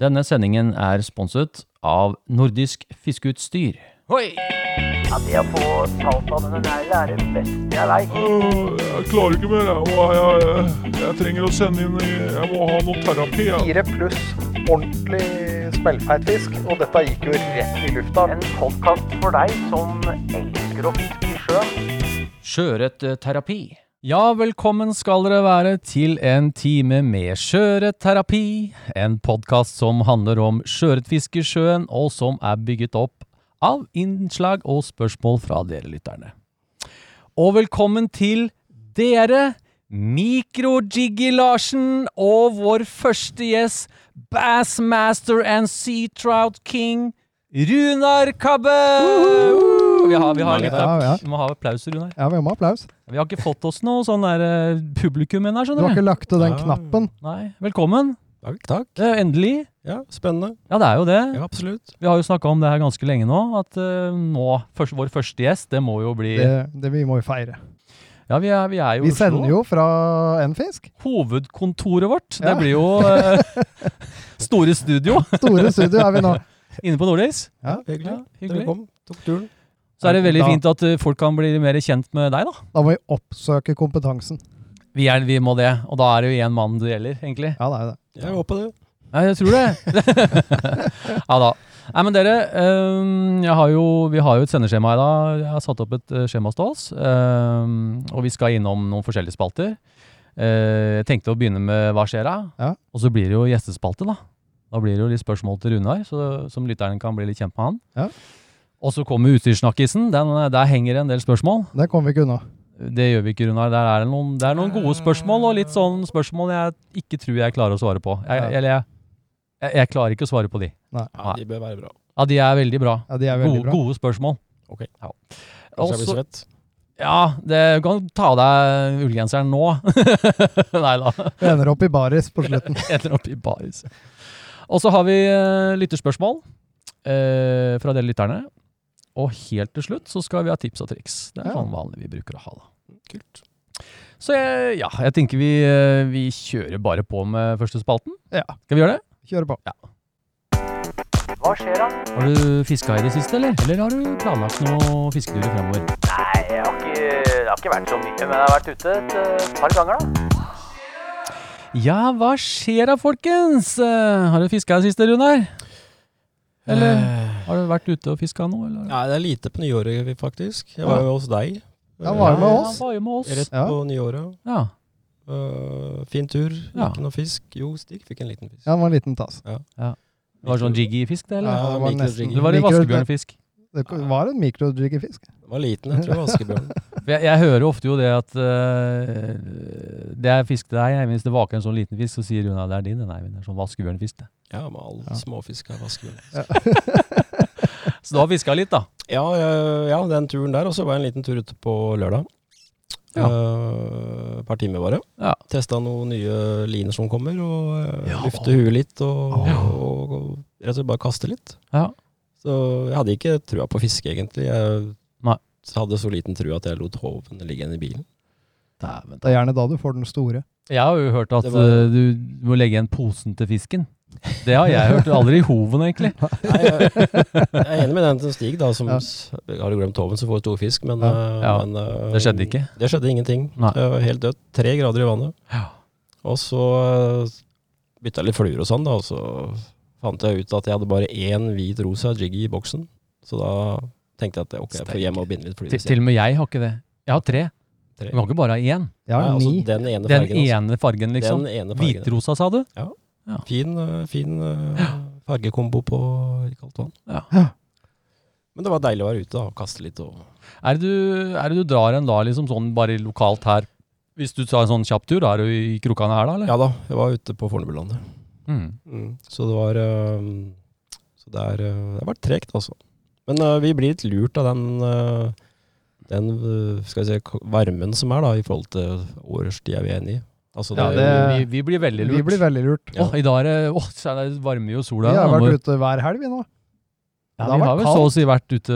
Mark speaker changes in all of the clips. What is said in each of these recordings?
Speaker 1: Denne sendingen er sponset av Nordisk Fiskeutstyr. Hoi!
Speaker 2: Ja, det å få talt av denne neglen er det beste jeg veit.
Speaker 3: Øh, Jeg klarer ikke mer. Jeg, Åh, jeg, jeg, jeg trenger å sende inn i- Jeg må ha noe terapi. Jeg.
Speaker 4: Fire pluss ordentlig smellfeit fisk, og dette gikk jo rett i lufta.
Speaker 2: En podkast for deg som elsker å fiske i sjøen.
Speaker 1: Sjøørretterapi. Ja, velkommen skal dere være til en time med sjøørretterapi. En podkast som handler om sjøørretfiske i sjøen, og som er bygget opp av innslag og spørsmål fra dere lytterne. Og velkommen til dere, Mikro-Jiggy Larsen og vår første gjest, Bassmaster and Sea Trout King, Runar Kabbe! Vi har, vi har litt
Speaker 5: Ja, ja.
Speaker 1: Vi må ha applaus, Runar.
Speaker 5: Ja, vi må ha applaus.
Speaker 1: Vi har ikke fått oss noe sånn der eh, publikum ennå,
Speaker 5: Du har
Speaker 1: skjønner du.
Speaker 5: ikke lagt til den
Speaker 1: Ah.
Speaker 6: Ja.
Speaker 5: knappen.
Speaker 1: Nei, velkommen.
Speaker 6: Takk, takk.
Speaker 1: Det er jo endelig.
Speaker 6: Ja, spennende.
Speaker 1: Ja, det er jo det.
Speaker 6: Ja, absolutt.
Speaker 1: Vi har jo snakka om det her ganske lenge nå. At eh, nå, først, vår første gjest, det må jo bli
Speaker 5: Det, det vi må jo feire.
Speaker 1: Ja, vi er, vi er jo i
Speaker 5: Vi
Speaker 1: Oslo.
Speaker 5: sender jo fra en fisk.
Speaker 1: Hovedkontoret vårt. Det
Speaker 5: Ja.
Speaker 1: blir jo eh, store studio
Speaker 5: Store studio er vi nå.
Speaker 1: inne på Nordlys.
Speaker 6: Hyggelig.
Speaker 1: Ja,
Speaker 6: Dere
Speaker 1: hyggelig.
Speaker 6: kom, tok turen.
Speaker 1: Så er det veldig
Speaker 5: Da-
Speaker 1: fint at eh, folk kan bli mer kjent med deg, da.
Speaker 5: Da må vi oppsøke kompetansen.
Speaker 1: Vi, er, vi må det. Og da er det jo én mann det gjelder, egentlig.
Speaker 5: Ja, det er jo det.
Speaker 6: Jeg håper det.
Speaker 1: Ja, jeg tror det. ja da. Nei, men dere, øhm, jeg har jo, vi har jo et sendeskjema i dag. Jeg har satt opp et øh, skjema til oss. øhm, og vi skal innom noen forskjellige spalter. Eh, jeg tenkte å begynne med Hva skjer da?
Speaker 5: Ja.
Speaker 1: Og så blir det jo gjestespalte, da. Da blir det jo litt spørsmål til Runar, så- som lytteren kan bli litt kjent med han.
Speaker 5: Ja.
Speaker 1: Og så kommer utstyrssnakkisen. Den, eh, der henger det en del spørsmål.
Speaker 5: Det kommer vi ikke unna.
Speaker 1: Det gjør vi ikke, Runar. Der er det noen, det er noen gode spørsmål, og litt sånn spørsmål jeg ikke tror jeg klarer å svare på. Jeg,
Speaker 5: Ja.
Speaker 1: Eller jeg, jeg, jeg klarer ikke å svare på de.
Speaker 6: Ja, de bør være bra.
Speaker 1: Ja, de er veldig bra.
Speaker 5: Ja, de er veldig
Speaker 1: gode,
Speaker 5: bra.
Speaker 1: gode spørsmål.
Speaker 6: Ok.
Speaker 1: Ja.
Speaker 6: Kanskje jeg blir
Speaker 1: Også-
Speaker 6: svett.
Speaker 1: ja, det, du kan ta av deg ullgenseren nå. Nei da.
Speaker 5: Vi ender opp i baris på slutten.
Speaker 1: Eller oppi baris. Og så har vi eh, lytterspørsmål eh, fra dere lytterne. Og helt til slutt så skal vi ha tips og triks. Det er
Speaker 5: Ja.
Speaker 1: sånn vanlig vi bruker å ha, da.
Speaker 6: Kult.
Speaker 1: Så jeg, ja, jeg tenker vi, eh, vi kjører bare på med første spalten.
Speaker 5: Ja.
Speaker 1: Skal vi gjøre det?
Speaker 5: Kjøre på.
Speaker 2: Hva skjer da?
Speaker 1: Har du fiska i det siste, eller? Eller har du planlagt noen fisketurer fremover?
Speaker 2: Nei, jeg har ikke, det har ikke vært så mye, men jeg har vært ute et eh, par ganger, da.
Speaker 1: Ja, hva skjer da, folkens? Eh, Har du fiska i det siste, Runar? Eller har du vært ute og fiska nå, eller?
Speaker 6: Nei, det er lite på nyåret, faktisk. Jeg var jo hos deg. Eh,
Speaker 5: Ja, var jo med
Speaker 1: Ja,
Speaker 5: oss.
Speaker 1: han var jo med oss.
Speaker 6: Rett
Speaker 5: Ja.
Speaker 6: på nyåret.
Speaker 1: Ja.
Speaker 6: Øh, fin tur.
Speaker 1: Ja.
Speaker 6: Ikke noe fisk. Jo, Stig fikk en liten fisk.
Speaker 5: Ja, det var en liten tass.
Speaker 1: Det var sånn jiggy-fisk, det, eller?
Speaker 6: Ja,
Speaker 5: det var
Speaker 6: mikro-
Speaker 5: nesten-
Speaker 1: Eller var det
Speaker 5: mikro-
Speaker 1: vaskebjørnfisk?
Speaker 5: Det var en mikrodryggefisk.
Speaker 6: Den var liten, jeg tror det var askebjørn.
Speaker 1: For Jeg, jeg hører ofte jo det at eh, det jeg fisker deg, hvis det vaker en sånn liten fisk, så sier Runar det er din. Nei, det er sånn vaskebjørnfisk, det.
Speaker 6: Ja, med alle
Speaker 5: Ja.
Speaker 6: småfisk er askebjørn.
Speaker 1: Så du har fiska litt, da?
Speaker 6: Ja, jeg- ja, den turen der. Og så var jeg en liten tur ute på lørdag.
Speaker 1: Ja.
Speaker 6: Øh, Et par timer bare.
Speaker 1: Ja.
Speaker 6: Testa noen nye liner som kommer, og
Speaker 1: Ja.
Speaker 6: ja. lufte huet litt. Og,
Speaker 1: Ja.
Speaker 6: og, og rett og slett bare kaste litt.
Speaker 1: Ja.
Speaker 6: Så jeg hadde ikke trua på fiske, egentlig. Jeg
Speaker 1: Nei.
Speaker 6: hadde så liten trua at jeg lot hoven ligge igjen i bilen.
Speaker 1: Dæven.
Speaker 5: Det er gjerne da du får den store.
Speaker 1: Jeg har jo hørt at
Speaker 6: Det var-
Speaker 1: eh, du må legge igjen posen til fisken. Det har jeg hørt. Aldri i hoven, egentlig.
Speaker 6: Nei, jeg, jeg er enig med den til Stig, da, som
Speaker 5: Ja.
Speaker 6: s- har du glemt hoven, så får du stor fisk. Men, øh,
Speaker 1: Ja.
Speaker 6: men, øh,
Speaker 1: Det skjedde ikke.
Speaker 6: Det skjedde ingenting.
Speaker 1: Nei.
Speaker 6: Det var helt dødt. Tre grader i vannet.
Speaker 1: Ja.
Speaker 6: Og så eh, bytta jeg litt fluer og sånn, da, og så fant jeg ut at jeg hadde bare én hvit rosa jiggy i boksen. Så da tenkte jeg at ok, jeg får hjem og binde litt fluer.
Speaker 1: Til, til og med jeg har ikke det. Jeg har tre.
Speaker 6: Tre.
Speaker 1: Du kan ikke bare ha én.
Speaker 5: Jeg har
Speaker 6: Nei, altså,
Speaker 5: ni.
Speaker 6: den ene
Speaker 1: Den
Speaker 6: fargen.
Speaker 1: ene fargen,
Speaker 6: altså.
Speaker 1: liksom.
Speaker 6: Den ene fargen.
Speaker 1: Hvitrosa, sa du?
Speaker 6: Fin, eh, fin eh, fargekombo på i kaldt vann.
Speaker 1: Ja.
Speaker 6: Men det var deilig å være ute da, og kaste litt. Og,
Speaker 1: Er det du, er det du drar en da, liksom sånn bare lokalt her? Hvis du tar en sånn kjapp tur, da er du i krokene her, da? eller?
Speaker 6: ja da, jeg var ute på Fornebulandet.
Speaker 1: Mm.
Speaker 6: Så det var eh, Så det er eh, Det har vært tregt, altså. Men eh, vi blir litt lurt av den eh, den eh, skal vi si, k- varmen som er da, i forhold til årstida vi er inne i. Altså, det,
Speaker 1: Ja,
Speaker 6: er jo-
Speaker 5: det-
Speaker 1: vi, vi blir veldig lurt.
Speaker 5: Vi blir veldig lurt.
Speaker 6: Ja.
Speaker 1: Åh, I dag er det, åh, så er det varmer jo
Speaker 5: Vi
Speaker 1: sola.
Speaker 5: har
Speaker 1: da må-
Speaker 5: vært ute hver helg, vi nå.
Speaker 1: ja,
Speaker 5: det har
Speaker 1: vi har
Speaker 5: vært
Speaker 1: vel så å si vært ute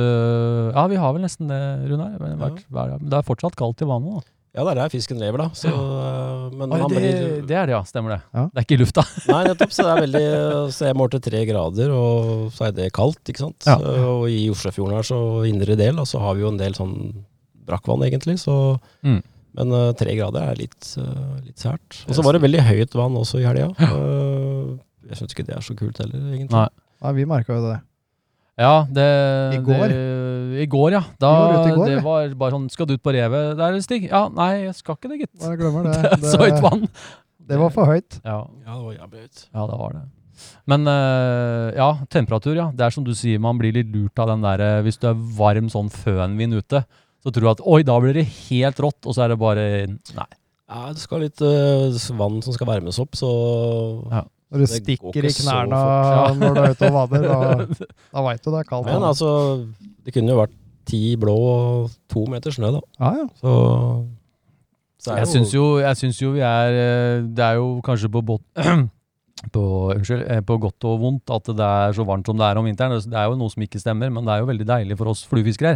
Speaker 1: Ja, vi har vel nesten det, Runar. Men det har
Speaker 6: Ja.
Speaker 1: vært- hver- men Det er fortsatt kaldt i vannet. da.
Speaker 6: ja, det er der fisken lever, da. Så eh, men
Speaker 1: Oi,
Speaker 6: han
Speaker 1: det,
Speaker 6: blir
Speaker 1: det er det, ja. Stemmer det.
Speaker 5: Ja.
Speaker 1: Det er ikke i lufta.
Speaker 6: Nei, nettopp. Så det er veldig Så jeg målte tre grader, og så er det kaldt, ikke sant.
Speaker 5: Ja.
Speaker 6: Og i Oslofjorden her, så indre del, og så har vi jo en del sånn brakkvann, egentlig, så
Speaker 1: Mm.
Speaker 6: Men eh, tre grader er litt, eh, litt sært. Og så var det veldig høyt vann også i helga. Eh, jeg syns ikke det er så kult heller, egentlig.
Speaker 1: Nei.
Speaker 5: Nei, vi merka jo det.
Speaker 1: Ja, det
Speaker 5: I går?
Speaker 1: Det, I går, ja. Da,
Speaker 5: Vi var ute i går,
Speaker 1: det
Speaker 5: vi.
Speaker 1: var bare sånn Skal du ut på revet der, Stig? Ja, nei, jeg skal ikke det, gitt.
Speaker 5: Bare glemmer det.
Speaker 1: Det er så høyt vann.
Speaker 5: det var for høyt.
Speaker 1: Ja,
Speaker 6: Ja, det var jævlig høyt.
Speaker 1: ja, det var det. Men eh, ja, temperatur, ja. Det er som du sier, man blir litt lurt av den derre Hvis du er varm sånn fønvind ute, så tror du at oi, da blir det helt rått, og så er det bare Nei.
Speaker 6: Ja, det skal litt eh, vann som skal varmes opp, så
Speaker 5: Når du
Speaker 6: Det går
Speaker 5: stikker
Speaker 6: ikke
Speaker 5: i
Speaker 6: så
Speaker 5: knærne
Speaker 6: fort,
Speaker 5: når du er ute og vader, da, da veit du det er kaldt.
Speaker 6: Men altså, det kunne jo vært ti blå og to meter snø, da.
Speaker 5: ja, ja.
Speaker 6: Så, så er
Speaker 1: Jeg
Speaker 6: det
Speaker 1: syns jo, jeg syns jo vi er eh, Det er jo kanskje på bot... På, unnskyld, eh, på godt og vondt at det er så varmt som det er om vinteren. Det er jo noe som ikke stemmer, men det er jo veldig deilig for oss fluefiskere.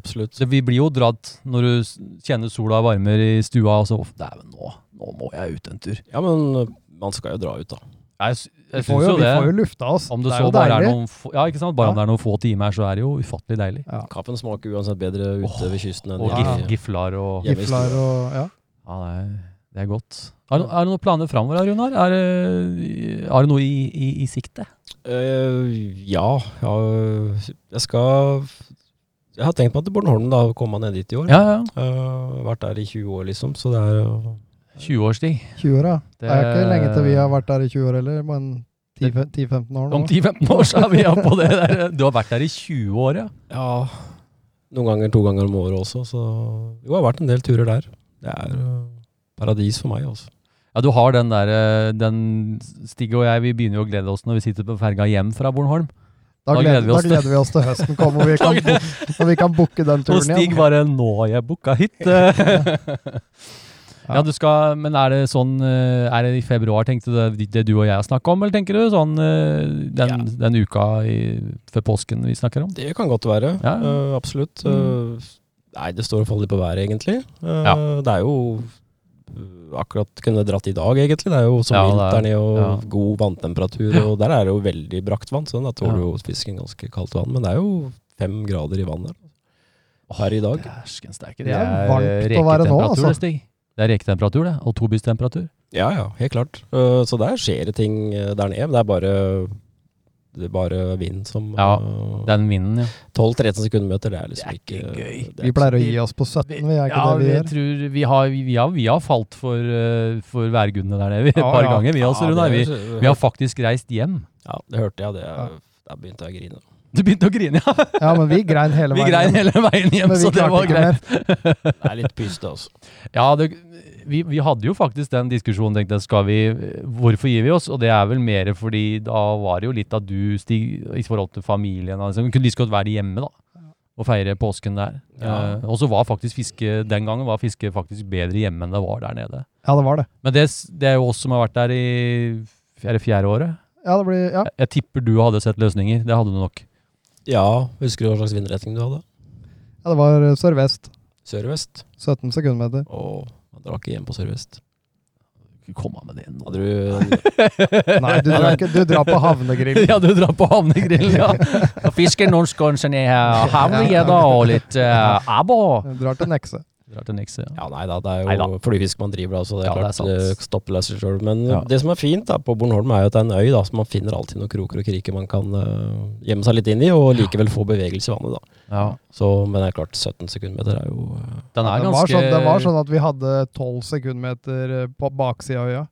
Speaker 6: Absolutt.
Speaker 1: Så vi blir jo dratt når du s- kjenner sola varmer i stua, og så «Å, Dæven, nå, nå må jeg ut en tur.
Speaker 6: Ja, men man skal jo dra ut, da.
Speaker 1: Jeg, s-
Speaker 5: Vi
Speaker 1: jeg
Speaker 5: får
Speaker 1: syns
Speaker 5: jo,
Speaker 1: jo
Speaker 5: vi får jo
Speaker 1: det.
Speaker 5: lufta oss.
Speaker 1: Om det
Speaker 5: er
Speaker 1: så
Speaker 5: jo
Speaker 1: bare er
Speaker 5: deilig.
Speaker 1: noen få, ja, ikke sant? Bare om det er noen få timer, så er det jo ufattelig deilig.
Speaker 5: Ja.
Speaker 6: Kaffen smaker uansett bedre ute ved kysten enn
Speaker 1: Og
Speaker 5: Ja.
Speaker 1: gif, giflar og Ja,
Speaker 6: Ja. Hjemme i stua.
Speaker 5: Gifler og ja.
Speaker 1: det er, det er godt. Er det, er det noen planer framover, Runar? Er, det- er det noe i, i, i sikte?
Speaker 6: Eh, ja, ja, jeg skal Jeg har tenkt meg til Bornholm, da, å komme ned dit i år.
Speaker 1: Ja, ja.
Speaker 6: Eh, vært der i 20 år, liksom, så det er jo
Speaker 1: 20-årstid.
Speaker 5: 20-åra. Det er jo
Speaker 1: Det-
Speaker 5: ikke lenge til vi har vært der i 20 år heller, men 10-15 år
Speaker 1: Om
Speaker 5: nå.
Speaker 1: 10-15 år så er vi oppe på det der. Du har vært der i 20 år, ja.
Speaker 6: Ja, noen ganger to ganger om året også, så Jo, jeg har vært en del turer der. Det er eh, paradis for meg, altså.
Speaker 1: Ja, du har den der eh, den Stig og jeg, vi begynner jo å glede oss når vi sitter på ferga hjem fra Bornholm.
Speaker 5: Da
Speaker 1: da gleder
Speaker 5: gleder,
Speaker 1: vi
Speaker 5: da
Speaker 1: oss til-
Speaker 5: gleder vi oss til høsten kommer, og vi kan, bo- og vi kan booke den
Speaker 1: Og
Speaker 5: turen
Speaker 1: Stig
Speaker 5: igjen.
Speaker 1: bare 'Nå har jeg booka hytte'. ja, du skal Men er det sånn eh, Er det i februar, tenkte du, det- det du og jeg har snakka om, eller tenker du sånn eh, den, den uka i, før påsken vi snakker om?
Speaker 6: Det kan godt være.
Speaker 1: Ja. Mm.
Speaker 6: eh, absolutt. Eh, nei, det står og faller på været, egentlig. Eh,
Speaker 1: Ja.
Speaker 6: Det er jo eh, akkurat kunne dratt i dag, egentlig. Det er jo som
Speaker 1: Ja, det er-
Speaker 6: vinteren i og
Speaker 1: ja.
Speaker 6: god vanntemperatur, og der er det jo veldig brakt vann. Så da tåler jo fisken ganske kaldt vann. Men det er jo fem grader i vannet her i dag.
Speaker 1: Dæsken steike.
Speaker 5: Det er varmt å være nå,
Speaker 1: reketemperatur,
Speaker 5: altså.
Speaker 1: det, Stig. Det er reketemperatur, det. Og tobistemperatur.
Speaker 6: Ja, ja, helt klart. Eh, så der skjer det ting eh, der nede. Det er bare det er bare vind som
Speaker 1: Ja,
Speaker 6: eh,
Speaker 1: Den vinden, ja.
Speaker 6: 12-13 sekundmeter, det er liksom
Speaker 1: Det er ikke gøy.
Speaker 6: det er
Speaker 5: Vi pleier å gi oss på 17, vi er ikke
Speaker 1: ja,
Speaker 5: det vi gjør.
Speaker 1: tror vi har, vi, vi har, vi har falt for, eh, for værgudene der nede et
Speaker 5: Ja,
Speaker 1: par
Speaker 5: ja.
Speaker 1: ganger, vi også,
Speaker 6: Ja, det
Speaker 1: Runar. Vi,
Speaker 6: er-
Speaker 1: vi har faktisk reist hjem.
Speaker 6: Ja, det hørte jeg. Det,
Speaker 5: Ja.
Speaker 6: Der begynte jeg å grine.
Speaker 1: Du begynte å grine, ja.
Speaker 5: Ja, men vi grein hele
Speaker 1: Vi
Speaker 5: veien.
Speaker 1: grein hele veien hjem,
Speaker 5: men vi
Speaker 1: så det
Speaker 5: klarte
Speaker 1: var
Speaker 5: ikke
Speaker 1: greit.
Speaker 5: mer.
Speaker 6: Det er litt pyste, altså.
Speaker 1: Ja, det, vi, vi hadde jo faktisk den diskusjonen, tenkte jeg, skal vi, hvorfor gir vi oss? Og det er vel mer fordi da var det jo litt at du, Stig, i forhold til familien, altså, kunne like så godt være hjemme da, og feire påsken der.
Speaker 6: Ja.
Speaker 1: Eh, og så var faktisk fiske, den gangen var fiske faktisk bedre hjemme enn det var der nede.
Speaker 5: Ja, det var det.
Speaker 1: Men det, s- det er jo oss som har vært der i er det fjerde året.
Speaker 5: Ja, det blir, ja.
Speaker 1: Jeg, jeg tipper du hadde sett løsninger, det hadde du nok.
Speaker 6: Ja, husker du hva slags vindretning du hadde?
Speaker 5: ja, det var eh, sørvest.
Speaker 6: Sør-vest.
Speaker 5: 17 sekundmeter.
Speaker 6: Og jeg drakk hjem på sørvest.
Speaker 1: Kom av med det nå.
Speaker 6: Hadde du
Speaker 5: Nei, du drar, ikke, du drar på havnegrill.
Speaker 1: Ja, du drar på havnegrillen, ja. Og fisker noen skonsen i havnegjedda og litt uh, abo.
Speaker 5: Du drar til Nekse.
Speaker 1: Drar til Nikse, ja.
Speaker 6: Ja, nei da, det er jo
Speaker 1: Neida.
Speaker 6: flyfisk man driver, da, så det er
Speaker 1: Ja, det er
Speaker 6: klart
Speaker 1: sant.
Speaker 6: det stopper seg selv. Men
Speaker 1: Ja.
Speaker 6: det som er fint da, på Bornholm, er jo at det er en øy, da, så man finner alltid noen kroker og kriker man kan eh, gjemme seg litt inn i, og likevel få bevegelse i vannet, da.
Speaker 1: ja.
Speaker 6: Så, men det er klart, 17 sekundmeter er jo eh,
Speaker 1: Den er
Speaker 5: Det
Speaker 1: ganske
Speaker 5: var, sånn, det var sånn at vi hadde 12 sekundmeter eh, på baksida av øya.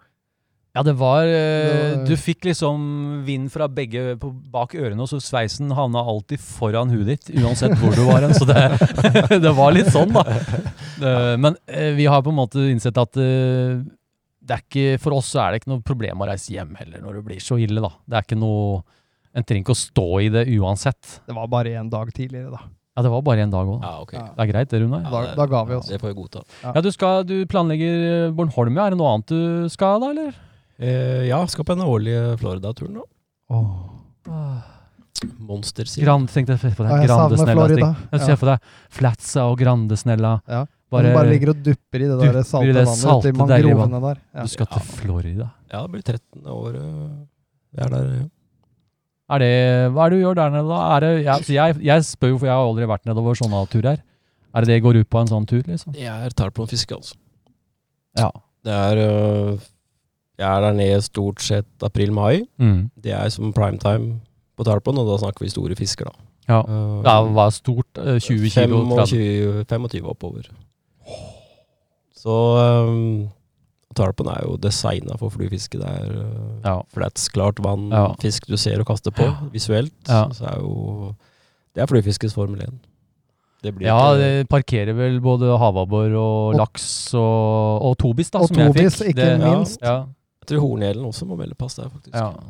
Speaker 1: Ja, det var eh,
Speaker 5: Det var-
Speaker 1: Du fikk liksom vind fra begge på, bak ørene, og så sveisen havna alltid foran huet ditt, uansett hvor du var hen. Så det, det var litt sånn, da. Eh, men eh, vi har på en måte innsett at eh, det er ikke For oss så er det ikke noe problem å reise hjem heller når det blir så ille, da. Det er ikke noe En trenger ikke å stå i det uansett.
Speaker 5: Det var bare én dag tidligere, da.
Speaker 1: Ja, det var bare en dag òg, da.
Speaker 6: Ja, ok.
Speaker 5: Ja.
Speaker 1: Det er greit, det, Runar.
Speaker 5: Da, da ga vi oss.
Speaker 6: Det får jeg godta.
Speaker 1: Ja, du, skal, du planlegger eh, Bornholm, ja. Er det noe annet du skal da, eller?
Speaker 6: Eh, ja, skal på den årlige Florida-turen, da. Monster City.
Speaker 1: Grand, tenkte jeg på
Speaker 5: Ja,
Speaker 1: deg.
Speaker 5: jeg
Speaker 1: Grande
Speaker 5: savner
Speaker 1: snella, Stig.
Speaker 5: Florida.
Speaker 1: Jeg
Speaker 5: Ja.
Speaker 1: ser for deg Flatsa og Grande snella.
Speaker 5: Ja. Bare, bare ligger og dupper i det
Speaker 1: dupper i
Speaker 5: der salte
Speaker 1: det
Speaker 5: vannet
Speaker 1: salte,
Speaker 5: ute i
Speaker 1: deilige
Speaker 5: mangrovene der. Ja.
Speaker 1: Du skal til Florida.
Speaker 6: Ja, det blir 13. året jeg er der. ja.
Speaker 1: Er det, hva er det du gjør der nede, da? Er det, jeg, så jeg, jeg spør jo, for jeg har aldri vært nedover sånne turer. Er det det går ut på en sånn tur, liksom?
Speaker 6: Jeg tar på en fiske, altså.
Speaker 1: Ja.
Speaker 6: Det er øh, Jeg er der nede stort sett april-mai.
Speaker 1: Mm.
Speaker 6: Det er som primetime på Tarpon, og da snakker vi store fisker, da.
Speaker 1: Ja.
Speaker 6: Øh,
Speaker 1: Det er- var stort. eh, 20 kilo. 30.
Speaker 6: 25, 25 oppover. Så um, tarpen er jo designa for fluefiske. Det er uh,
Speaker 1: Ja.
Speaker 6: flats, klart vann,
Speaker 1: Ja.
Speaker 6: fisk du ser og kaster på visuelt.
Speaker 1: Ja.
Speaker 6: Så er jo Det er fluefiskes Formel 1. Det blir
Speaker 1: Ja,
Speaker 6: ikke-
Speaker 1: det parkerer vel både havabbor og
Speaker 5: Og-
Speaker 1: laks og, og tobis, da,
Speaker 5: Og
Speaker 1: som jeg fikk.
Speaker 5: tobis, ikke minst.
Speaker 1: Ja,
Speaker 6: Jeg tror horngjellen også må melde pass der, faktisk.
Speaker 1: ja, ja.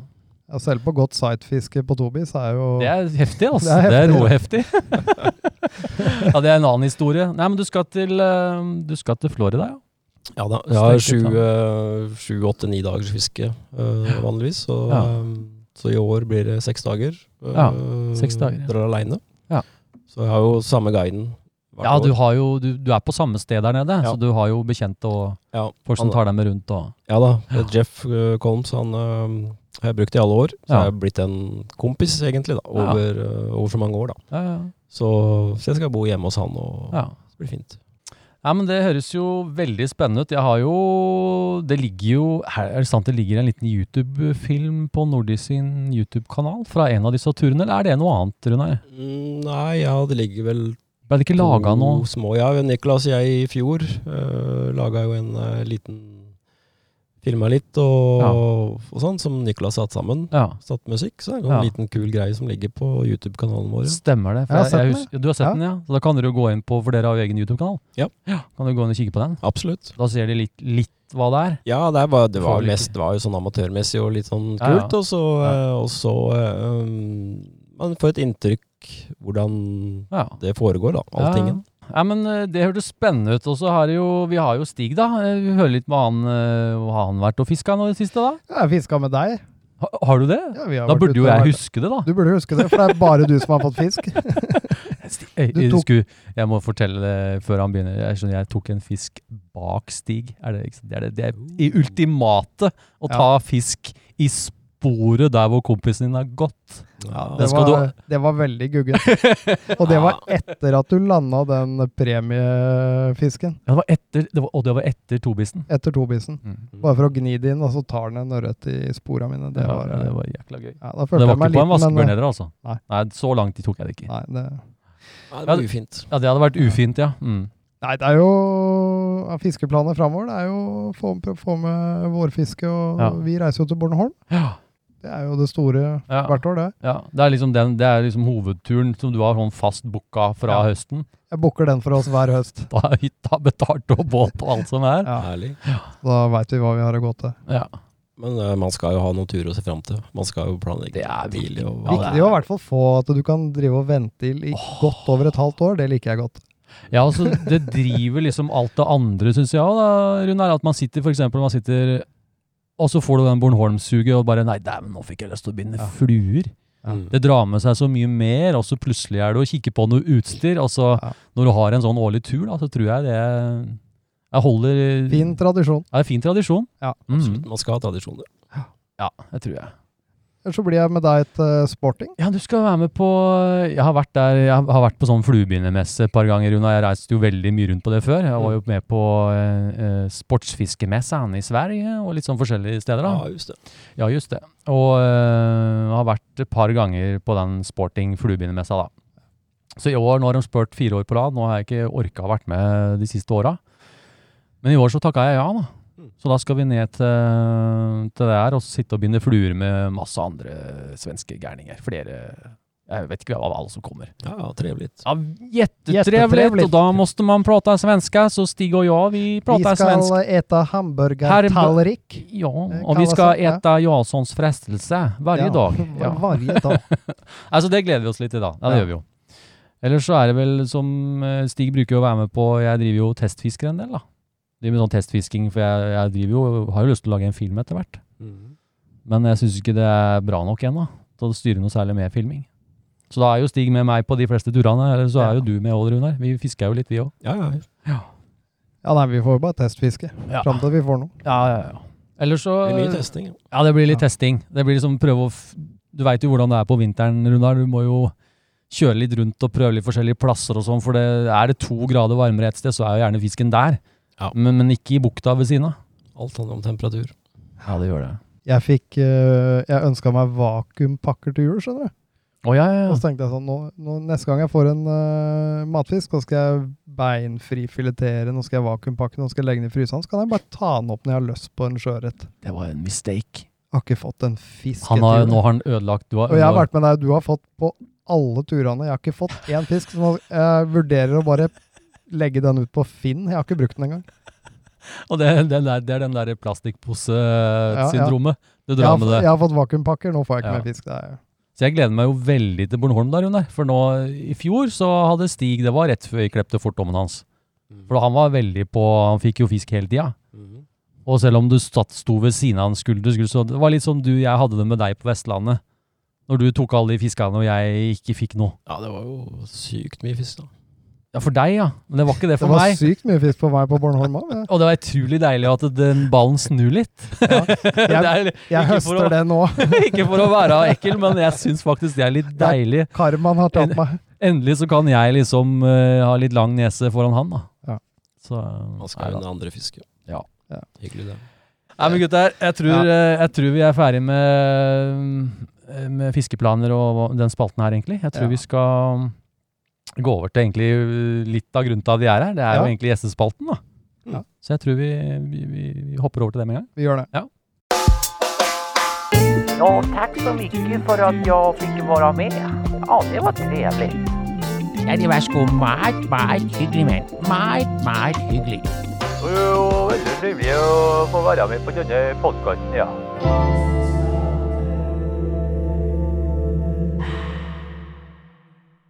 Speaker 5: Ja, selv på godt sightfiske på Tobis er jo
Speaker 1: Det er heftig, altså.
Speaker 5: Det er
Speaker 1: Det er
Speaker 5: heftig,
Speaker 1: råheftig. ja, det er en annen historie. Nei, men du skal til, eh, du skal til Florida, ja.
Speaker 6: Ja da. Jeg har
Speaker 1: Sterke
Speaker 6: sju,
Speaker 1: tall.
Speaker 6: eh, sju, åtte, ni dagers fiske eh, vanligvis. Så,
Speaker 1: Ja.
Speaker 6: eh, så i år blir det seks dager. eh,
Speaker 1: Ja, seks dager, ja.
Speaker 6: Drar aleine.
Speaker 1: Ja.
Speaker 6: Så jeg har jo samme guiden. hvert
Speaker 1: Ja,
Speaker 6: år.
Speaker 1: du, har jo, du, du er på samme sted der nede,
Speaker 6: Ja.
Speaker 1: så du har jo bekjente og
Speaker 6: ja,
Speaker 1: folk som
Speaker 6: han-
Speaker 1: tar deg med rundt. Og,
Speaker 6: Ja da. Jeff eh, Colms han eh, har jeg brukt i alle år. Så
Speaker 1: Ja.
Speaker 6: jeg har blitt en kompis, egentlig, da,
Speaker 1: Ja.
Speaker 6: over, eh, over så mange år. da.
Speaker 1: ja, ja,
Speaker 6: Så, så jeg skal bo hjemme hos han, og
Speaker 1: ja.
Speaker 6: det blir fint.
Speaker 1: Ja, men Det høres jo veldig spennende ut. Jeg har jo Det ligger jo her, Er det sant det ligger en liten YouTube-film på Nordis sin YouTube-kanal fra en av disse turene, eller er det noe annet, Runar?
Speaker 6: Mm, Nei, ja, det ligger vel
Speaker 1: Ble det ikke laga
Speaker 6: to
Speaker 1: noe
Speaker 6: Små, ja, Niklas og jeg i fjor uh, laga jo en eh, liten Filma litt og, og sånn, som Niklas satt sammen.
Speaker 1: Ja,
Speaker 6: Satt musikk. Så det er
Speaker 1: Ja.
Speaker 6: en liten kul greie som ligger på YouTube-kanalen vår.
Speaker 1: stemmer det.
Speaker 5: Jeg
Speaker 1: For
Speaker 5: har
Speaker 1: jeg,
Speaker 5: sett
Speaker 1: jeg
Speaker 5: den,
Speaker 1: husker, du har sett
Speaker 5: Ja.
Speaker 1: den, ja? Så da kan dere jo gå inn på, for dere har jo egen YouTube-kanal.
Speaker 6: Ja.
Speaker 1: Kan du gå inn og kikke på den?
Speaker 6: Absolutt.
Speaker 1: Da ser de litt, litt hva det er.
Speaker 6: Ja, det var, det
Speaker 1: Får
Speaker 6: var,
Speaker 1: vel ikke-
Speaker 6: mest, det var jo sånn amatørmessig og litt sånn
Speaker 1: Ja, ja.
Speaker 6: kult. Og så, eh, og så eh, um, Man får et inntrykk hvordan
Speaker 1: Ja.
Speaker 6: det foregår, da. Alltingen.
Speaker 1: Ja. ja, men eh, det hørtes spennende ut. Og så har det jo, vi har jo Stig, da. Eh, Vi hører litt med han. eh, Har han vært og fiska nå i det siste, da?
Speaker 5: Jeg har fiska med deg.
Speaker 1: Ha, har du det?
Speaker 5: Ja, vi har
Speaker 1: Da
Speaker 5: vært
Speaker 1: burde
Speaker 5: ute
Speaker 1: jo
Speaker 5: og vært-
Speaker 1: jeg huske det, da.
Speaker 5: Du burde huske det, for det er bare du som har fått fisk.
Speaker 1: Jeg,
Speaker 5: Du
Speaker 1: jeg,
Speaker 5: tok-
Speaker 1: eh, skulle, jeg må fortelle det før han begynner. Jeg skjønner, jeg tok en fisk bak Stig. Er det, ikke sant? det, er det, det er i ultimate å ta fisk i sporet der hvor kompisen din har gått.
Speaker 6: Ja,
Speaker 5: Det
Speaker 1: skal
Speaker 5: var, det var veldig gugget. Og det var etter at du landa den premiefisken.
Speaker 1: Ja, det var etter, det var, og det var etter tobisen.
Speaker 5: Etter tobisen. Bare for å gni det inn, og så tar den en ørret i spora mine. Det var,
Speaker 1: Mm. ja, det
Speaker 5: ja,
Speaker 1: var eh, jækla gøy.
Speaker 5: da
Speaker 1: Det
Speaker 5: følte
Speaker 1: var
Speaker 5: jeg
Speaker 1: ikke på
Speaker 5: meg
Speaker 1: en
Speaker 5: liten, men
Speaker 1: vaskebjørn heller, altså.
Speaker 5: Nei.
Speaker 1: Nei, så langt de tok jeg det ikke.
Speaker 5: nei det,
Speaker 6: Ja, det blir ufint.
Speaker 1: Ja, Det hadde vært ufint, ja. Mm.
Speaker 5: nei, det er jo ja, Fiskeplaner framover det er jo å få, få med vårfiske, og
Speaker 1: Ja.
Speaker 5: vi reiser jo til Bornholm.
Speaker 1: Ja,
Speaker 5: Det er jo det store
Speaker 1: ja,
Speaker 5: hvert år, det.
Speaker 1: ja. Det er liksom, den, det er liksom hovedturen som du har sånn fast booka fra
Speaker 5: Ja.
Speaker 1: høsten.
Speaker 5: Jeg booker den for oss hver høst.
Speaker 1: Da er hytta betalt og båt og alt som er.
Speaker 5: Ja.
Speaker 6: Ærlig.
Speaker 5: Da veit vi hva vi har å gå til.
Speaker 1: Ja.
Speaker 6: Men eh, man skal jo ha noen turer å se fram til. Man skal jo planlegge
Speaker 1: Det er
Speaker 6: tidlig.
Speaker 1: Ja,
Speaker 6: Og,
Speaker 1: det
Speaker 5: Viktig å i hvert fall få at du kan drive og vente i i godt over et halvt år. Det liker jeg godt.
Speaker 1: Ja, altså det driver liksom alt det andre, syns jeg òg, da, Runar. At man sitter for eksempel, man sitter og så får du den Bornholm-suget og bare Nei, dæven, nå fikk jeg lyst til å binde fluer.
Speaker 6: Mm.
Speaker 1: Det drar med seg så mye mer, og så plutselig er det å kikke på noe utstyr. Og så
Speaker 5: Ja.
Speaker 1: når du har en sånn årlig tur, da, så tror jeg det Jeg holder
Speaker 5: Fin tradisjon.
Speaker 1: Ja, det er fin tradisjon.
Speaker 5: Ja,
Speaker 1: mm.
Speaker 6: Absolutt, man skal ha tradisjoner.
Speaker 1: ja, det tror jeg.
Speaker 5: Ellers så blir jeg med deg til sporting.
Speaker 1: Ja, du skal være med på eh, Jeg har vært der, jeg har vært på sånn fluebindermesse et par ganger, Runa. Jeg reiste jo veldig mye rundt på det før. Jeg var jo med på eh, eh, sportsfiskemessan i Sverige og litt sånn forskjellige steder.
Speaker 6: Ja,
Speaker 1: da.
Speaker 6: just det.
Speaker 1: Ja, just det. Og eh, har vært et par ganger på den sporting fluebindermessa, da. Så i år, nå har de spurt fire år på rad. Nå har jeg ikke orka å vært med de siste åra. Men i år så takka jeg ja, da.
Speaker 5: Mm.
Speaker 1: Så da skal vi ned til, til det her og sitte og binde fluer med masse andre svenske gærninger. Flere Jeg vet ikke hva alle som kommer.
Speaker 6: Ja, ja, trevlig.
Speaker 1: Ja, Jättetrevligt!
Speaker 5: Jättetrevligt.
Speaker 1: Og da måste man prata svenska, så Stig og jeg, vi
Speaker 5: Vi
Speaker 1: prater
Speaker 5: skal eh,
Speaker 1: svensk.
Speaker 5: ete hamburgertallrik.
Speaker 1: Ja,
Speaker 5: Det
Speaker 1: og
Speaker 5: kan
Speaker 1: vi skal
Speaker 5: være sant,
Speaker 1: äta Janssons frestelse hver
Speaker 5: Ja,
Speaker 1: dag. Ja.
Speaker 5: Varje dag.
Speaker 1: Altså, det gleder vi oss litt til, da. Ja, det
Speaker 5: Ja.
Speaker 1: gjør vi jo. Ellers så er det vel som eh, Stig bruker jo å være med på Jeg driver jo og testfisker en del, da. Driver med sånn testfisking, for jeg, jeg driver jo Har jo lyst til å lage en film etter hvert. Men jeg syns ikke det er bra nok ennå til å styre noe særlig med filming. Så da er jo Stig med meg på de fleste turene, eller så er jo du med òg, Runar. Vi fisker jo litt, vi òg.
Speaker 6: Ja, ja.
Speaker 5: Ja, nei, vi får bare testfiske
Speaker 1: Ja.
Speaker 5: fram til vi får noe.
Speaker 1: Ja, ja, ja. Eller så
Speaker 6: Det blir mye testing. ja.
Speaker 1: Ja, det blir litt testing. Det blir liksom prøve å f Du veit jo hvordan det er på vinteren, Runar. Du må jo kjøre litt rundt og prøve litt forskjellige plasser og sånn, for det, er det to grader varmere et sted, så er jo gjerne fisken der.
Speaker 6: Ja.
Speaker 1: Men, men ikke i bukta ved siden av.
Speaker 6: Alt handler om temperatur.
Speaker 1: Ja, det gjør det.
Speaker 5: Jeg fikk eh, Jeg ønska meg vakuumpakker til jul, skjønner du.
Speaker 1: Å, ja, ja,
Speaker 5: Og
Speaker 1: ja.
Speaker 5: så tenkte jeg sånn nå, nå, Neste gang jeg får en eh, matfisk, så skal jeg beinfrifiletere, nå skal jeg vakuumpakke den, nå skal jeg legge den i fryseren, så kan jeg bare ta den opp når jeg har lyst på en sjøørret.
Speaker 1: Det var en mistake.
Speaker 5: Har ikke fått en fisk.
Speaker 1: Han har,
Speaker 5: etter jul.
Speaker 1: nå har han ødelagt du har,
Speaker 5: Og jeg har
Speaker 1: ødelagt-
Speaker 5: vært med deg, du har fått på alle turene. Jeg har ikke fått én fisk, så nå jeg vurderer å bare legge den ut på Finn. Jeg har ikke brukt den engang.
Speaker 1: og det, den der, det er den der plastikkposesyndromet du
Speaker 5: Jeg
Speaker 1: drar
Speaker 5: har,
Speaker 1: med
Speaker 5: jeg
Speaker 1: deg.
Speaker 5: har fått vakuumpakker, nå får jeg ikke
Speaker 1: Ja.
Speaker 5: mer fisk. Det er,
Speaker 1: Så jeg gleder meg jo veldig til Bornholm der, Runar. For nå i fjor så hadde Stig Det var rett før jeg klepte fortommen hans. For han var veldig på Han fikk jo fisk hele tida.
Speaker 6: Mhm.
Speaker 1: Og selv om du satt, sto ved siden av en skulder, til skulder, så det var litt som du, jeg hadde det med deg på Vestlandet. Når du tok alle de fiskene og jeg ikke fikk noe.
Speaker 6: Ja, det var jo sykt mye fisk, da.
Speaker 1: Ja, for deg, ja. Men det var ikke det
Speaker 5: det
Speaker 1: for
Speaker 5: var
Speaker 1: meg.
Speaker 5: sykt mye fisk på vei på Bornholm òg.
Speaker 1: Og det var utrolig deilig at den ballen snur litt.
Speaker 5: Ja.
Speaker 1: det er,
Speaker 5: Jeg
Speaker 1: ikke for å-
Speaker 5: høster det nå.
Speaker 1: ikke for å være ekkel, men jeg syns faktisk det er litt deilig.
Speaker 5: Karmaen har tatt meg.
Speaker 1: Endelig så kan jeg liksom eh, ha litt lang nese foran han, da.
Speaker 5: Ja.
Speaker 1: Så,
Speaker 6: Man
Speaker 1: nei
Speaker 6: skal
Speaker 1: da.
Speaker 6: jo under andre fiske.
Speaker 1: Ja.
Speaker 5: Ja.
Speaker 6: Hyggelig, det.
Speaker 1: Nei, men gutter, jeg tror,
Speaker 5: Ja.
Speaker 1: eh, jeg tror vi er ferdig med, eh, med fiskeplaner og den spalten her, egentlig. Jeg tror
Speaker 5: Ja.
Speaker 1: vi skal um, gå over til egentlig eh, litt av grunnen til at vi er her. Det er
Speaker 5: Ja.
Speaker 1: jo egentlig gjestespalten, da.
Speaker 5: Ja.
Speaker 1: Så jeg tror vi, vi, vi, vi hopper over til det med en gang.
Speaker 5: Vi gjør det.
Speaker 2: Ja, takk så mye for at jeg fikk være med. Ja, det var trevelig.
Speaker 7: Ja, det var sgu meget, meget hyggelig, mand. Meget, meget hyggelig.
Speaker 2: Det var jo veldig trivelig å få være med på denne podkasten, ja.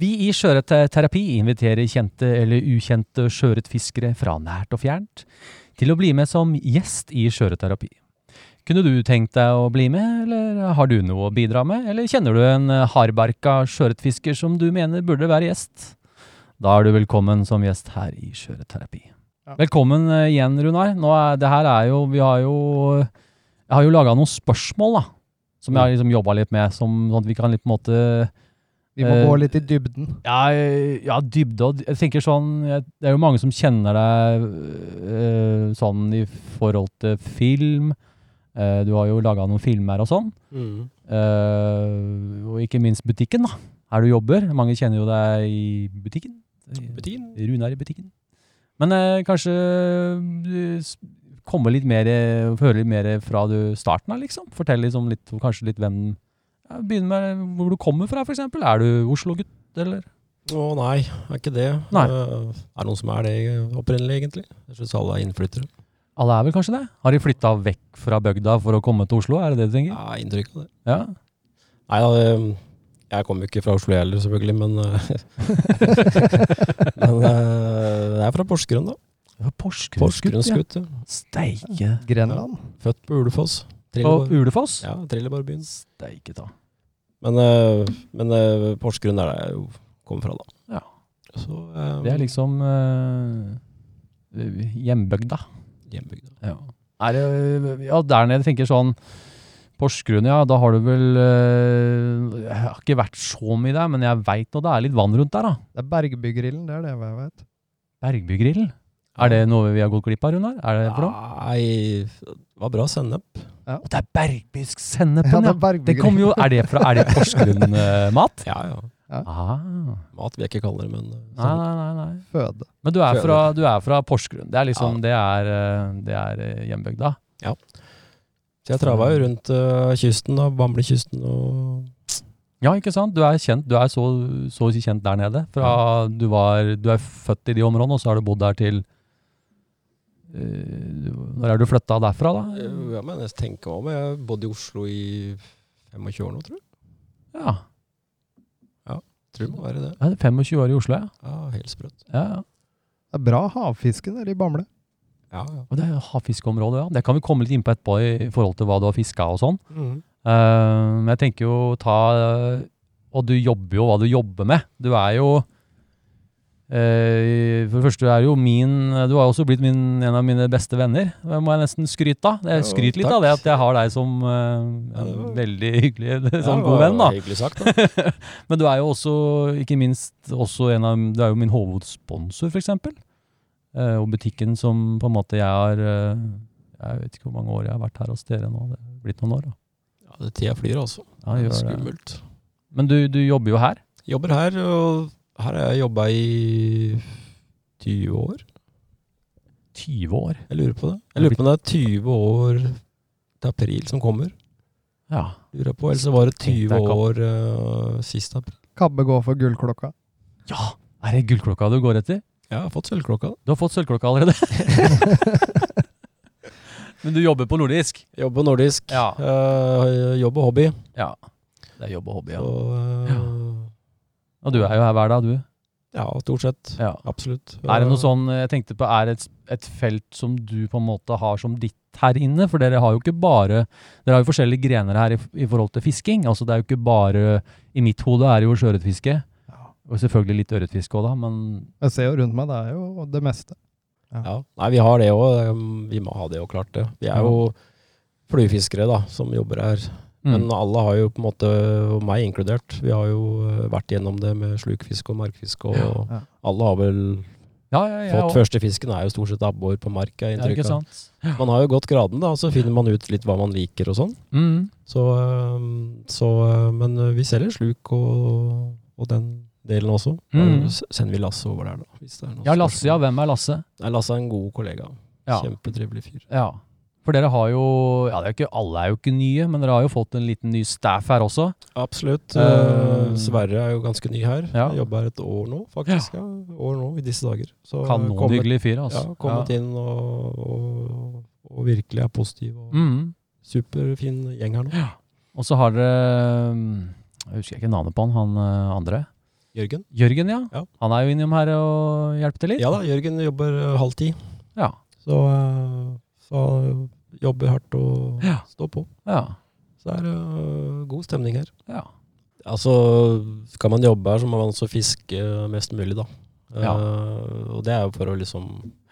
Speaker 1: Vi i Sjøørretterapi inviterer kjente eller ukjente sjøørretfiskere fra nært og fjernt til å bli med som gjest i sjøørretterapi. Kunne du tenkt deg å bli med, eller har du noe å bidra med, eller kjenner du en eh, hardbarka sjøørretfisker som du mener burde være gjest? Da er du velkommen som gjest her i Sjøørretterapi.
Speaker 5: Ja.
Speaker 1: Velkommen eh, igjen, Runar. Nå er, det her er jo, vi har jo Jeg har jo laga noen spørsmål, da. Som jeg har liksom jobba litt med, som, sånn at vi kan litt på en måte
Speaker 5: Vi må
Speaker 1: Eh,
Speaker 5: gå litt i dybden.
Speaker 1: ja, eh, ja, dybde og Jeg tenker sånn jeg, Det er jo mange som kjenner deg eh, sånn i forhold til film. Eh, du har jo laga noen filmer og sånn. Eh, og ikke minst butikken, da. Her du jobber. Mange kjenner jo deg i butikken.
Speaker 6: Butikken.
Speaker 1: Runar i butikken. Men eh, kanskje du s- komme litt mer eh, Høre litt mer fra du starten av, liksom? Fortell liksom litt, kanskje litt hvem ja, Begynne med hvor du kommer fra, f.eks. Er du Oslo-gutt, eller?
Speaker 6: Å nei, er ikke det.
Speaker 1: Nei.
Speaker 6: Eh, er det noen som er det eh, opprinnelig, egentlig? Jeg syns alle er innflyttere.
Speaker 1: Alle er vel kanskje det? Har de flytta vekk fra bygda for å komme til Oslo? Er det det du tenker?
Speaker 6: Jeg har inntrykk av det.
Speaker 1: Ja.
Speaker 6: Nei da, eh, jeg kommer jo ikke fra Oslo heller, selvfølgelig, men eh, Men eh, jeg er fra Porsgrunn, da.
Speaker 1: Det var Porsgrunnsgutt, ja.
Speaker 6: Porsgrunnsgutt. Ja.
Speaker 1: Steike.
Speaker 5: Grenland?
Speaker 6: Født på Ulefoss.
Speaker 1: På
Speaker 6: Trilleborg.
Speaker 1: Ulefoss?
Speaker 6: Ja, Trilleborgbyen.
Speaker 1: Steike ta.
Speaker 6: Men, eh, men eh, Porsgrunn er der jeg jo kommer fra, da.
Speaker 1: Ja.
Speaker 6: Så eh,
Speaker 1: Det er liksom eh, hjembygda.
Speaker 6: hjembygda.
Speaker 1: Ja. Er det, ja, der nede tenker jeg sånn Porsgrunn, ja, da har du vel eh, Jeg har ikke vært så mye der, men jeg veit nå det er litt vann rundt der, da.
Speaker 5: Det er Bergbygrillen, det er det jeg vet.
Speaker 1: Bergbygrillen. Er det noe vi har gått glipp av, Runar? Er det for noe?
Speaker 6: Nei, det var bra sennep.
Speaker 1: Å, det er
Speaker 5: Ja,
Speaker 1: bergbyssennepen,
Speaker 5: det
Speaker 1: ja!
Speaker 5: er
Speaker 1: Det
Speaker 5: Bergbygrillen.
Speaker 1: kom jo, er det, fra- er det eh, Porsgrunn-mat?
Speaker 6: Ja, ja.
Speaker 1: Ah.
Speaker 6: Mat vil jeg ikke kalle det, men eh,
Speaker 1: Nei,
Speaker 6: sennep.
Speaker 1: nei, nei, nei.
Speaker 5: Føde.
Speaker 1: Sånn. Men du er
Speaker 6: Føler.
Speaker 1: fra, du er fra Porsgrunn. Det er liksom, det er, eh, det er eh, hjembygda.
Speaker 6: Så jeg trava jo rundt eh, kysten, da. Bamblikysten og
Speaker 1: Ja, ikke sant? Du er, kjent, du er så, så å si kjent der nede. Fra du, var, du er født i de områdene, og så har du bodd der til eh, du- Når er du flytta derfra, da?
Speaker 6: Eh, Ja, men jeg tenker meg om. Jeg har bodd i Oslo i 25 år nå, tror jeg.
Speaker 1: Ja,
Speaker 6: Tror det må være det.
Speaker 1: ja, det er 25 år i Oslo, ja.
Speaker 6: Ja, helt sprøtt.
Speaker 1: ja. ja.
Speaker 5: Det er bra havfiske nede i Bamble.
Speaker 6: Ja, ja.
Speaker 1: Og det er havfiskeområdet, ja. Det kan vi komme litt inn på etterpå i forhold til hva du har fiska og sånn.
Speaker 6: Mhm.
Speaker 1: Eh, Men jeg tenker jo ta eh, Og du jobber jo hva du jobber med. Du er jo eh, Eh, for det første er jo min Du har jo også blitt min, en av mine beste venner. Det må jeg nesten skryte av. Jeg
Speaker 6: Jo,
Speaker 1: skryter litt
Speaker 6: takk.
Speaker 1: av det at jeg har deg som eh,
Speaker 6: Ja, det
Speaker 1: en
Speaker 6: var-
Speaker 1: veldig hyggelig sånn
Speaker 6: Ja,
Speaker 1: god venn. da
Speaker 6: Hyggelig sagt, da.
Speaker 1: Men du er jo også, ikke minst, også en av Du er jo min hovedsponsor, for eksempel. Eh, og butikken som på en måte jeg har eh, Jeg vet ikke hvor mange år jeg har vært her hos dere nå. Det er blitt noen år. Da.
Speaker 6: Ja, det tida flyr, altså.
Speaker 1: Ja, jeg gjør det.
Speaker 6: Skummelt.
Speaker 1: Men du, du jobber jo her.
Speaker 6: Jobber her, og her har jeg jobba i 20 år.
Speaker 1: 20 år.
Speaker 6: Jeg lurer på det. Jeg lurer på om det er 20 år til april som kommer.
Speaker 1: Ja.
Speaker 6: Lurer jeg på, Eller så var det 20
Speaker 1: Tenkte jeg ikke.
Speaker 6: år eh, sist april.
Speaker 5: Kabbe går for gullklokka.
Speaker 1: ja! Er det gullklokka du går etter?
Speaker 6: Ja, jeg har fått sølvklokka.
Speaker 1: Du har fått sølvklokka allerede. Men du jobber på nordisk?
Speaker 6: Jobb og nordisk.
Speaker 1: Ja.
Speaker 6: Eh, jobb og hobby.
Speaker 1: Ja. Det er jobb og hobby, ja.
Speaker 6: Og eh,
Speaker 1: Og du er jo her hver dag, du.
Speaker 6: ja, stort sett.
Speaker 1: Ja.
Speaker 6: Absolutt.
Speaker 1: Er det noe
Speaker 6: Eh,
Speaker 1: sånn, jeg tenkte på, er det et, et felt som du på en måte har som ditt her inne? For dere har jo ikke bare, dere har jo forskjellige grener her i, i forhold til fisking. Altså det er jo ikke bare, i mitt hode er det jo sjøørretfiske. Og selvfølgelig litt ørretfiske også da, men
Speaker 5: Jeg ser jo rundt meg, det er jo det meste.
Speaker 6: Ja. Nei, vi har det òg. Vi må ha det òg, klart det. Vi er jo fluefiskere, da, som jobber her. Men
Speaker 1: mm,
Speaker 6: alle har jo på en måte, og meg inkludert, vi har jo eh, vært gjennom det med slukfiske og markfiske, og
Speaker 5: ja.
Speaker 6: alle har vel
Speaker 1: ja, ja, ja,
Speaker 6: fått første fisken, er jo stort sett abbor på mark, er
Speaker 1: ja, ikke
Speaker 6: inntrykket. av.
Speaker 1: sant?
Speaker 6: man har jo gått graden, da, og så finner man ut litt hva man liker og sånn.
Speaker 1: Mm.
Speaker 6: Så, eh, så eh, men eh, vi selger sluk og, og den delen også.
Speaker 1: Mm.
Speaker 6: Da s- Sender vi Lasse over der, da. Hvis det er noe
Speaker 1: Ja, Lasse, ja,
Speaker 6: spørsmål.
Speaker 1: hvem er Lasse?
Speaker 6: Nei, Lasse er en god kollega.
Speaker 1: Ja.
Speaker 6: Kjempetrivelig fyr.
Speaker 1: Ja, for dere har jo, ja, det er jo ikke, alle er jo ikke nye, men dere har jo fått en liten ny staff her også.
Speaker 6: Absolutt.
Speaker 1: Eh,
Speaker 6: Eh, Sverre er jo ganske ny her.
Speaker 1: Ja.
Speaker 6: Jobber her et år nå, faktisk. Ja. År nå, i disse dager. Så kommet,
Speaker 1: Kanonhyggelig fyr,
Speaker 6: ja,
Speaker 1: altså.
Speaker 6: kommet inn og, og, og virkelig er positiv. Og
Speaker 1: Mm.
Speaker 6: Superfin gjeng her nå.
Speaker 1: Og så har dere mm, Jeg husker ikke navnet på han, han eh, andre.
Speaker 6: Jørgen.
Speaker 1: Jørgen, ja.
Speaker 6: Ja.
Speaker 1: Han er jo innom her og hjelper til litt.
Speaker 6: Ja da, Jørgen jobber eh, halv ti.
Speaker 1: Ja.
Speaker 6: Så, eh, så jobber hardt og
Speaker 1: Ja.
Speaker 6: står på.
Speaker 1: ja.
Speaker 6: Så det er eh, god stemning her.
Speaker 1: ja.
Speaker 6: Altså, skal man jobbe her, så må man også fiske mest mulig, da.
Speaker 1: Ja.
Speaker 6: Eh, og det er jo for å liksom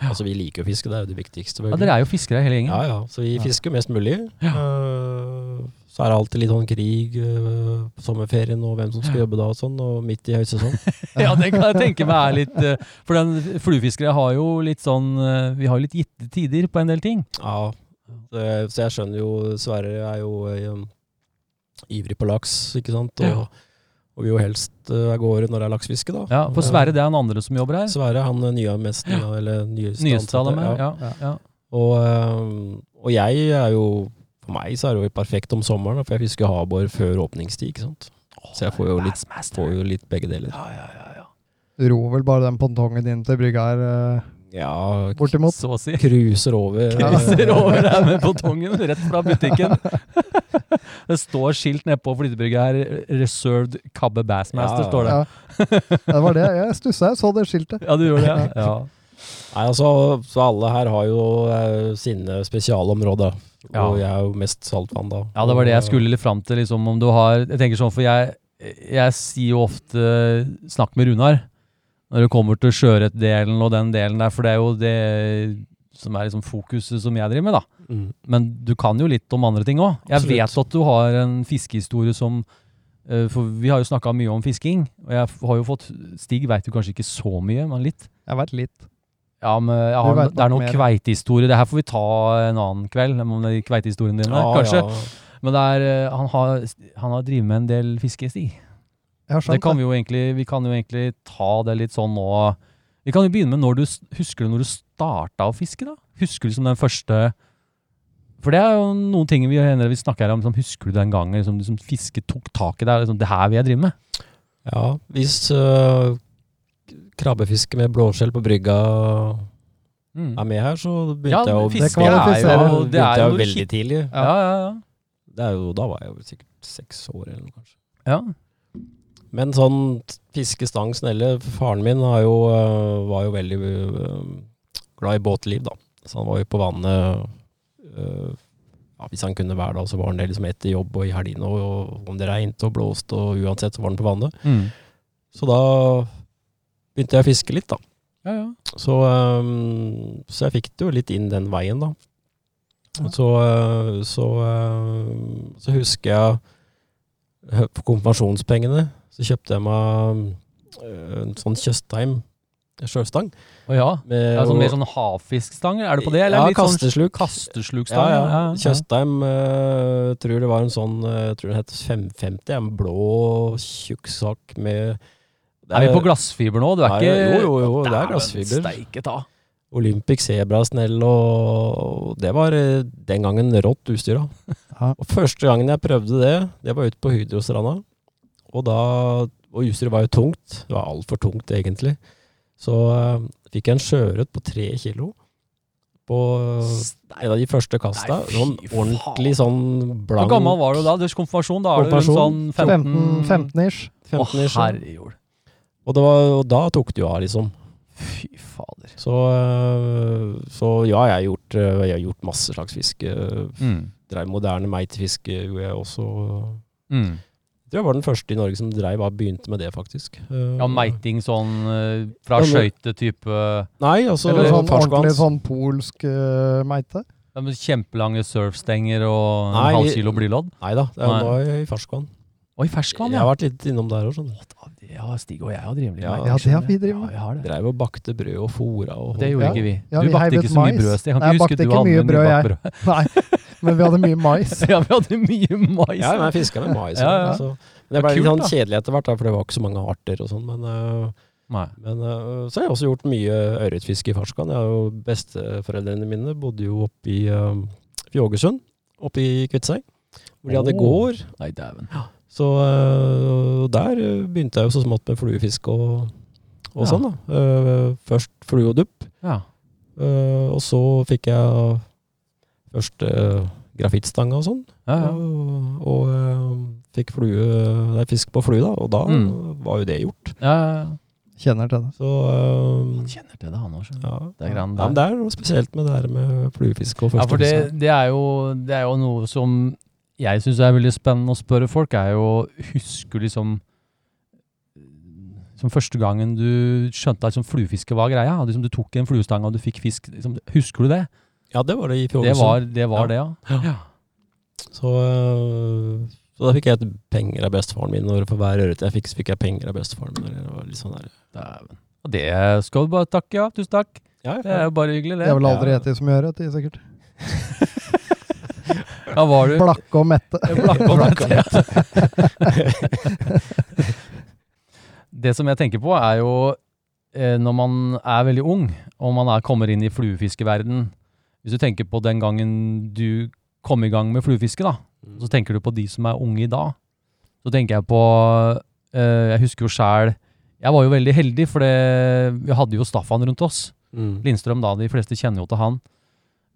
Speaker 6: Altså, vi liker å fiske, det er jo det viktigste.
Speaker 1: ja
Speaker 6: selvfølgelig.
Speaker 1: dere er jo fiskere hele gjengen.
Speaker 6: Ja, ja. Så vi
Speaker 1: Ja.
Speaker 6: fisker mest mulig.
Speaker 1: Ja.
Speaker 6: Eh, så er det alltid litt sånn krig eh, på sommerferien og hvem som skal jobbe da og sånn, og sånn. midt i høysesong.
Speaker 1: Ja, det kan jeg tenke meg er litt eh, For den fluefiskere har jo litt sånn eh, Vi har jo litt gitte tider på en del ting.
Speaker 6: ja. Så jeg, så jeg skjønner jo Sverre er jo eh, ivrig på laks, ikke sant. Og,
Speaker 1: Ja.
Speaker 6: og vil jo helst eh, av gårde når det er laksefiske, da. Eh,
Speaker 1: Ja, For Sverre, det er han andre som jobber her.
Speaker 6: Sverre han er nye mest, eller nyeste
Speaker 1: Nyeste av
Speaker 6: ansatte,
Speaker 1: dem. Ja. Ja, ja.
Speaker 6: Og, eh, og jeg er jo For meg så er det jo perfekt om sommeren, da, for jeg fisker harbor før åpningstid, ikke sant. Så jeg får jo litt, får jo litt begge deler.
Speaker 1: Ja, ja, ja, ja.
Speaker 5: Ror vel bare den pontongen din til brygga her eh,
Speaker 6: Ja,
Speaker 5: bortimot.
Speaker 1: Så å si.
Speaker 6: cruiser over.
Speaker 1: Kriser over her med pontongen, rett fra butikken. Det står skilt nede på flytebrygga her, 'Reserved Cabbe Bassmaster',
Speaker 6: Ja, ja.
Speaker 1: står det.
Speaker 5: Ja. Det var det. Jeg stussa, jeg så det skiltet.
Speaker 1: Ja, du gjør det? Ja. ja.
Speaker 6: Nei, altså, så alle her har jo eh, sine spesialområder.
Speaker 1: Ja.
Speaker 6: Og jeg er jo mest saltvann, da.
Speaker 1: det var det jeg skulle litt fram til. Liksom, om du har, jeg tenker sånn, for jeg, jeg sier jo ofte 'snakk med Runar' når det kommer til sjøørretdelen og den delen der, for det er jo det som er liksom fokuset som jeg driver med, da.
Speaker 6: Mm.
Speaker 1: Men du kan jo litt om andre ting òg. Jeg
Speaker 6: Absolutt.
Speaker 1: vet at du har en fiskehistorie som eh, For vi har jo snakka mye om fisking, og jeg f- har jo fått Stig veit jo kanskje ikke så mye, men litt.
Speaker 5: Jeg veit litt.
Speaker 1: Ja, men jeg
Speaker 5: Du
Speaker 1: har,
Speaker 5: vet
Speaker 1: det er
Speaker 5: nok
Speaker 1: noen
Speaker 5: mer.
Speaker 1: kveitehistorier. Det her får vi ta en annen kveld, om de kveitehistoriene dine,
Speaker 6: Ja,
Speaker 1: kanskje.
Speaker 6: ja.
Speaker 1: Men det er, eh, han har, han har drevet med en del fiske, Stig.
Speaker 5: Jeg har
Speaker 1: Det
Speaker 5: skjønt
Speaker 1: kan
Speaker 5: det.
Speaker 1: vi, jo egentlig, vi kan jo egentlig ta det litt sånn nå. Vi kan jo begynne med når du s- husker du når du starta å fiske, da? Husker du liksom den første For det er jo noen ting vi, hender vi snakker her om, som husker du den gangen liksom, du som fisket tok tak i deg? Liksom, det her vil jeg drive med?
Speaker 6: ja, hvis eh, krabbefiske med blåskjell på brygga
Speaker 1: Mm.
Speaker 6: er med her, så
Speaker 1: Ja,
Speaker 6: begynte jeg å
Speaker 1: fiske
Speaker 5: Det
Speaker 1: er jo,
Speaker 5: kvalifiserer.
Speaker 1: det
Speaker 6: begynte
Speaker 1: er
Speaker 6: jeg
Speaker 1: jo
Speaker 6: jo
Speaker 1: når du
Speaker 6: veldig
Speaker 1: kik-
Speaker 6: tidlig.
Speaker 1: Ja, ja, ja.
Speaker 6: Det er jo, da var jeg jo sikkert seks år eller noe, kanskje.
Speaker 1: ja.
Speaker 6: Men sånn fiskestang, snelle Faren min har jo, øh, var jo veldig øh, glad i båtliv, da. Så han var jo på vannet øh, ja, hvis han kunne hver dag, så var han det liksom etter jobb og i helgene. Og, og om det regnet og blåste og uansett, så var han på vannet.
Speaker 1: Mm.
Speaker 6: Så da begynte jeg å fiske litt, da.
Speaker 1: Ja, ja.
Speaker 6: Så, øhm, så jeg fikk det jo litt inn den veien, da. Så, øh, så, øh, så husker jeg øh, på konfirmasjonspengene så kjøpte jeg meg øh, en sånn Tjøstheim sjøstang.
Speaker 1: Å ja.
Speaker 6: Med,
Speaker 1: Det er sånn, mer sånn havfiskstang? Er det på det? Eller
Speaker 6: Ja,
Speaker 1: er det litt
Speaker 6: kastesluk.
Speaker 1: Sånn kasteslukstang?
Speaker 6: ja, ja.
Speaker 1: ja.
Speaker 6: Tjøstheim øh, tror det var en sånn øh, jeg tror den het 550. En blå tjukk sak med Eh,
Speaker 1: Er vi på glassfiber nå? Du er
Speaker 6: Nei,
Speaker 1: ikke
Speaker 6: jo, jo, jo, det er
Speaker 1: Dæven
Speaker 6: glassfiber.
Speaker 1: Steike ta.
Speaker 6: Olympic Zebra-snell, og og det var eh, den gangen rått utstyr. da.
Speaker 5: Ja.
Speaker 6: Og første gangen jeg prøvde det, det var ute på Hydrostranda. Og, da, og utstyret var jo tungt. Det var altfor tungt, egentlig. Så eh, fikk jeg en sjøørret på tre kilo på eh, en av de første kasta.
Speaker 1: Nei, fy
Speaker 6: Sånn ordentlig sånn
Speaker 1: Hvor
Speaker 6: blank
Speaker 1: gammel var du da? Du er konfirmasjon, da er du rundt sånn
Speaker 6: Konfirmasjon.
Speaker 1: 15?
Speaker 5: 15, 15 ish.
Speaker 6: 15 i
Speaker 1: Å,
Speaker 6: sjøen.
Speaker 1: herrejord.
Speaker 6: Og, det var, og da tok det jo av, liksom.
Speaker 1: Fy fader.
Speaker 6: Så, eh, så ja, jeg har gjort, eh, jeg har gjort masse slags fiske. eh,
Speaker 1: Mm.
Speaker 6: drev moderne meitefiske gjorde eh, jeg også.
Speaker 1: Mm.
Speaker 6: Jeg tror jeg var den første i Norge som drev og begynte med det, faktisk. Eh,
Speaker 1: Ja, meiting sånn eh, fra
Speaker 6: Ja, men-
Speaker 1: skøytetype
Speaker 6: Nei, altså
Speaker 5: Eller sånn
Speaker 6: ferskvanns.
Speaker 5: ordentlig sånn polsk eh, meite.
Speaker 1: ja, med Kjempelange surfstenger og en
Speaker 6: Nei,
Speaker 1: halv
Speaker 6: vi-
Speaker 1: kilo blylodd?
Speaker 6: Nei da, det er,
Speaker 1: Nei.
Speaker 6: nå er jeg i ferskvann.
Speaker 1: Oi,
Speaker 6: Jeg
Speaker 1: ferskvann,
Speaker 6: har
Speaker 1: ja.
Speaker 6: vært litt innom der òg, sånn.
Speaker 1: Ja, Stig og jeg har drevet litt
Speaker 6: Ja.
Speaker 1: meiting,
Speaker 5: Ja, det har vi
Speaker 1: skjønner du.
Speaker 5: drevet med.
Speaker 1: Ja, jeg har det.
Speaker 6: Drev og bakte brød og fora og
Speaker 1: Det gjorde
Speaker 5: Ja.
Speaker 1: ikke vi.
Speaker 5: Ja,
Speaker 1: du
Speaker 5: vi
Speaker 1: bakte
Speaker 5: heivet
Speaker 1: ikke så mye
Speaker 5: mais.
Speaker 1: brød. Stig. Jeg kan
Speaker 5: Nei, jeg
Speaker 1: ikke huske
Speaker 5: bakte
Speaker 1: du
Speaker 5: ikke
Speaker 1: hadde
Speaker 5: mye
Speaker 1: men
Speaker 5: brød,
Speaker 1: vi
Speaker 5: jeg.
Speaker 1: bakte brød.
Speaker 5: Nei, men vi hadde mye mais.
Speaker 1: Ja, vi hadde mye mais.
Speaker 6: Ja, men jeg fiska med mais.
Speaker 1: Ja, ja.
Speaker 6: altså. Men det
Speaker 1: var
Speaker 6: ble litt
Speaker 1: kult,
Speaker 6: sånn
Speaker 1: da.
Speaker 6: kjedelig etter hvert, da, for det var ikke så mange arter og sånn. Men, øh,
Speaker 1: Nei.
Speaker 6: men øh, så har jeg også gjort mye ørretfiske i ferskvann. Jeg har jo Besteforeldrene mine bodde jo oppe i øh, Fjågesund, oppe i Kviteseid. Hvor de hadde
Speaker 1: Åh.
Speaker 6: gård,
Speaker 1: Nei, dæven.
Speaker 6: Så øh, der øh, begynte jeg jo så smått med fluefisk og, og
Speaker 1: Ja.
Speaker 6: sånn. da. Øh, først flue og dupp,
Speaker 1: Ja.
Speaker 6: øh, og så fikk jeg eh, først øh, grafittstanga og sånn.
Speaker 1: Ja, ja.
Speaker 6: Og, og øh, fikk flue, nei, fisk på flue, da, og da
Speaker 1: Mm.
Speaker 6: var jo det gjort.
Speaker 1: ja, ja, ja.
Speaker 5: Kjenner til det.
Speaker 6: Så øh,
Speaker 1: Han kjenner til det, han òg.
Speaker 6: ja.
Speaker 1: Det er grann
Speaker 6: Ja, men det er noe spesielt med det her med fluefiske og
Speaker 1: Ja, for det,
Speaker 6: førstefiske.
Speaker 1: det, er jo, det er jo noe som jeg syns er veldig spennende å spørre folk, er jo Husker du liksom som første gangen du skjønte at liksom, fluefiske var greia? at Liksom, du tok en fluestang og du fikk fisk. Liksom, husker du det?
Speaker 6: Ja, det var det i
Speaker 1: Det
Speaker 6: Fjågesund.
Speaker 1: var det, var det ja.
Speaker 6: Så, øh, så da fikk jeg et penger av bestefaren min, og for hver ørret jeg fikk, så fikk jeg penger av bestefaren min. og Det var litt sånn der.
Speaker 1: Dæven. Og det skal du bare takke, ja. Tusen takk.
Speaker 6: Ja,
Speaker 1: Det er jo bare hyggelig, det.
Speaker 5: Jeg vil aldri
Speaker 6: Ja.
Speaker 5: spise så mye ørret, de, sikkert.
Speaker 1: Ja, var du
Speaker 5: Blakke og mette.
Speaker 1: Blakkoppet. det som jeg tenker på, er jo eh, når man er veldig ung, og man er, kommer inn i fluefiskeverden Hvis du tenker på den gangen du kom i gang med fluefiske, da,
Speaker 6: Mm.
Speaker 1: så tenker du på de som er unge i dag. Så tenker jeg på eh, Jeg husker jo sjæl Jeg var jo veldig heldig, for det, vi hadde jo Staffan rundt oss.
Speaker 6: Mm.
Speaker 1: Lindstrøm, da, de fleste kjenner jo til han,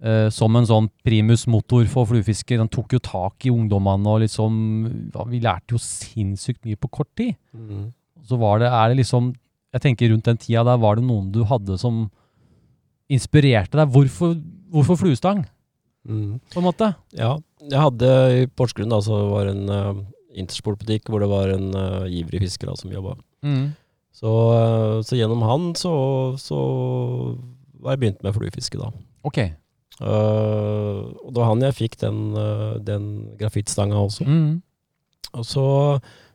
Speaker 1: eh, som en sånn primus motor for fluefiske. Han tok jo tak i ungdommene, og liksom ja, Vi lærte jo sinnssykt mye på kort tid.
Speaker 6: Mm.
Speaker 1: Så var det, er det liksom Jeg tenker rundt den tida der, var det noen du hadde som inspirerte deg? Hvorfor, hvorfor fluestang,
Speaker 6: Mm.
Speaker 1: på en måte?
Speaker 6: Ja, jeg hadde i Porsgrunn da, så var det en uh, intersportbutikk hvor det var en øh, ivrig fisker da, som jobba.
Speaker 1: Mm.
Speaker 6: Så, øh, så gjennom han så, så var jeg begynt med fluefiske da.
Speaker 1: Ok.
Speaker 6: Øh, og det var han jeg fikk den, øh, den grafittstanga også.
Speaker 1: Mm.
Speaker 6: Og så,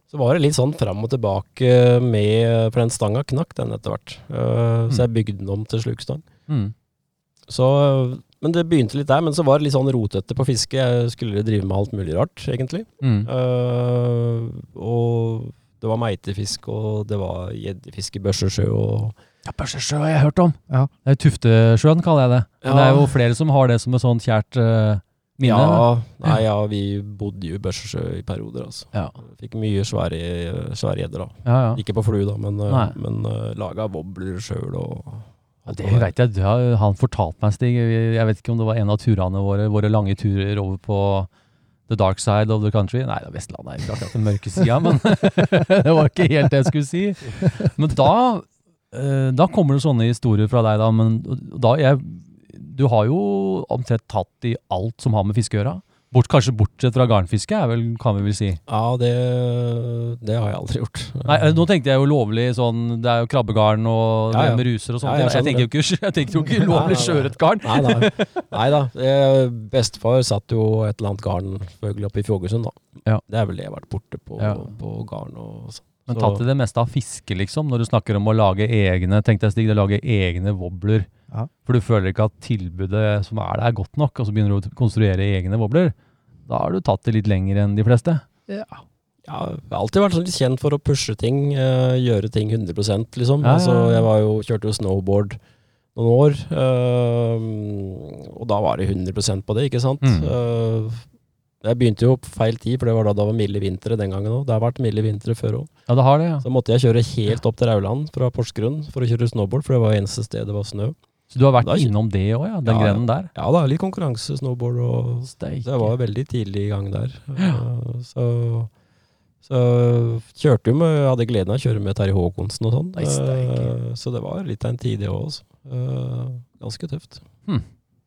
Speaker 6: så var det litt sånn fram og tilbake med For den stanga knakk den etter hvert. Eh, Så jeg bygde den om til slukstang.
Speaker 1: Mm.
Speaker 6: Så, men det begynte litt der, men så var det litt sånn rotete på fiske. Jeg skulle drive med alt mulig rart, egentlig.
Speaker 1: Mm.
Speaker 6: Eh, og det var meitefisk, og det var gjeddefiske i Børsesjø, og
Speaker 1: Ja, Børsesjø har jeg hørt om.
Speaker 5: Ja.
Speaker 1: Det er Tuftesjøen, kaller jeg det. Men Det
Speaker 6: Ja.
Speaker 1: er jo flere som har det som et sånt kjært eh, minne.
Speaker 6: Ja, nei, ja, vi bodde jo i Børsesjø i perioder, altså.
Speaker 1: Ja.
Speaker 6: Fikk mye svære svære gjedder, da.
Speaker 1: ja, ja.
Speaker 6: Ikke på flue, da, men, eh,
Speaker 1: Nei.
Speaker 6: men eh, laga wobbler sjøl og
Speaker 1: Ja, det vet jeg. Det har han fortalt meg, Stig. Jeg vet ikke om det var en av turene våre, våre lange turer over på the dark side of the country. Nei, det er Vestlandet, det er ikke akkurat den mørke sida, men det var ikke helt det jeg skulle si. Men da, eh, da kommer det sånne historier fra deg, da. Men da jeg, du har jo omtrent tatt i alt som har med fiske å gjøre. Bort, kanskje bortsett fra garnfiske, er vel, kan vi vel si.
Speaker 6: Ja, det, det har jeg aldri gjort.
Speaker 1: Nei, eh, Nå tenkte jeg jo lovlig sånn Det er jo krabbegarn og
Speaker 6: Ja, ja.
Speaker 1: med ruser og sånt.
Speaker 6: Ja, jeg
Speaker 1: jeg, tenker jo ikke, jeg tenker jo ikke
Speaker 6: Nei, nei,
Speaker 1: lovlig
Speaker 6: nei.
Speaker 1: sjøørretgarn.
Speaker 6: Nei da. Nei da. Eh, Bestefar satt jo et eller annet garn selvfølgelig oppe i Fjågesund, da.
Speaker 1: Ja.
Speaker 6: Det er vel det jeg har vært borte på,
Speaker 1: Ja.
Speaker 6: på garn og sånn.
Speaker 1: Men
Speaker 6: Så-
Speaker 1: ta til det meste av fiske, liksom, når du snakker om å lage egne Tenk deg, Stig, å lage egne wobbler.
Speaker 5: Ja.
Speaker 1: For du føler ikke at tilbudet som er der, er godt nok, og så begynner du å konstruere egne wobbler. Da har du tatt det litt lenger enn de fleste.
Speaker 6: Ja, jeg har alltid vært sånn litt kjent for å pushe ting, eh, gjøre ting 100 liksom.
Speaker 1: Ja, ja,
Speaker 6: Altså,
Speaker 1: ja.
Speaker 6: jeg var jo, kjørte jo snowboard noen år, eh, og da var det 100 på det, ikke sant?
Speaker 1: Mm.
Speaker 6: Eh, jeg begynte jo på feil tid, for det var da det var milde vintre den gangen òg. Det har vært milde vintre før òg.
Speaker 1: Ja, det har det, ja.
Speaker 6: Så måtte jeg kjøre helt opp til Rauland fra Porsgrunn for å kjøre snowboard, for det var eneste sted det var snø.
Speaker 1: Så du har vært
Speaker 6: Da er ikke-
Speaker 1: innom det òg, ja? Den
Speaker 6: Ja, ja.
Speaker 1: grenen der?
Speaker 6: Ja da, litt konkurranse, snowboard og
Speaker 1: Steike.
Speaker 6: Det var veldig tidlig i gang der. Uh, Så, så kjørte jo med Jeg hadde gleden av å kjøre med Terje Håkonsen og sånn.
Speaker 1: Nei, steike.
Speaker 6: Uh, Så det var litt av en tid, det òg, altså. Uh, Ganske tøft.
Speaker 1: Hm.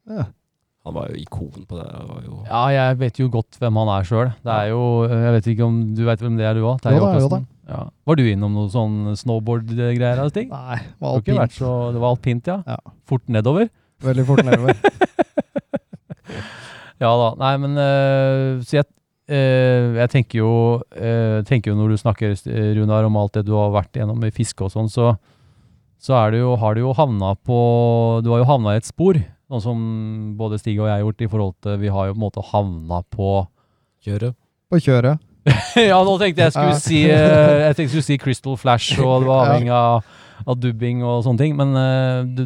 Speaker 5: Ja.
Speaker 6: Han var jo ikon på det. der, Han var jo
Speaker 1: Ja, jeg vet jo godt hvem han er sjøl. Det er jo Jeg vet ikke om du vet hvem det er, du òg?
Speaker 5: Jo da, jo da.
Speaker 1: Ja. Var du innom noe sånn snowboard-greier? da, Stig?
Speaker 5: Nei, det var
Speaker 1: Har ikke vært
Speaker 5: alpint.
Speaker 1: Så, det var alpint, ja.
Speaker 5: Ja.
Speaker 1: Fort nedover?
Speaker 5: Veldig fort nedover.
Speaker 1: Ja da. Nei, men øh, Så jeg, øh, jeg tenker, jo, øh, tenker jo når du snakker, øh, Runar, om alt det du har vært gjennom med fiske og sånn, så, så er det jo, har du jo havna på Du har jo havna i et spor, sånn som både Stig og jeg har gjort, i forhold til Vi har jo på en måte havna på
Speaker 6: kjøre.
Speaker 5: På kjøret.
Speaker 1: Ja, nå tenkte jeg
Speaker 5: Ja.
Speaker 1: skulle si, eh, jeg tenkte jeg skulle si Crystal Flash, og det var
Speaker 5: Ja.
Speaker 1: avhengig av, av dubbing og sånne ting. Men eh, du,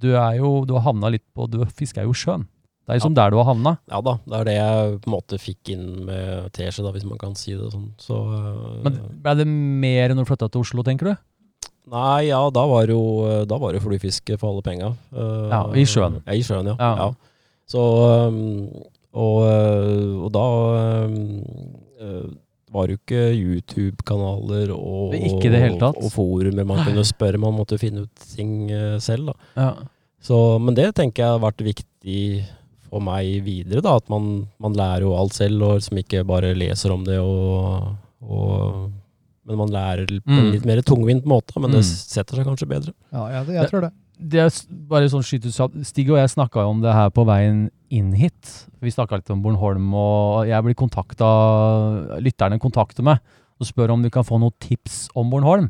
Speaker 1: du er jo Du har havna litt på Du fisker jo sjøen. Det er liksom der du har havna.
Speaker 6: Ja da, det er det jeg på en måte fikk inn med teskje, da, hvis man kan si det sånn. Så uh,
Speaker 1: Men ble det mer når du flytta til Oslo, tenker du?
Speaker 6: Nei, ja, da var det jo, da var det jo flyfiske for alle penga. Eh,
Speaker 1: Ja, i sjøen.
Speaker 6: Ja, i sjøen, ja. ja.
Speaker 1: Ja.
Speaker 6: Så um, og, eh, og da um, eh, var det jo ikke YouTube-kanaler og,
Speaker 1: Det er ikke det hele tatt.
Speaker 6: og forumer man kunne spørre. Man måtte finne ut ting eh, selv, da.
Speaker 1: Ja.
Speaker 6: Så, men det tenker jeg har vært viktig for meg videre, da. At man, man lærer jo alt selv, og liksom ikke bare leser om det og, og Men man lærer på en
Speaker 1: Mm.
Speaker 6: litt mer tungvint måte, men det
Speaker 1: Mm.
Speaker 6: setter seg kanskje bedre.
Speaker 5: Ja, jeg, jeg tror det.
Speaker 1: Det er s- bare sånn skyter seg Stig og jeg snakka om det her på veien inn hit. Vi snakka litt om Bornholm, og jeg blir kontakta Lytterne kontakter meg og spør om de kan få noen tips om Bornholm.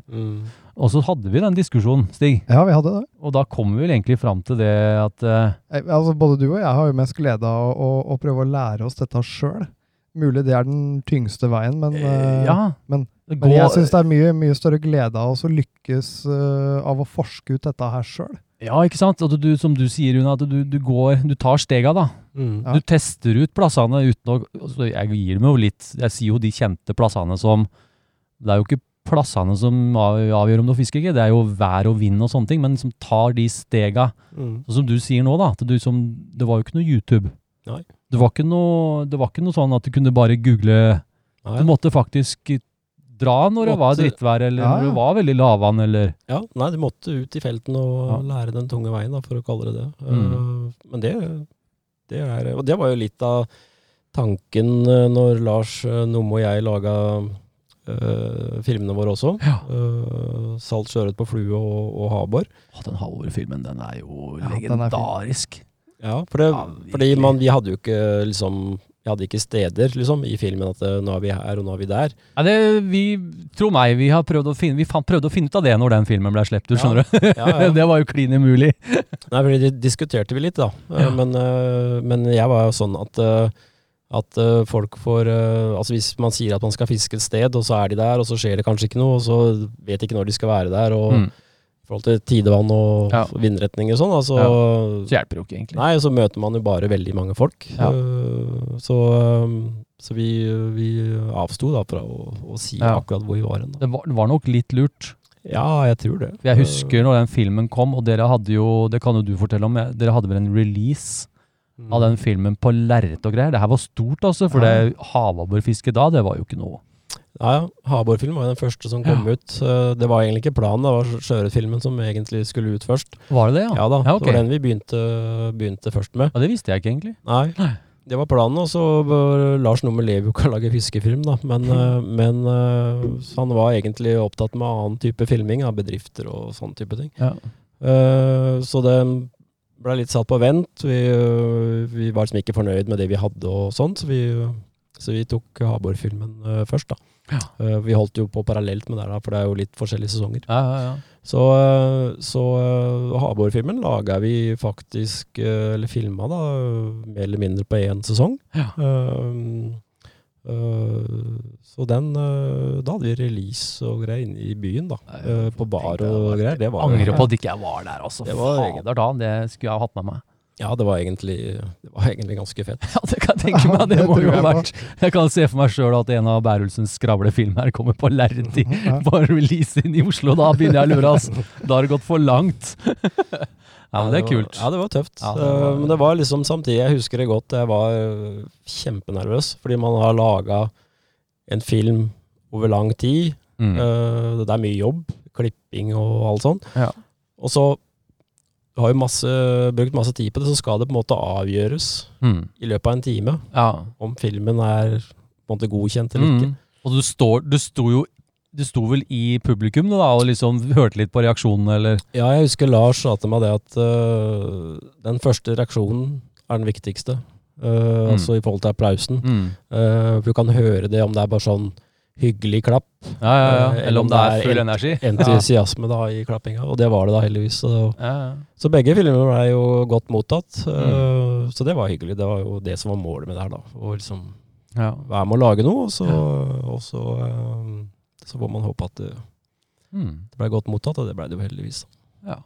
Speaker 1: Og så hadde vi den diskusjonen, Stig.
Speaker 5: Ja, vi hadde det.
Speaker 1: Og da kommer vi vel egentlig fram til det at eh,
Speaker 5: Eh, Altså, både du og jeg har jo mest glede av å, å, å prøve å lære oss dette sjøl. Mulig det er den tyngste veien, men, eh,
Speaker 1: Ja.
Speaker 5: men-
Speaker 1: det
Speaker 5: men jeg
Speaker 1: går-
Speaker 5: syns det er mye, mye større glede av oss å lykkes eh, av å forske ut dette her sjøl.
Speaker 1: Ja, ikke sant? At du, som du sier, Rune, at du, du går Du tar stega, da.
Speaker 6: Mm.
Speaker 5: Ja.
Speaker 1: Du tester ut plassene uten å altså, Jeg gir dem jo litt Jeg sier jo de kjente plassene som Det er jo ikke plassene som av- avgjør om du fisker ikke, det er jo vær og vind og sånne ting, men som tar de stega. Sånn som du sier nå, da. At du som Det var jo ikke noe YouTube.
Speaker 6: Nei.
Speaker 1: Det var ikke noe, det var ikke noe sånn at du kunne bare google
Speaker 6: Nei.
Speaker 1: Du måtte faktisk dra når det var
Speaker 6: Måtte-
Speaker 1: drittvær, eller
Speaker 5: Ja,
Speaker 1: når
Speaker 5: ja.
Speaker 1: det var veldig lavvann, eller
Speaker 6: Ja, nei, de måtte ut i felten og
Speaker 1: Ja.
Speaker 6: lære den tunge veien, da, for å kalle det det.
Speaker 1: Mm.
Speaker 6: Eh, men det, det er Og det var jo litt av tanken eh, når Lars eh, Numme og jeg laga eh, filmene våre også.
Speaker 1: Ja.
Speaker 6: Eh, salt sjøørret på flue og, og havbor.
Speaker 1: Å, den Halvor-filmen, den er jo
Speaker 5: Ja, den er fin.
Speaker 1: legendarisk.
Speaker 6: Ja, for det,
Speaker 1: Ja,
Speaker 6: fordi
Speaker 1: virkelig.
Speaker 6: man, vi hadde jo ikke liksom Vi hadde ikke steder liksom, i filmen at eh, nå er vi her, og nå er vi der.
Speaker 1: Ja, det, vi, tro meg, vi har prøvd å finne, vi fant, prøvde å finne ut av det når den filmen ble sluppet, du
Speaker 6: Ja.
Speaker 1: skjønner du?
Speaker 6: Ja, ja.
Speaker 1: det var jo klin umulig.
Speaker 6: Nei, fordi det diskuterte vi litt, da. Eh,
Speaker 1: Ja.
Speaker 6: Men, eh, men jeg var jo sånn at eh, at eh, folk får eh, Altså hvis man sier at man skal fiske et sted, og så er de der, og så skjer det kanskje ikke noe, og så vet de ikke når de skal være der, og
Speaker 1: Mm.
Speaker 6: i forhold til tidevann og
Speaker 1: Ja.
Speaker 6: vindretning og sånn, altså
Speaker 1: Så hjelper det jo ikke, egentlig.
Speaker 6: Nei, og så møter man jo bare veldig mange folk.
Speaker 1: Ja.
Speaker 6: Eh, Så, eh, så vi, vi avsto da fra å, å si
Speaker 1: Ja.
Speaker 6: akkurat hvor vi var hen. da.
Speaker 1: Det var, det var nok litt lurt.
Speaker 6: Ja, jeg tror det.
Speaker 1: For jeg husker når den filmen kom, og dere hadde jo, det kan jo du fortelle om, jeg- dere hadde vel en release
Speaker 6: Eh,
Speaker 1: av den filmen på lerret og greier. Det her var stort, altså, for
Speaker 5: Ja.
Speaker 1: det havabborfiske da, det var jo ikke noe.
Speaker 6: Ja, ja. Haborfilm var jo den første som kom ut. Eh, Det var egentlig ikke planen, det var Sjøørretfilmen som egentlig skulle ut først.
Speaker 1: Var det det, ja?
Speaker 6: Ja da,
Speaker 1: Ja, ok.
Speaker 6: det var den vi begynte, begynte først med.
Speaker 1: Ja, det visste jeg ikke, egentlig.
Speaker 6: Nei.
Speaker 1: Nei.
Speaker 6: Det var planen, og så var Lars nummer lever jo ikke av å lage fiskefilm, da. Men, eh, men eh, så han var egentlig opptatt med annen type filming, av bedrifter og sånn type ting.
Speaker 1: Ja.
Speaker 6: Eh, Så det ble litt satt på vent. Vi, eh, vi var liksom ikke fornøyd med det vi hadde og sånt, så vi, eh, så vi tok Habor-filmen eh, først, da. Eh, Vi holdt jo på parallelt med det, her da, for det er jo litt forskjellige sesonger.
Speaker 1: Ja, ja, ja.
Speaker 6: Så, eh, så eh, Habor-filmen laga vi faktisk, eh, eller filma da, eh, mer eller mindre på én sesong.
Speaker 1: Ja.
Speaker 6: Eh, eh, så den eh, Da hadde vi release og greier inne i byen, da.
Speaker 1: Nei,
Speaker 6: eh, på bar og greier. Det var,
Speaker 1: Angrer på at ikke jeg var der, altså.
Speaker 6: Det var
Speaker 1: Fader, da. Det skulle jeg ha hatt med meg.
Speaker 6: Ja, det var egentlig, det var egentlig ganske fett.
Speaker 1: Ja, det kan jeg tenke meg. Det
Speaker 5: Ja, det
Speaker 1: må
Speaker 5: tror
Speaker 1: jo ha
Speaker 5: jeg
Speaker 1: vært Jeg kan se for meg sjøl at en av Bærulsens skravlefilm her kommer på lerret i
Speaker 5: Mm, Ja.
Speaker 1: på release inn i Oslo. Da begynner jeg å lure, ass. Da har det gått for langt. Ja, men det er
Speaker 6: var-
Speaker 1: kult.
Speaker 6: Ja, det var tøft.
Speaker 1: Ja, det var-
Speaker 6: Eh, Men det var liksom samtidig, jeg husker det godt, jeg var eh, kjempenervøs. Fordi man har laga en film over lang tid.
Speaker 1: Mm.
Speaker 6: Eh, det er mye jobb, klipping og alt sånt.
Speaker 1: Ja.
Speaker 6: Og så du har jo masse, brukt masse tid på det, så skal det på en måte avgjøres
Speaker 1: Mm.
Speaker 6: i løpet av en time
Speaker 1: Ja.
Speaker 6: om filmen er på en måte godkjent eller ikke.
Speaker 1: Mm. Og du står Du sto jo Du sto vel i publikum da, og liksom hørte litt på reaksjonene, eller?
Speaker 6: Ja, jeg husker Lars sa til meg det at eh, den første reaksjonen er den viktigste. Eh, Altså i forhold til applausen.
Speaker 1: Mm.
Speaker 6: Eh, for du kan høre det om det er bare sånn hyggelig klapp,
Speaker 1: Ja, ja, ja.
Speaker 6: Eh,
Speaker 1: Eller om det er full
Speaker 6: en-
Speaker 1: energi.
Speaker 6: entusiasme da i klappinga, og det var det da heldigvis. Så det var
Speaker 1: Ja, ja.
Speaker 6: Så begge filmene ble jo godt mottatt,
Speaker 1: Mm.
Speaker 6: eh, så det var hyggelig. Det var jo det som var målet med det her, da. Å liksom
Speaker 1: ja.
Speaker 6: være med å lage noe, og så, og så, eh, så får man håpe at det,
Speaker 1: Mm.
Speaker 6: det ble godt mottatt, og det ble det jo heldigvis.
Speaker 1: ja.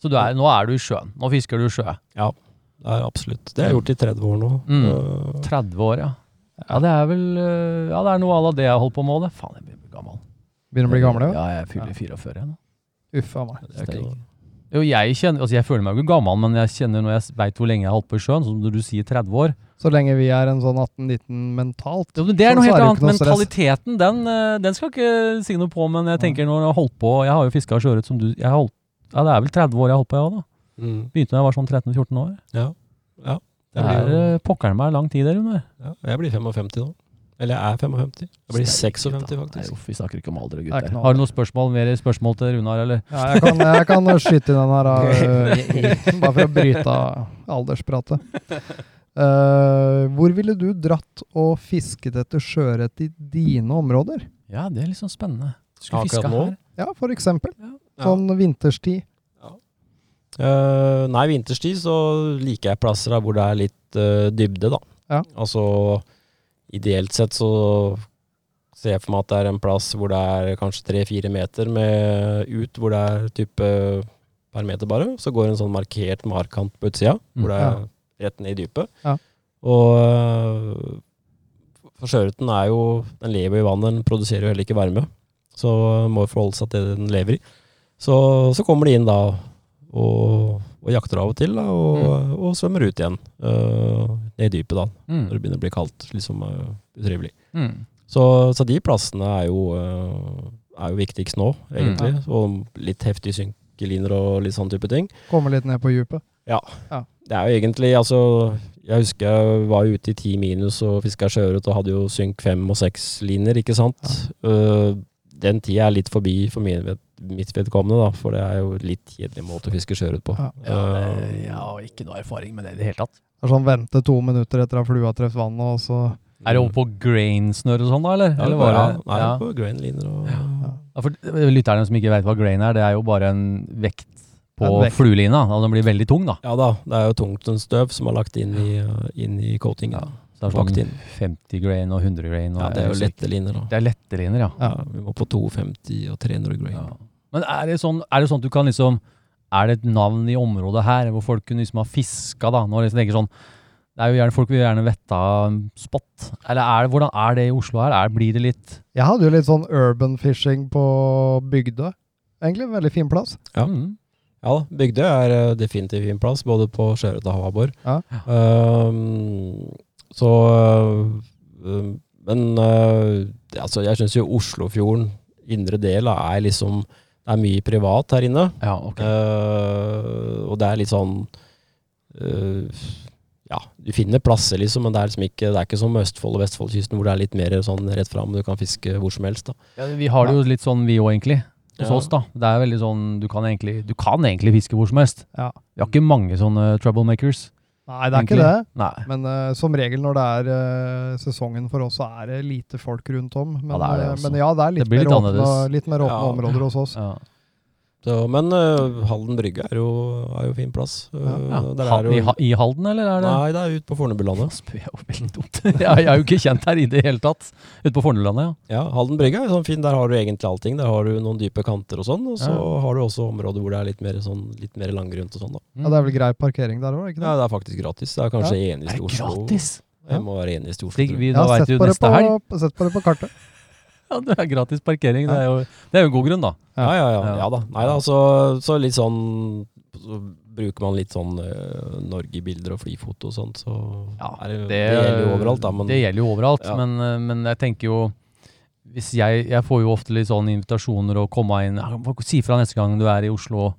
Speaker 1: Så du er, nå er du i sjøen. Nå fisker du sjø.
Speaker 6: Det er absolutt. Det har jeg gjort i 30 år nå.
Speaker 1: Mm.
Speaker 6: Eh,
Speaker 1: 30 år, ja. Ja, det er vel øh, Ja, det er noe à la det jeg holdt på med òg, det. Faen, jeg blir gammel.
Speaker 5: Begynner å bli gamle,
Speaker 1: Ja,
Speaker 5: jo.
Speaker 1: jeg fyller 44 nå.
Speaker 5: Uff a meg.
Speaker 6: det er ikke noe.
Speaker 1: Jo, jeg kjenner Altså, jeg føler meg jo ikke gammel, men jeg kjenner når jeg veit hvor lenge jeg har holdt på i sjøen, som når du sier 30 år
Speaker 5: Så lenge vi er en sånn 18-19 mentalt.
Speaker 1: Jo, men Det er noe
Speaker 5: Sånn så
Speaker 1: helt
Speaker 5: er det jo
Speaker 1: annet,
Speaker 5: ikke noe
Speaker 1: men
Speaker 5: stress.
Speaker 1: kvaliteten, den, øh, den skal ikke si noe på, men jeg tenker når jeg har holdt på Jeg har jo fiska sjøørret som du jeg har holdt, Ja, det er vel 30 år jeg har holdt på, jeg òg, da.
Speaker 6: Mm.
Speaker 1: Begynte da jeg var sånn 13-14 år. Det
Speaker 6: Jeg
Speaker 1: er
Speaker 6: blir, jo-
Speaker 1: øh, pokkeren meg lang tid der, Runar.
Speaker 6: ja, jeg blir 55 nå. Eller jeg er 55. Jeg blir 56,
Speaker 1: Nei,
Speaker 6: faktisk.
Speaker 1: uff, vi snakker ikke om alder og
Speaker 5: Det er ikke
Speaker 1: gutter.
Speaker 5: noe
Speaker 1: Har du noen spørsmål, mer spørsmål til Runar, eller?
Speaker 5: Ja, jeg, kan, jeg kan skyte inn den her, da, øh, bare for å bryte av alderspratet. Eh, hvor ville du dratt og fisket etter sjøørret i dine områder?
Speaker 1: Ja, det er litt sånn spennende. Skulle
Speaker 6: Akkurat
Speaker 1: fiske
Speaker 6: nå?
Speaker 1: her.
Speaker 5: Ja, for eksempel.
Speaker 6: Ja.
Speaker 5: Sånn vinterstid.
Speaker 6: Eh, nei, vinterstid så liker jeg plasser der hvor det er litt eh, dybde, da.
Speaker 5: Ja.
Speaker 6: Altså ideelt sett så ser jeg for meg at det er en plass hvor det er kanskje tre-fire meter med ut, hvor det er type per meter bare. Så går en sånn markert markkant på utsida, hvor det er rett ned i dypet.
Speaker 5: Ja.
Speaker 6: Og eh, for sjøørreten er jo Den lever i vannet, den produserer jo heller ikke varme. Så må jo forholde seg til det den lever i. Så, så kommer de inn da og, og jakter av og til, da, og, og svømmer ut igjen. eh, ned i dypet, da, når
Speaker 1: Mm.
Speaker 6: det begynner å bli kaldt. Liksom eh, utrivelig.
Speaker 1: Mm.
Speaker 6: Så, så de plassene er jo, eh, er jo viktigst nå, egentlig. Og litt heftige synkeliner og litt sånn type ting.
Speaker 5: Komme litt ned på djupet.
Speaker 6: Det er jo egentlig, altså Jeg husker jeg var jo ute i ti minus og fiska sjøørret og hadde jo synk fem og seks liner, ikke sant. Eh, den tida er litt forbi for min, ved- mitt vedkommende, da, for det er jo litt kjedelig måte å fiske sjøørret på.
Speaker 5: Ja.
Speaker 6: Eh,
Speaker 1: Jeg har ikke noe erfaring med det i det hele tatt.
Speaker 5: Det er sånn vente to minutter etter at flua treffer vannet, og så
Speaker 1: Er det over på grainsnøre og sånn, da, eller?
Speaker 6: Ja,
Speaker 1: eller
Speaker 6: bare,
Speaker 1: bare-
Speaker 6: nei,
Speaker 1: ja.
Speaker 6: på grønn liner og
Speaker 1: Ja, for eh, lytterne som ikke vet hva grain er, det er jo bare en vekt på
Speaker 5: En vekt.
Speaker 1: fluelina. Da den blir veldig tung, da.
Speaker 6: Ja da, det er jo tungtønststøv som er lagt inn i, eh, inn i coatingen.
Speaker 1: Ja,
Speaker 6: Ja,
Speaker 1: Så det er
Speaker 6: Bakt
Speaker 1: sånn
Speaker 6: inn.
Speaker 1: 50 grain og 100 grain. Og
Speaker 6: det er jo lette liner, da.
Speaker 1: Det er lette liner, ja.
Speaker 6: Ja, vi må på 250 og 300 grain.
Speaker 1: ja. Men er det, sånn, er det sånn at du kan liksom Er det et navn i området her hvor folk kunne liksom ha fiska, da? Når jeg tenker sånn det er jo gjerne, Folk vil gjerne vette av en spot. Eller er det, hvordan er det i Oslo her? Er, blir det litt
Speaker 5: Jeg hadde jo litt sånn urban fishing på Bygdø, egentlig. Veldig fin plass.
Speaker 6: Ja.
Speaker 1: Mm.
Speaker 6: Ja da, Bygdøy er eh, definitivt fin plass, både på Sjøørret og Havabbor.
Speaker 5: Ja.
Speaker 6: Ehm, så eh, Men eh, det- altså, jeg syns jo Oslofjorden, indre del, er liksom Det er mye privat her inne.
Speaker 1: Ja, ok.
Speaker 6: Eh, og det er litt sånn eh, ja, du finner plasser, liksom, men det er, liksom ikke, det er ikke som Østfold og Vestfoldkysten, hvor det er litt mer sånn rett fram, du kan fiske hvor som helst. da.
Speaker 1: Ja, vi har det jo litt sånn vi òg, egentlig. Hos
Speaker 6: Ja.
Speaker 1: oss, da. Det er veldig sånn du kan, egentlig, du kan egentlig fiske hvor som helst.
Speaker 5: Ja.
Speaker 1: Vi har ikke mange sånne troublemakers.
Speaker 5: Nei, det er ikke
Speaker 1: Egentlig.
Speaker 5: det.
Speaker 1: Nei.
Speaker 5: Men eh, som regel når det er eh, sesongen for oss, så er det lite folk rundt om.
Speaker 1: Ja,
Speaker 5: Men ja,
Speaker 1: det er
Speaker 5: det
Speaker 1: det
Speaker 5: er,
Speaker 1: også.
Speaker 5: men ja, det er litt,
Speaker 1: Det blir litt
Speaker 5: mer åpne,
Speaker 1: annerledes.
Speaker 5: litt mer åpne
Speaker 6: Ja.
Speaker 5: områder hos oss.
Speaker 1: Ja.
Speaker 6: Så, men øh, Halden brygge er jo, er jo fin plass. Øh,
Speaker 1: Ja.
Speaker 6: der
Speaker 1: Ha,
Speaker 6: er jo,
Speaker 1: i, Ha- I Halden, eller er det
Speaker 6: Nei, det er ute på Fornebulandet.
Speaker 1: Spør jeg jo veldig dumt. jeg, jeg er jo ikke kjent her i det hele tatt. Ute på Fornelandet, ja.
Speaker 6: Ja, Halden brygge er jo sånn fin, der har du egentlig allting. Der har du noen dype kanter og sånn, og så
Speaker 1: Ja.
Speaker 6: har du også områder hvor det er litt mer, sånn, litt mer langgrunt og sånn. da.
Speaker 1: Mm.
Speaker 5: Ja, det er vel grei parkering der òg, ikke det?
Speaker 6: Ja, det er faktisk gratis. Det er kanskje eneste i Oslo.
Speaker 5: Ja.
Speaker 6: Jeg må være eneste i Oslo.
Speaker 1: Stig,
Speaker 6: tror jeg.
Speaker 1: vi,
Speaker 5: Jeg
Speaker 1: da
Speaker 5: har
Speaker 1: veit
Speaker 5: sett
Speaker 1: du
Speaker 5: på, det
Speaker 1: neste helg.
Speaker 5: på, sett på det på kartet.
Speaker 1: Ja, det er gratis parkering. Det er jo, det er jo en god grunn, da.
Speaker 6: Ja, ja, ja.
Speaker 1: Ja.
Speaker 6: ja. da. Nei da, så, så litt sånn så Bruker man litt sånn eh, Norge-bilder og flyfoto og sånt, så er det, det gjelder jo overalt, da. Men
Speaker 1: det gjelder jo overalt,
Speaker 6: Ja.
Speaker 1: men, eh, men jeg tenker jo hvis jeg, jeg får jo ofte litt sånne invitasjoner og komme inn «Ja, hva- Si fra neste gang du er i Oslo.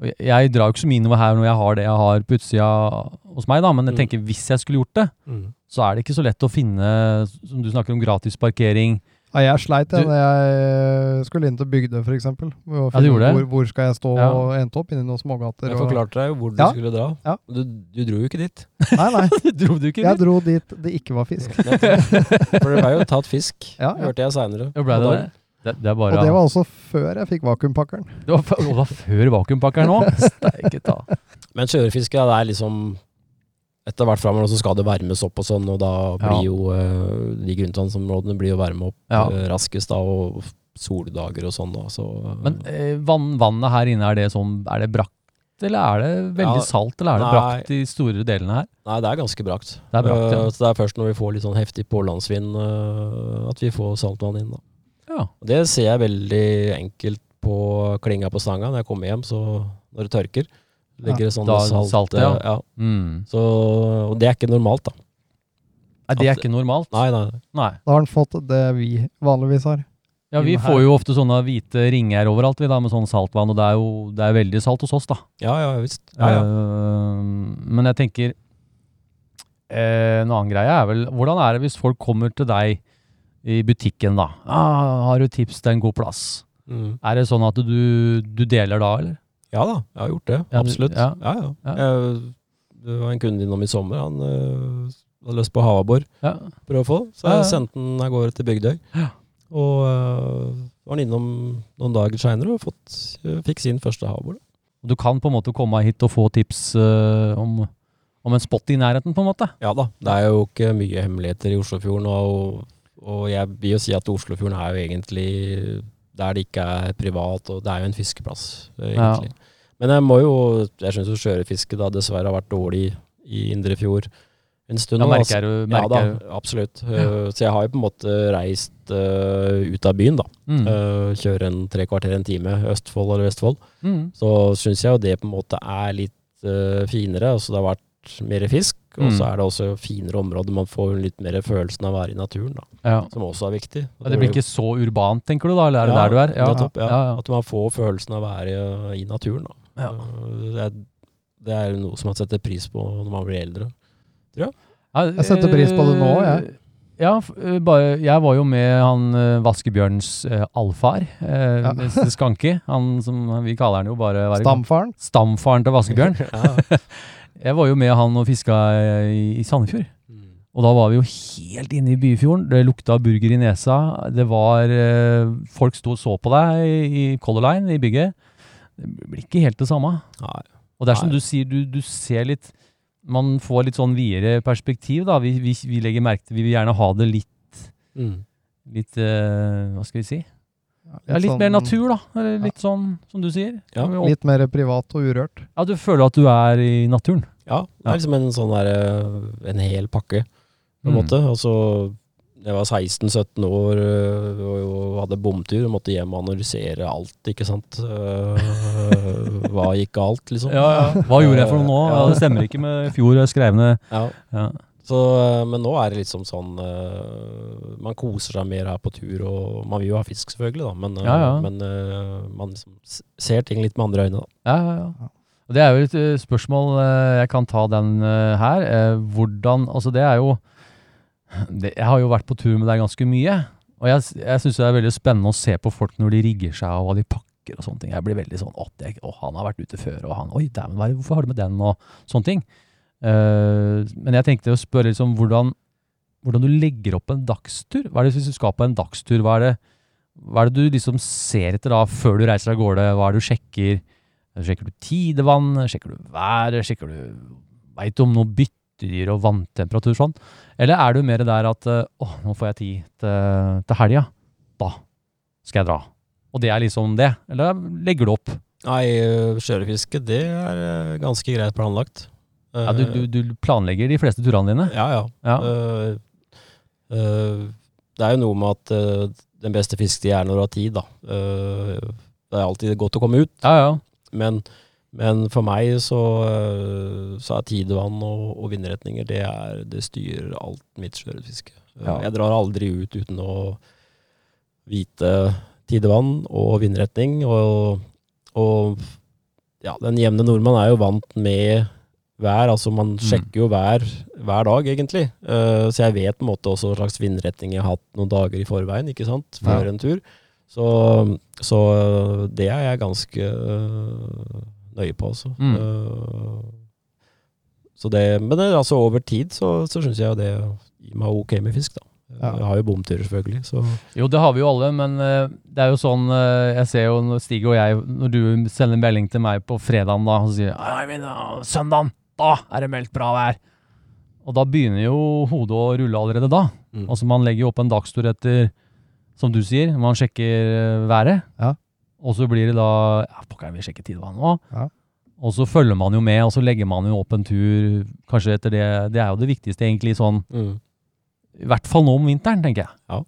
Speaker 1: Og Jeg, jeg drar jo ikke så mye innover her når jeg har det jeg har på utsida hos meg, da, men jeg
Speaker 6: Mm.
Speaker 1: tenker hvis jeg skulle gjort det,
Speaker 6: Mm.
Speaker 1: så er det ikke så lett å finne Som du snakker om gratis parkering.
Speaker 5: Ja, jeg sleit
Speaker 1: Du-
Speaker 5: jeg, når jeg skulle inn til Bygdøy, f.eks.
Speaker 1: Ja, du gjorde det?
Speaker 5: Hvor, hvor skal jeg stå?
Speaker 1: Ja.
Speaker 5: Og endte opp inni noen smågater.
Speaker 6: jeg
Speaker 5: og-
Speaker 6: forklarte deg jo hvor du
Speaker 5: Ja.
Speaker 6: skulle dra.
Speaker 5: Ja.
Speaker 6: Du, du dro jo ikke dit.
Speaker 5: Nei, nei.
Speaker 1: Dro du ikke
Speaker 5: Jeg
Speaker 1: dit?
Speaker 5: dro dit det ikke var fisk.
Speaker 6: For det ble jo tatt fisk,
Speaker 5: Ja, ja.
Speaker 6: hørte jeg seinere.
Speaker 1: Ja, ble det det? Det, det er
Speaker 5: Og
Speaker 1: bare
Speaker 5: det var også før jeg fikk vakuumpakkeren.
Speaker 1: det var, f- det var før vakuumpakkeren nå Steike ta.
Speaker 6: Men sjøørfiske, ja, det er liksom etter hvert framover så skal det varmes opp og sånn, og da
Speaker 1: Ja.
Speaker 6: blir jo eh, de grunnvannsområdene blir jo varme opp
Speaker 1: Ja.
Speaker 6: eh, raskest da, og soldager og sånn. Da, så, eh,
Speaker 1: Men eh, vann, vannet her inne, er det sånn Er det brakt, eller er det veldig
Speaker 6: Ja,
Speaker 1: salt, eller er det
Speaker 6: nei.
Speaker 1: brakt i store delene her?
Speaker 6: Nei, det er ganske brakt.
Speaker 1: Det er brakt, ja.
Speaker 6: Eh, så det er først når vi får litt sånn heftig pålandsvind eh, at vi får saltvann inn. Da.
Speaker 1: Ja.
Speaker 6: Og det ser jeg veldig enkelt på klinga på stanga når jeg kommer hjem, så når det tørker. Ligger det sånn
Speaker 1: Da er det
Speaker 6: salt,
Speaker 1: salt,
Speaker 6: eh,
Speaker 1: ja.
Speaker 6: ja.
Speaker 1: Mm.
Speaker 6: Så, og det er ikke normalt, da.
Speaker 1: Nei, det er
Speaker 6: At-
Speaker 1: ikke normalt.
Speaker 6: Nei, nei. nei.
Speaker 1: Nei.
Speaker 5: Da har han fått det vi vanligvis har.
Speaker 1: Ja, vi
Speaker 5: Inne her.
Speaker 1: får jo ofte sånne hvite ringer overalt vi da, med sånn saltvann, og det er jo det er veldig salt hos oss, da.
Speaker 6: Ja, ja visst. Ja, ja.
Speaker 1: Eh, men jeg tenker eh, En annen greie er vel Hvordan er det hvis folk kommer til deg i butikken, da? Ah, 'Har du tips til en god plass?'
Speaker 6: Mm.
Speaker 1: Er det sånn at du, du deler da, eller?
Speaker 6: Ja da, jeg har gjort det.
Speaker 1: Ja, du-
Speaker 6: Absolutt.
Speaker 1: ja.
Speaker 6: Ja, ja.
Speaker 1: Ja.
Speaker 6: Jeg- det var en kunde innom i sommer. Han øh, hadde lyst på havabbor.
Speaker 1: Ja.
Speaker 6: Prøv å få. Så
Speaker 1: Ja, ja.
Speaker 6: jeg sendte han av gårde til Bygdøy.
Speaker 1: Ja.
Speaker 6: Og øh, var han innom noen dager seinere og fått, øh, fikk sin første havabbor. da.
Speaker 1: Og Du kan på en måte komme hit og få tips eh, om, om en spot i nærheten, på en måte.
Speaker 6: Ja da, det er jo ikke mye hemmeligheter i Oslofjorden. Og, og jeg vil jo si at Oslofjorden er jo egentlig der det ikke er privat, og det er jo en fiskeplass, øh,
Speaker 1: Ja.
Speaker 6: egentlig. Men jeg må jo Jeg syns jo sjøørretfiske da dessverre har vært dårlig i indre fjord en stund.
Speaker 1: Da
Speaker 6: nå, altså.
Speaker 1: merker du merker
Speaker 6: ja
Speaker 1: du.
Speaker 6: da, absolutt. Eh, så jeg har jo på en måte reist eh, ut av byen, da.
Speaker 1: Mm.
Speaker 6: Eh, kjører en tre kvarter, en time, Østfold eller Vestfold.
Speaker 1: Mm.
Speaker 6: Så syns jeg jo det på en måte er litt eh, finere. Altså det har vært mer fisk, og
Speaker 1: Mm.
Speaker 6: så er det også finere områder. Man får litt mer følelsen av å være i naturen, da,
Speaker 1: Ja.
Speaker 6: som også er viktig.
Speaker 1: Ja, Det blir ikke så urbant, tenker du da? Eller er det
Speaker 6: Ja,
Speaker 1: der du er?
Speaker 6: nettopp, ja.
Speaker 1: ja, ja.
Speaker 6: At man får følelsen av å være eh, i naturen, da.
Speaker 1: Ja.
Speaker 6: Eh, det, er, det er noe som man setter pris på når man blir eldre.
Speaker 1: Ja,
Speaker 5: Jeg setter pris på det nå, jeg.
Speaker 1: Ja, f- eh, bare, jeg var jo med han eh, Vaskebjørns eh, allfar, eh,
Speaker 5: Ja.
Speaker 1: Mr. Skanke. Han som vi kaller han jo bare hva er det?
Speaker 5: Stamfaren.
Speaker 1: Stamfaren til Vaskebjørn.
Speaker 6: Ja.
Speaker 1: Jeg var jo med han og fiska eh, i, i Sandefjord.
Speaker 6: Mm.
Speaker 1: Og da var vi jo helt inne i byfjorden. Det lukta burger i nesa. Det var eh, Folk sto og så på deg i, i Color Line i bygget. Det blir ikke helt det samme.
Speaker 6: Nei.
Speaker 1: Og det er som
Speaker 6: Nei.
Speaker 1: du sier, du, du ser litt Man får litt sånn videre perspektiv, da. Vi, vi, vi legger merke til Vi vil gjerne ha det litt
Speaker 6: Mm.
Speaker 1: Litt eh, Hva skal vi si? Ja, litt
Speaker 5: sånn-
Speaker 1: mer natur, da. Eller litt sånn som du sier.
Speaker 6: Ja,
Speaker 5: Litt mer privat og urørt.
Speaker 1: ja, du føler at du er i naturen.
Speaker 6: Ja, det
Speaker 1: Ja.
Speaker 6: er liksom en sånn der, eh, en hel pakke, på en
Speaker 1: Mm.
Speaker 6: måte. Og så, jeg var 16-17 år eh, og, og hadde bomtur, og måtte hjem og analysere alt, ikke sant. Eh, Hva gikk galt, liksom.
Speaker 1: Ja, ja. Hva gjorde jeg for noe nå? Ja, det stemmer ikke med i fjor jeg skrev ned
Speaker 6: Ja.
Speaker 1: ja.
Speaker 6: Så, eh, men nå er det liksom sånn eh, Man koser seg mer her på tur, og man vil jo ha fisk, selvfølgelig, da, men, eh,
Speaker 1: Ja, ja.
Speaker 6: men eh, man liksom s- ser ting litt med andre øyne, da.
Speaker 1: Ja, ja, ja. Og det er jo et eh, spørsmål eh, jeg kan ta den eh, her. Eh, Hvordan Altså, det er jo det, Jeg har jo vært på tur med deg ganske mye. Og jeg, s- jeg syns det er veldig spennende å se på folk når de rigger seg, og hva de pakker og sånne ting. Jeg blir veldig sånn Å, det, å han har vært ute før, og han Oi, dæven, hva er det- hvorfor har du med den, og sånne ting. Eh, men jeg tenkte å spørre liksom hvordan, hvordan du legger opp en dagstur. Hva er det Hvis du skal på en dagstur, hva er det, hva er det du liksom ser etter da, før du reiser av gårde? Hva er det du sjekker? Sjekker du tidevann? Sjekker du været? Sjekker du Veit du om noe byttedyr og vanntemperatur sånn? Eller er du mer der at eh, åh, nå får jeg tid til, til helga. Da skal jeg dra. Og det er liksom det. Eller legger du opp?
Speaker 6: Nei, øh, skjørefiske, det er øh, ganske greit planlagt. Øh,
Speaker 1: Ja, du, du, du planlegger de fleste turene dine.
Speaker 6: Ja, ja.
Speaker 1: Ja.
Speaker 6: Øh, øh, det er jo noe med at øh, den beste fisketida er når du har tid, da. Øh, det er alltid godt å komme ut,
Speaker 1: Ja, ja.
Speaker 6: men, men for meg så, øh, så er tidevann og, og vindretninger, det, er, det styrer alt mitt sjøørretfiske.
Speaker 1: Ja.
Speaker 6: Jeg drar aldri ut uten å vite tidevann og vindretning, og, og ja, den jevne nordmann er jo vant med vær, altså man sjekker jo vær hver dag egentlig, Eh, så jeg vet på en måte også hva slags vindretning jeg har hatt noen dager i forveien, ikke sant, før
Speaker 5: Ja.
Speaker 6: en tur. Så, så øh, det er jeg ganske eh, nøye på, altså.
Speaker 1: Mm.
Speaker 6: Eh, så det, men det, er altså over tid så, så syns jeg jo det gir meg ok med fisk, da.
Speaker 5: Ja.
Speaker 6: Jeg har jo bomturer, selvfølgelig, så
Speaker 1: Jo, det har vi jo alle, men eh, det er jo sånn eh, Jeg ser jo når Stig og jeg, når du sender en melding til meg på fredagen da, og sier «Nei, men, ah, søndagen, da er det meldt bra vær. Og da begynner jo hodet å rulle allerede da.
Speaker 6: Mm.
Speaker 1: Altså man legger jo opp en dagstur etter, som du sier, man sjekker eh, været.
Speaker 5: Ja.
Speaker 1: Og så blir det da Ja, pokker, vi sjekker tidvann nå.
Speaker 5: Ja.
Speaker 1: Og så følger man jo med, og så legger man jo opp en tur kanskje etter det. Det er jo det viktigste egentlig sånn, i hvert fall nå om vinteren, tenker jeg.
Speaker 6: Ja.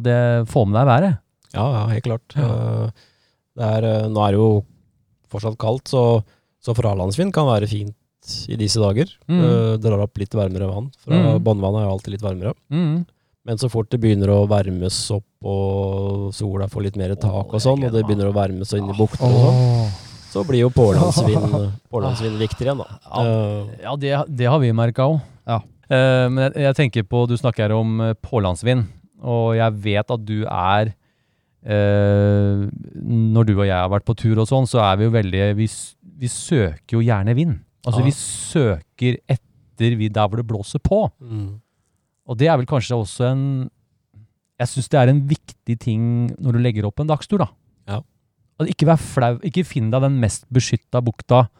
Speaker 1: At det får med deg været.
Speaker 6: Ja, ja, helt klart. Eh, Det er, eh, nå er det jo fortsatt kaldt, så, så fralandsvind kan være fint i disse dager.
Speaker 1: Mm.
Speaker 6: Eh, drar opp litt varmere vann. Fra
Speaker 1: Mm.
Speaker 6: Båndvannet er jo alltid litt varmere.
Speaker 1: Mm.
Speaker 6: Men så fort det begynner å varmes opp, og sola får litt mer tak og sånn, og det begynner å varmes og inn i buktene og sånn, så blir jo pålandsvind, pålandsvind viktigere igjen, da. Eh,
Speaker 1: Ja, det, det har vi merka òg.
Speaker 5: Ja.
Speaker 1: men jeg, jeg tenker på Du snakker om eh, pålandsvind, og jeg vet at du er eh, Når du og jeg har vært på tur og sånn, så er vi jo veldig Vi, s- vi søker jo gjerne vind. Altså,
Speaker 6: Ja.
Speaker 1: vi søker etter vi der hvor det blåser på.
Speaker 6: mm.
Speaker 1: Og det er vel kanskje også en Jeg syns det er en viktig ting når du legger opp en dagstur, da.
Speaker 6: Ja.
Speaker 1: At ikke vær flau. Ikke finn deg den mest beskytta bukta.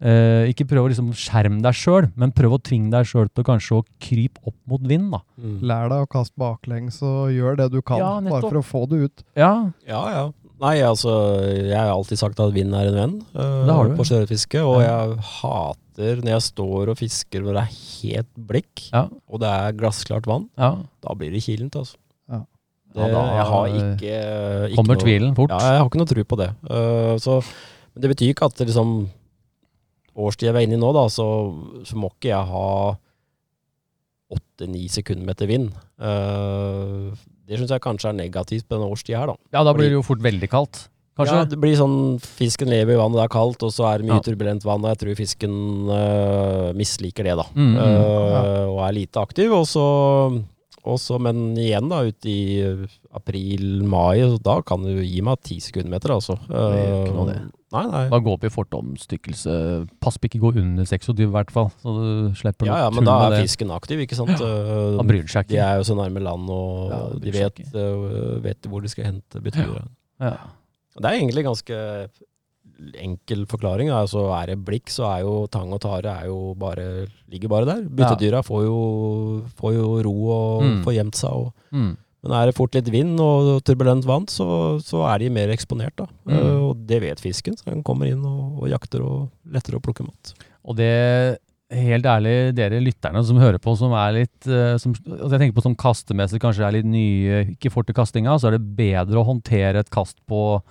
Speaker 1: Eh, ikke prøv å liksom skjerme deg sjøl, men prøv å tvinge deg sjøl til kanskje å krype opp mot vind, da.
Speaker 6: Mm.
Speaker 5: Lær deg å kaste baklengs og gjør det du kan,
Speaker 1: Ja, nettopp.
Speaker 5: bare for å få det ut.
Speaker 1: Ja,
Speaker 6: Ja, ja. Nei, altså, jeg har alltid sagt at vind er en venn eh,
Speaker 1: Det har du.
Speaker 6: på sjøørretfiske. Og jeg hater når jeg står og fisker hvor det er helt blikk,
Speaker 1: ja,
Speaker 6: og det er glassklart vann.
Speaker 1: ja.
Speaker 6: Da blir det kilent, altså.
Speaker 5: Ja.
Speaker 6: Det,
Speaker 1: Ja, da,
Speaker 6: jeg har ikke, eh, ikke
Speaker 1: Kommer
Speaker 6: noe-
Speaker 1: tvilen fort.
Speaker 6: Ja, jeg har ikke noe tro på det. Eh, så, men det betyr ikke at det liksom årstida vi er inne i nå, da, så, så må ikke jeg ha åtte-ni sekundmeter vind. Eh, det syns jeg kanskje er negativt på denne årstida her, da.
Speaker 1: Ja, da blir det jo fort veldig kaldt, kanskje.
Speaker 6: Ja, det blir sånn fisken lever i vann, og det er kaldt, og så er det
Speaker 1: Ja.
Speaker 6: mye turbulent vann, og jeg tror fisken øh, misliker det, da.
Speaker 1: Mm, mm,
Speaker 6: Øh, og er lite aktiv. Og så, og så- men igjen, da, ute i øh, april-mai, så da kan du gi meg ti sekundmeter, altså.
Speaker 1: gjør ikke noe,
Speaker 6: Øh,
Speaker 1: det.
Speaker 6: Nei, nei.
Speaker 1: Da går opp i fortomstykkelse. Pass på ikke gå under 26, i hvert fall, så du slipper
Speaker 6: Ja,
Speaker 1: noe
Speaker 6: ja, men
Speaker 1: tull
Speaker 6: da
Speaker 1: med
Speaker 6: er
Speaker 1: det.
Speaker 6: fisken aktiv, ikke sant? Øh,
Speaker 1: Da bryr han seg
Speaker 6: de
Speaker 1: ikke.
Speaker 6: er jo så nærme land, og
Speaker 1: Ja, det bryr
Speaker 6: de
Speaker 1: seg
Speaker 6: vet, øh, vet hvor de skal hente byttedyra.
Speaker 1: Ja.
Speaker 6: Det er egentlig ganske enkel forklaring. da. Altså, er det blikk, så er jo tang og tare er jo bare, ligger bare der. Byttedyra får, jo, får jo ro og
Speaker 1: Mm.
Speaker 6: får gjemt seg. Og,
Speaker 1: Mm.
Speaker 6: men er det fort litt vind og turbulent vann, så, så er de mer eksponert. Da.
Speaker 1: Mm.
Speaker 6: Eh, og det vet fisken, så den kommer inn og, og jakter og letter å plukke mat.
Speaker 1: Og det, helt ærlig, dere lytterne som hører på, som er litt eh, som, altså Jeg tenker på sånn kastemessig, kanskje er litt nye, ikke får til kastinga, så er det bedre å håndtere et kast på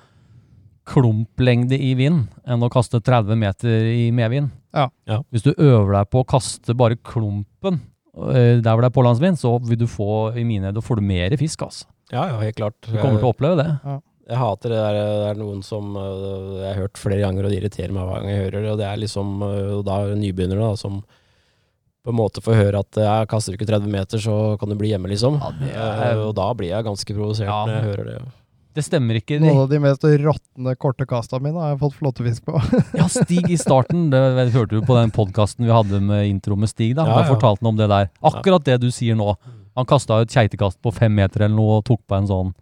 Speaker 1: klumplengde i vind enn å kaste 30 meter i medvind.
Speaker 5: Ja.
Speaker 6: Ja.
Speaker 1: Hvis du øver deg på å kaste bare klumpen eh, der hvor det er pålandsvind, så vil du få i mine øyne, da får du mer fisk, altså.
Speaker 6: Ja, ja, helt klart.
Speaker 1: Du kommer til å oppleve det.
Speaker 6: Jeg hater det der Det er noen som øh, jeg har hørt flere ganger, og det irriterer meg hver gang jeg hører det. Og det er liksom øh, da nybegynnere da, som på en måte får høre at jeg kaster du ikke 30 meter, så kan du bli hjemme, liksom.
Speaker 1: det er-
Speaker 6: Eh, og da blir jeg ganske provosert
Speaker 1: Ja.
Speaker 6: når jeg hører det.
Speaker 1: Det stemmer ikke. Det.
Speaker 5: Noen av de mest råtne korte kasta mine har jeg fått flåtefisk på.
Speaker 1: Ja, Stig i starten, det vet- hørte du på den podkasten vi hadde med intro med Stig, da.
Speaker 6: Ja,
Speaker 1: Da
Speaker 6: ja.
Speaker 1: fortalte han om det der. Akkurat det du sier nå. Han kasta et keitekast på fem meter eller noe og tok på en sånn.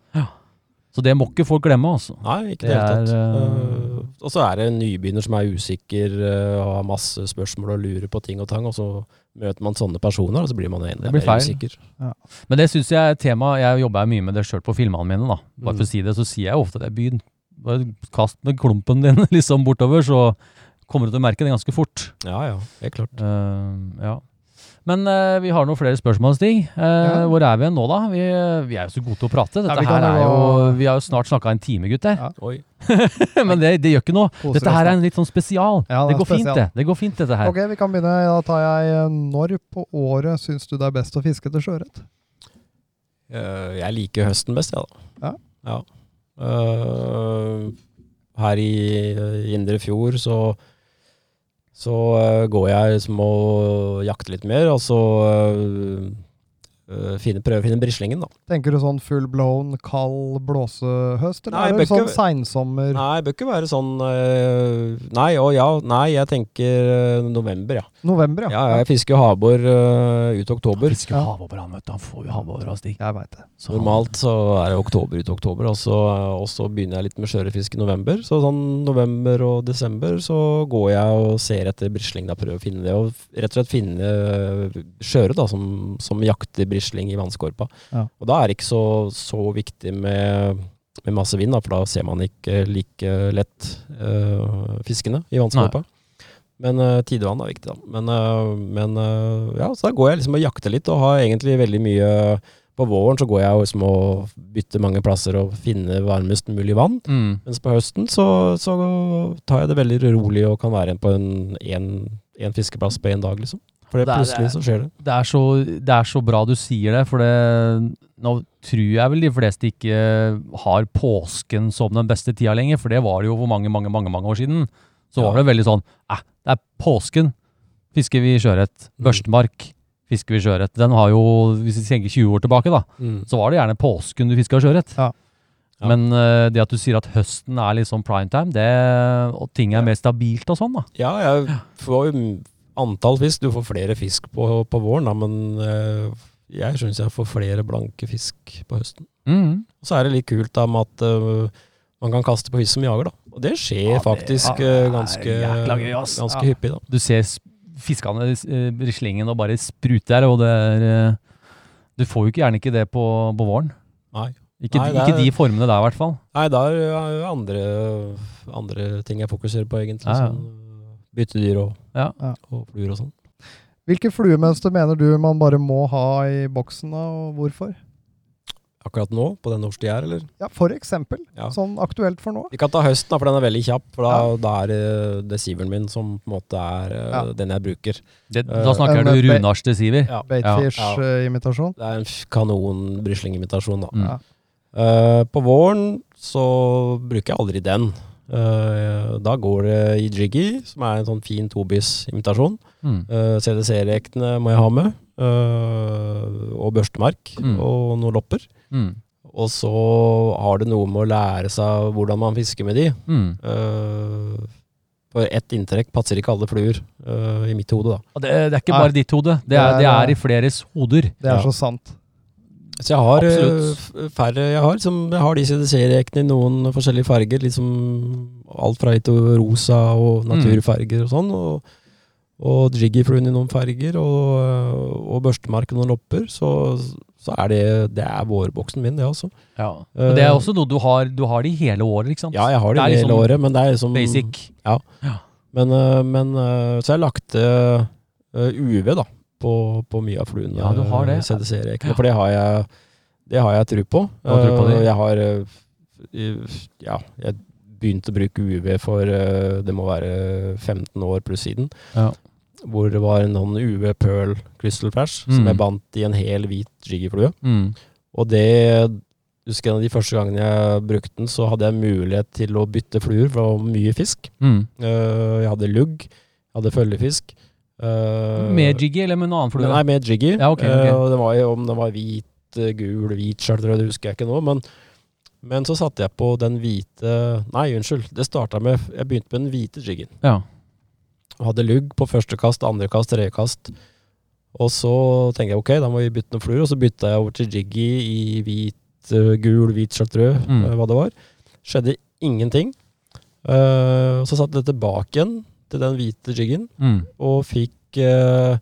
Speaker 1: Så det må ikke folk glemme, altså.
Speaker 6: Nei, ikke i
Speaker 1: Det
Speaker 6: det hele tatt.
Speaker 1: er,
Speaker 6: Eh, og så er det en nybegynner som er usikker eh, og har masse spørsmål og lurer på ting og tang, og så møter man sånne personer, og så blir man
Speaker 1: Det
Speaker 6: egentlig
Speaker 1: blir
Speaker 6: mer
Speaker 1: feil.
Speaker 6: usikker.
Speaker 1: Men det syns jeg er et tema Jeg jobber jo mye med det sjøl på filmene mine, da. Bare for
Speaker 6: Mm.
Speaker 1: å si det, så sier jeg jo ofte det. Begynn. Bare kast med klumpen din liksom bortover, så kommer du til å merke det ganske fort.
Speaker 6: Ja, ja, helt klart.
Speaker 1: Eh, ja. Men eh, vi har noen flere spørsmål, Stig. Eh, Hvor er vi hen nå, da? Vi, eh, vi er jo så gode til å prate. Dette
Speaker 5: Ja, vi kan
Speaker 1: her er
Speaker 5: jo
Speaker 1: jo,
Speaker 5: gå-
Speaker 1: vi har jo snart snakka en time, gutter.
Speaker 5: Ja.
Speaker 6: Oi.
Speaker 1: Men det, det gjør ikke noe.
Speaker 5: Koser
Speaker 1: Dette
Speaker 5: oss
Speaker 1: her
Speaker 5: da.
Speaker 1: er en litt sånn spesial. det,
Speaker 5: Ja, det er
Speaker 1: går fint,
Speaker 5: spesial.
Speaker 1: det. Det går fint, dette her.
Speaker 5: Ok, vi kan begynne. Da tar jeg eh, når på året syns du det er best å fiske etter sjøørret?
Speaker 6: Eh, jeg liker høsten best, jeg, da.
Speaker 5: Ja.
Speaker 6: Ja. Eh, her i eh, Indre Fjord så så eh, går jeg liksom og jakter litt mer, og så eh, eh, finne, prøve å finne brislingen, da.
Speaker 5: Tenker du sånn full blown, kald blåsehøst, eller
Speaker 6: Nei,
Speaker 5: er det
Speaker 6: bør
Speaker 5: sånn
Speaker 6: ikke-
Speaker 5: seinsommer?
Speaker 6: Nei, det bør ikke være sånn eh, Nei, å ja, nei, jeg tenker eh, november, ja.
Speaker 5: November,
Speaker 6: Ja,
Speaker 5: ja.
Speaker 6: ja, jeg fisker jo havabbor eh, ut oktober.
Speaker 1: Fisker
Speaker 5: Ja.
Speaker 1: havover, han, vet du. Han får jo havover av Stig.
Speaker 5: Jeg veit det.
Speaker 1: Så han-
Speaker 6: Normalt så er det oktober ut til oktober, og så, eh, og så begynner jeg litt med skjørefisk i november. Så sånn november og desember så går jeg og ser etter brisling, da prøver å finne det. Og rett og slett finne øh, skjøre da, som, som jakter brisling i vannskorpa.
Speaker 5: Ja.
Speaker 6: Og da er det ikke så, så viktig med, med masse vind, da, for da ser man ikke like lett øh, fiskene i vannskorpa. Men øh, tidevann er viktig, da. Men, øh, men øh, ja, så da går jeg liksom og jakter litt, og har egentlig veldig mye på våren så går jeg og liksom og bytter mange plasser og finner varmest mulig vann.
Speaker 1: mm.
Speaker 6: Mens på høsten så, så tar jeg det veldig rolig og kan være på en, en, en fiskeplass på én dag, liksom. For det
Speaker 1: Der er-
Speaker 6: plutselig så skjer det.
Speaker 1: det er, så, det er så bra du sier det, for det, nå tror jeg vel de fleste ikke har påsken som den beste tida lenger, for det var det jo for mange, mange, mange, mange år siden. Så var
Speaker 6: Ja.
Speaker 1: det veldig sånn, eh, det er påsken, fisker vi sjøørret, børstmark, fisker vi sjøørret. Den har jo, hvis vi tenker 20 år tilbake da, så var det gjerne påsken du fiska sjøørret.
Speaker 5: Ja.
Speaker 6: Ja.
Speaker 1: Men eh, det at du sier at høsten er litt sånn primetime, det, og ting er mer stabilt og sånn da.
Speaker 6: Ja, jeg får jo antall fisk. Du får flere fisk på, på våren, da, men eh, jeg syns jeg får flere blanke fisk på høsten.
Speaker 1: Mm.
Speaker 6: Og så er det litt kult da med at eh, man kan kaste på fisk som jager, da. Og det skjer
Speaker 1: Ja, det
Speaker 6: faktisk
Speaker 1: er
Speaker 6: eh, ganske,
Speaker 1: jækla gøy, ass.
Speaker 6: ganske
Speaker 1: Ja.
Speaker 6: hyppig, da.
Speaker 1: du ser s- fiskene, eh, brislingen, og bare spruter, og det er eh, Du får jo ikke gjerne ikke det på, på våren.
Speaker 6: Nei.
Speaker 1: Ikke,
Speaker 6: Nei,
Speaker 1: de-
Speaker 6: det er-
Speaker 1: ikke de formene der, i hvert fall.
Speaker 6: Nei, da er det eh, andre, andre ting jeg fokuserer på, egentlig.
Speaker 1: Ja, ja.
Speaker 6: Sånn, byttedyr og,
Speaker 1: Ja.
Speaker 5: Ja.
Speaker 6: og fluer og sånn.
Speaker 5: Hvilke fluemønster mener du man bare må ha i boksen, da, og hvorfor?
Speaker 6: Akkurat nå, på den årstida her, eller?
Speaker 5: Ja, for eksempel.
Speaker 6: Ja.
Speaker 5: Sånn aktuelt for nå.
Speaker 6: Vi kan ta høsten, da, for den er veldig kjapp. For da, da er det desiveren min som på en måte er eh,
Speaker 5: Ja.
Speaker 6: den jeg bruker.
Speaker 1: Det,
Speaker 6: Eh,
Speaker 1: da snakker
Speaker 5: men
Speaker 1: du
Speaker 5: det-
Speaker 1: Runars til Siver.
Speaker 6: Ja. Ja.
Speaker 5: Baitfish-imitasjon.
Speaker 6: Det er en f- kanon brislingimitasjon, da.
Speaker 1: Mm.
Speaker 5: Ja.
Speaker 6: Eh, på våren så bruker jeg aldri den. Eh, da går det i jiggy, som er en sånn fin tobis-imitasjon.
Speaker 1: Mm.
Speaker 6: Eh, CDC-rektene må jeg ha med. eh, og børstemark
Speaker 1: Mm.
Speaker 6: og noen lopper.
Speaker 1: Mm.
Speaker 6: Og så har det noe med å lære seg hvordan man fisker med de.
Speaker 1: Mm.
Speaker 6: Eh, for ett inntrekk passer ikke alle fluer, eh, i mitt hode, da.
Speaker 1: Og Det, det er ikke
Speaker 5: Nei.
Speaker 1: bare ditt hode. Det er, det er i fleres hoder.
Speaker 5: Det er
Speaker 6: Ja.
Speaker 5: så sant.
Speaker 6: Så jeg har eh,
Speaker 1: Absolutt.
Speaker 6: f- færre jeg har. Som, jeg har de CDC-rekene i noen forskjellige farger. Liksom alt fra litt rosa og
Speaker 1: Mm.
Speaker 6: naturfarger og sånn. Og, og jiggyfluen i noen farger, og, eh, og børstemark og noen lopper. Så, så er det Det er vårboksen min, det, altså.
Speaker 1: Og det er også noe du har, du har det i hele året, ikke sant?
Speaker 6: Ja, jeg har det,
Speaker 1: Det er
Speaker 6: hele
Speaker 1: liksom
Speaker 6: året, men det er liksom
Speaker 1: Basic.
Speaker 6: Men, øh, men øh, så jeg lagte øh, UV da, på, på mye av fluene.
Speaker 1: Ja, du har det.
Speaker 6: øh, CDC-rekene, for det har jeg, det har jeg tro på.
Speaker 1: Du har tro på det?
Speaker 6: Øh, Jeg har øh, i- ja, jeg begynte å bruke UV for øh, det må være 15 år pluss siden.
Speaker 1: Ja.
Speaker 6: Hvor det var en sånn UV Pearl Crystal Flash som
Speaker 1: Mm.
Speaker 6: jeg bandt i en hel hvit jiggyflue.
Speaker 1: Mm.
Speaker 6: Og det husker en av de første gangene jeg brukte den, så hadde jeg mulighet til å bytte fluer, for det var mye fisk.
Speaker 1: Mm.
Speaker 6: Eh, jeg hadde lugg, jeg hadde følgefisk. eh,
Speaker 1: Med jiggy eller med noen annen flue?
Speaker 6: Nei, med jiggy.
Speaker 1: Ja, ok, ok.
Speaker 6: Eh, og det var jo om den var hvit, eh, gul, hvit charter, det husker jeg ikke nå. Men, men så satte jeg på den hvite Nei, unnskyld. Det starta med Jeg begynte med den hvite jiggen.
Speaker 1: Ja.
Speaker 6: Og hadde lugg på første kast, andre kast, tredje kast. Og så tenkte jeg ok, da må vi bytte noen fluer. Og så bytta jeg over til jiggy i hvit, eh, gul, hvit charter, rød,
Speaker 1: Mm.
Speaker 6: eh, hva det var. Skjedde ingenting. Eh, og så satte jeg det tilbake igjen til den hvite jiggen
Speaker 1: Mm.
Speaker 6: og fikk eh,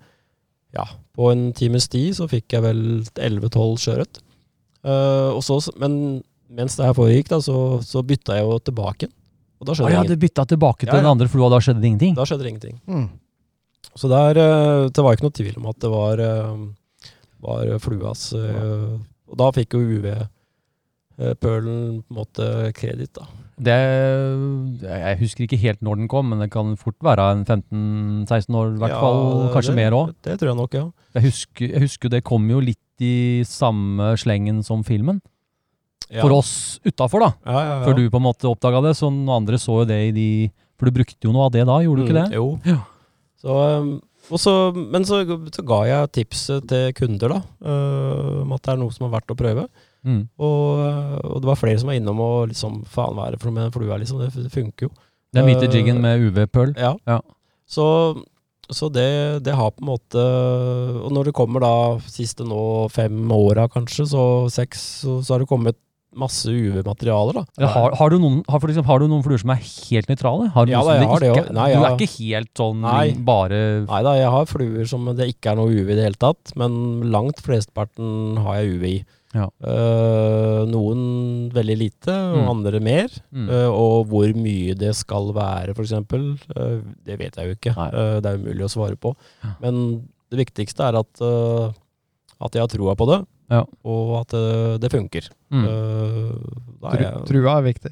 Speaker 6: Ja, på en times tid så fikk jeg vel 11-12 sjøørret. Eh, og så- men mens det her foregikk, da, så, så bytta jeg jo tilbake igjen. Og da
Speaker 1: Å
Speaker 6: skjedde,
Speaker 1: ja,
Speaker 6: ingen-
Speaker 1: du bytta tilbake til
Speaker 6: Ja, ja.
Speaker 1: den andre flua, da skjedde det ingenting?
Speaker 6: da skjedde det ingenting.
Speaker 5: Mm.
Speaker 6: Så der, eh, det var ikke noe tvil om at det var, eh, var fluas eh, Og da fikk jo UV-pølen på en måte kreditt, da.
Speaker 1: Det, jeg husker ikke helt når den kom, men det kan fort være en 15-16 år, i hvert
Speaker 6: Ja,
Speaker 1: fall. Kanskje
Speaker 6: det,
Speaker 1: mer òg.
Speaker 6: Det tror jeg nok, ja.
Speaker 1: Jeg husker, jeg husker det kom jo litt i samme slengen som filmen.
Speaker 6: ja.
Speaker 1: For oss utafor, da.
Speaker 6: Ja, ja, ja.
Speaker 1: Før du på en måte oppdaga det. Så noen andre så jo det i de For du brukte jo noe av det da, gjorde du ikke
Speaker 6: Mm,
Speaker 1: det?
Speaker 6: Jo.
Speaker 1: Ja.
Speaker 6: Så, um, og så- men så, så ga jeg tipset til kunder da, eh, om at det er noe som er verdt å prøve.
Speaker 1: Mm.
Speaker 6: Og, eh, og det var flere som var innom og liksom faen hva er det for noe med den flua, liksom. Det f- funker jo.
Speaker 1: Den hvite
Speaker 6: Eh,
Speaker 1: jiggen med UV-pøl.
Speaker 6: Ja.
Speaker 1: Ja.
Speaker 6: Så, så det, det har på en måte Og når det kommer da siste nå fem åra, kanskje, så seks, så, så har det kommet masse UV-materialer, da.
Speaker 1: Eller Har, har, du noen, har, for eksempel, har du noen fluer som er helt nøytrale? Har du
Speaker 6: Ja,
Speaker 1: noen som
Speaker 6: da, jeg har det
Speaker 1: ikke,
Speaker 6: jo. Nei,
Speaker 1: du
Speaker 6: ja.
Speaker 1: er ikke helt sånn
Speaker 6: Nei.
Speaker 1: bare
Speaker 6: Nei da, jeg har fluer som det ikke er noe UV i det hele tatt, men langt flesteparten har jeg UV i.
Speaker 1: Ja.
Speaker 6: Eh, noen veldig lite, og
Speaker 1: Mm.
Speaker 6: andre mer.
Speaker 1: mm.
Speaker 6: Eh, og hvor mye det skal være, f.eks., uh, det vet jeg jo ikke.
Speaker 1: Nei.
Speaker 6: Eh, det er umulig å svare på.
Speaker 1: Ja.
Speaker 6: Men det viktigste er at, eh, at jeg har troa på det,
Speaker 1: Ja.
Speaker 6: og at eh, det funker.
Speaker 1: Mm.
Speaker 6: Eh, da er
Speaker 5: Tru,
Speaker 6: jeg,
Speaker 5: trua er viktig.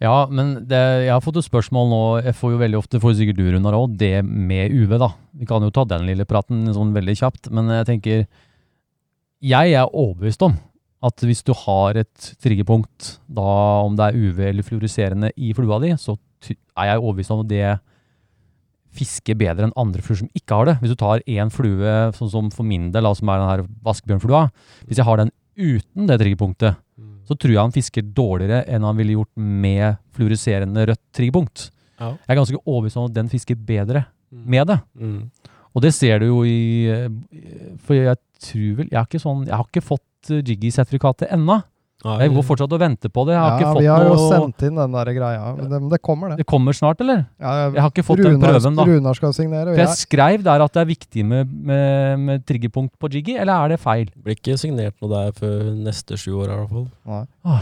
Speaker 1: Ja, men det, jeg har fått et spørsmål nå, jeg får jo veldig ofte, får sikkert du Runar òg, det med UV, da. Vi kan jo ta den lille praten sånn veldig kjapt, men jeg tenker Jeg er overbevist om at hvis du har et triggerpunkt, da om det er UV eller fluoriserende i flua di, så ty- er jeg overbevist om at det fisker bedre enn andre fluer som ikke har det. Hvis du tar én flue, sånn som for min del, da, som er den her vaskebjørnflua, hvis jeg har den uten det triggerpunktet, så tror jeg han fisker dårligere enn han ville gjort med fluoriserende rødt triggerpunkt.
Speaker 6: Ja.
Speaker 1: Jeg er ganske overbevist om at den fisker bedre
Speaker 6: Mm.
Speaker 1: med det.
Speaker 6: Mm.
Speaker 1: Og det ser du jo i eh, For jeg tror vel Jeg, er ikke sånn, jeg har ikke fått eh, Jiggy-sertifikatet ennå.
Speaker 6: Nei,
Speaker 1: Jeg går fortsatt og venter på det. Jeg har
Speaker 5: ja,
Speaker 1: ikke fått
Speaker 5: vi har jo
Speaker 1: noe
Speaker 5: sendt inn den der greia. Men det, men det kommer, det.
Speaker 1: Det kommer snart, eller?
Speaker 5: Ja,
Speaker 1: Jeg har ikke fått den prøven, da.
Speaker 5: Runar skal signere. og
Speaker 1: For jeg
Speaker 5: Jeg,
Speaker 1: skrev der at det er viktig med, med, med triggerpunkt på Jiggy, eller er det feil?
Speaker 6: det blir ikke signert noe der før neste sju år, i hvert fall.
Speaker 5: ja,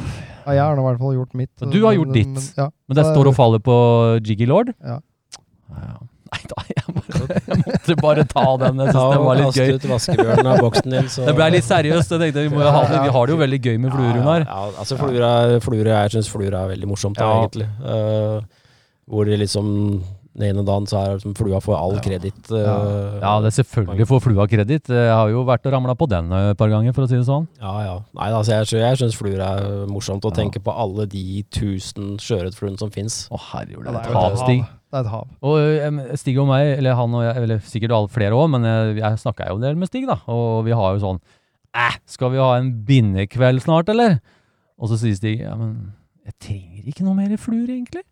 Speaker 5: jeg har nå i hvert fall gjort mitt.
Speaker 1: Så du har gjort
Speaker 5: men-
Speaker 1: ditt.
Speaker 5: men- ja.
Speaker 1: Men det
Speaker 5: Da-
Speaker 1: står og faller på Jiggy Lord?
Speaker 5: Ja.
Speaker 1: Ja. Nei da, jeg, bare, jeg måtte bare ta den. Jeg synes det var litt gøy.
Speaker 6: Kast ut vaskebjørnen av boksen din, så
Speaker 1: Det ble litt seriøst. Jeg tenkte vi, må jo ha det. vi har det jo veldig gøy med fluer, Runar.
Speaker 6: Ja, ja, altså fluer er, fluer, er- jeg syns fluer er veldig morsomt, da,
Speaker 1: Ja.
Speaker 6: egentlig. Eh, hvor det liksom den ene dagen så er det liksom flua får all kreditt. eh,
Speaker 1: Ja, det er selvfølgelig får flua kreditt. Jeg har jo vært og ramla på den eh, et par ganger, for å si det sånn.
Speaker 6: ja, ja. Nei, altså, jeg, sy- jeg syns fluer er morsomt, og
Speaker 1: Ja.
Speaker 6: tenker på alle de tusen sjøørretfluene som fins.
Speaker 1: Å herregud,
Speaker 5: Ja,
Speaker 1: det er
Speaker 5: det er
Speaker 1: et
Speaker 5: jo
Speaker 1: hav,
Speaker 5: et
Speaker 1: Stig.
Speaker 5: hav. Det er et hav.
Speaker 1: Og eh, Stig og meg, eller han og jeg, eller sikkert alle flere òg, men jeg, jeg snakka jo en del med Stig, da. Og vi har jo sånn Æh, skal vi ha en bindekveld snart, eller? Og så sier Stig ja, men jeg trenger ikke noe mer fluer, egentlig.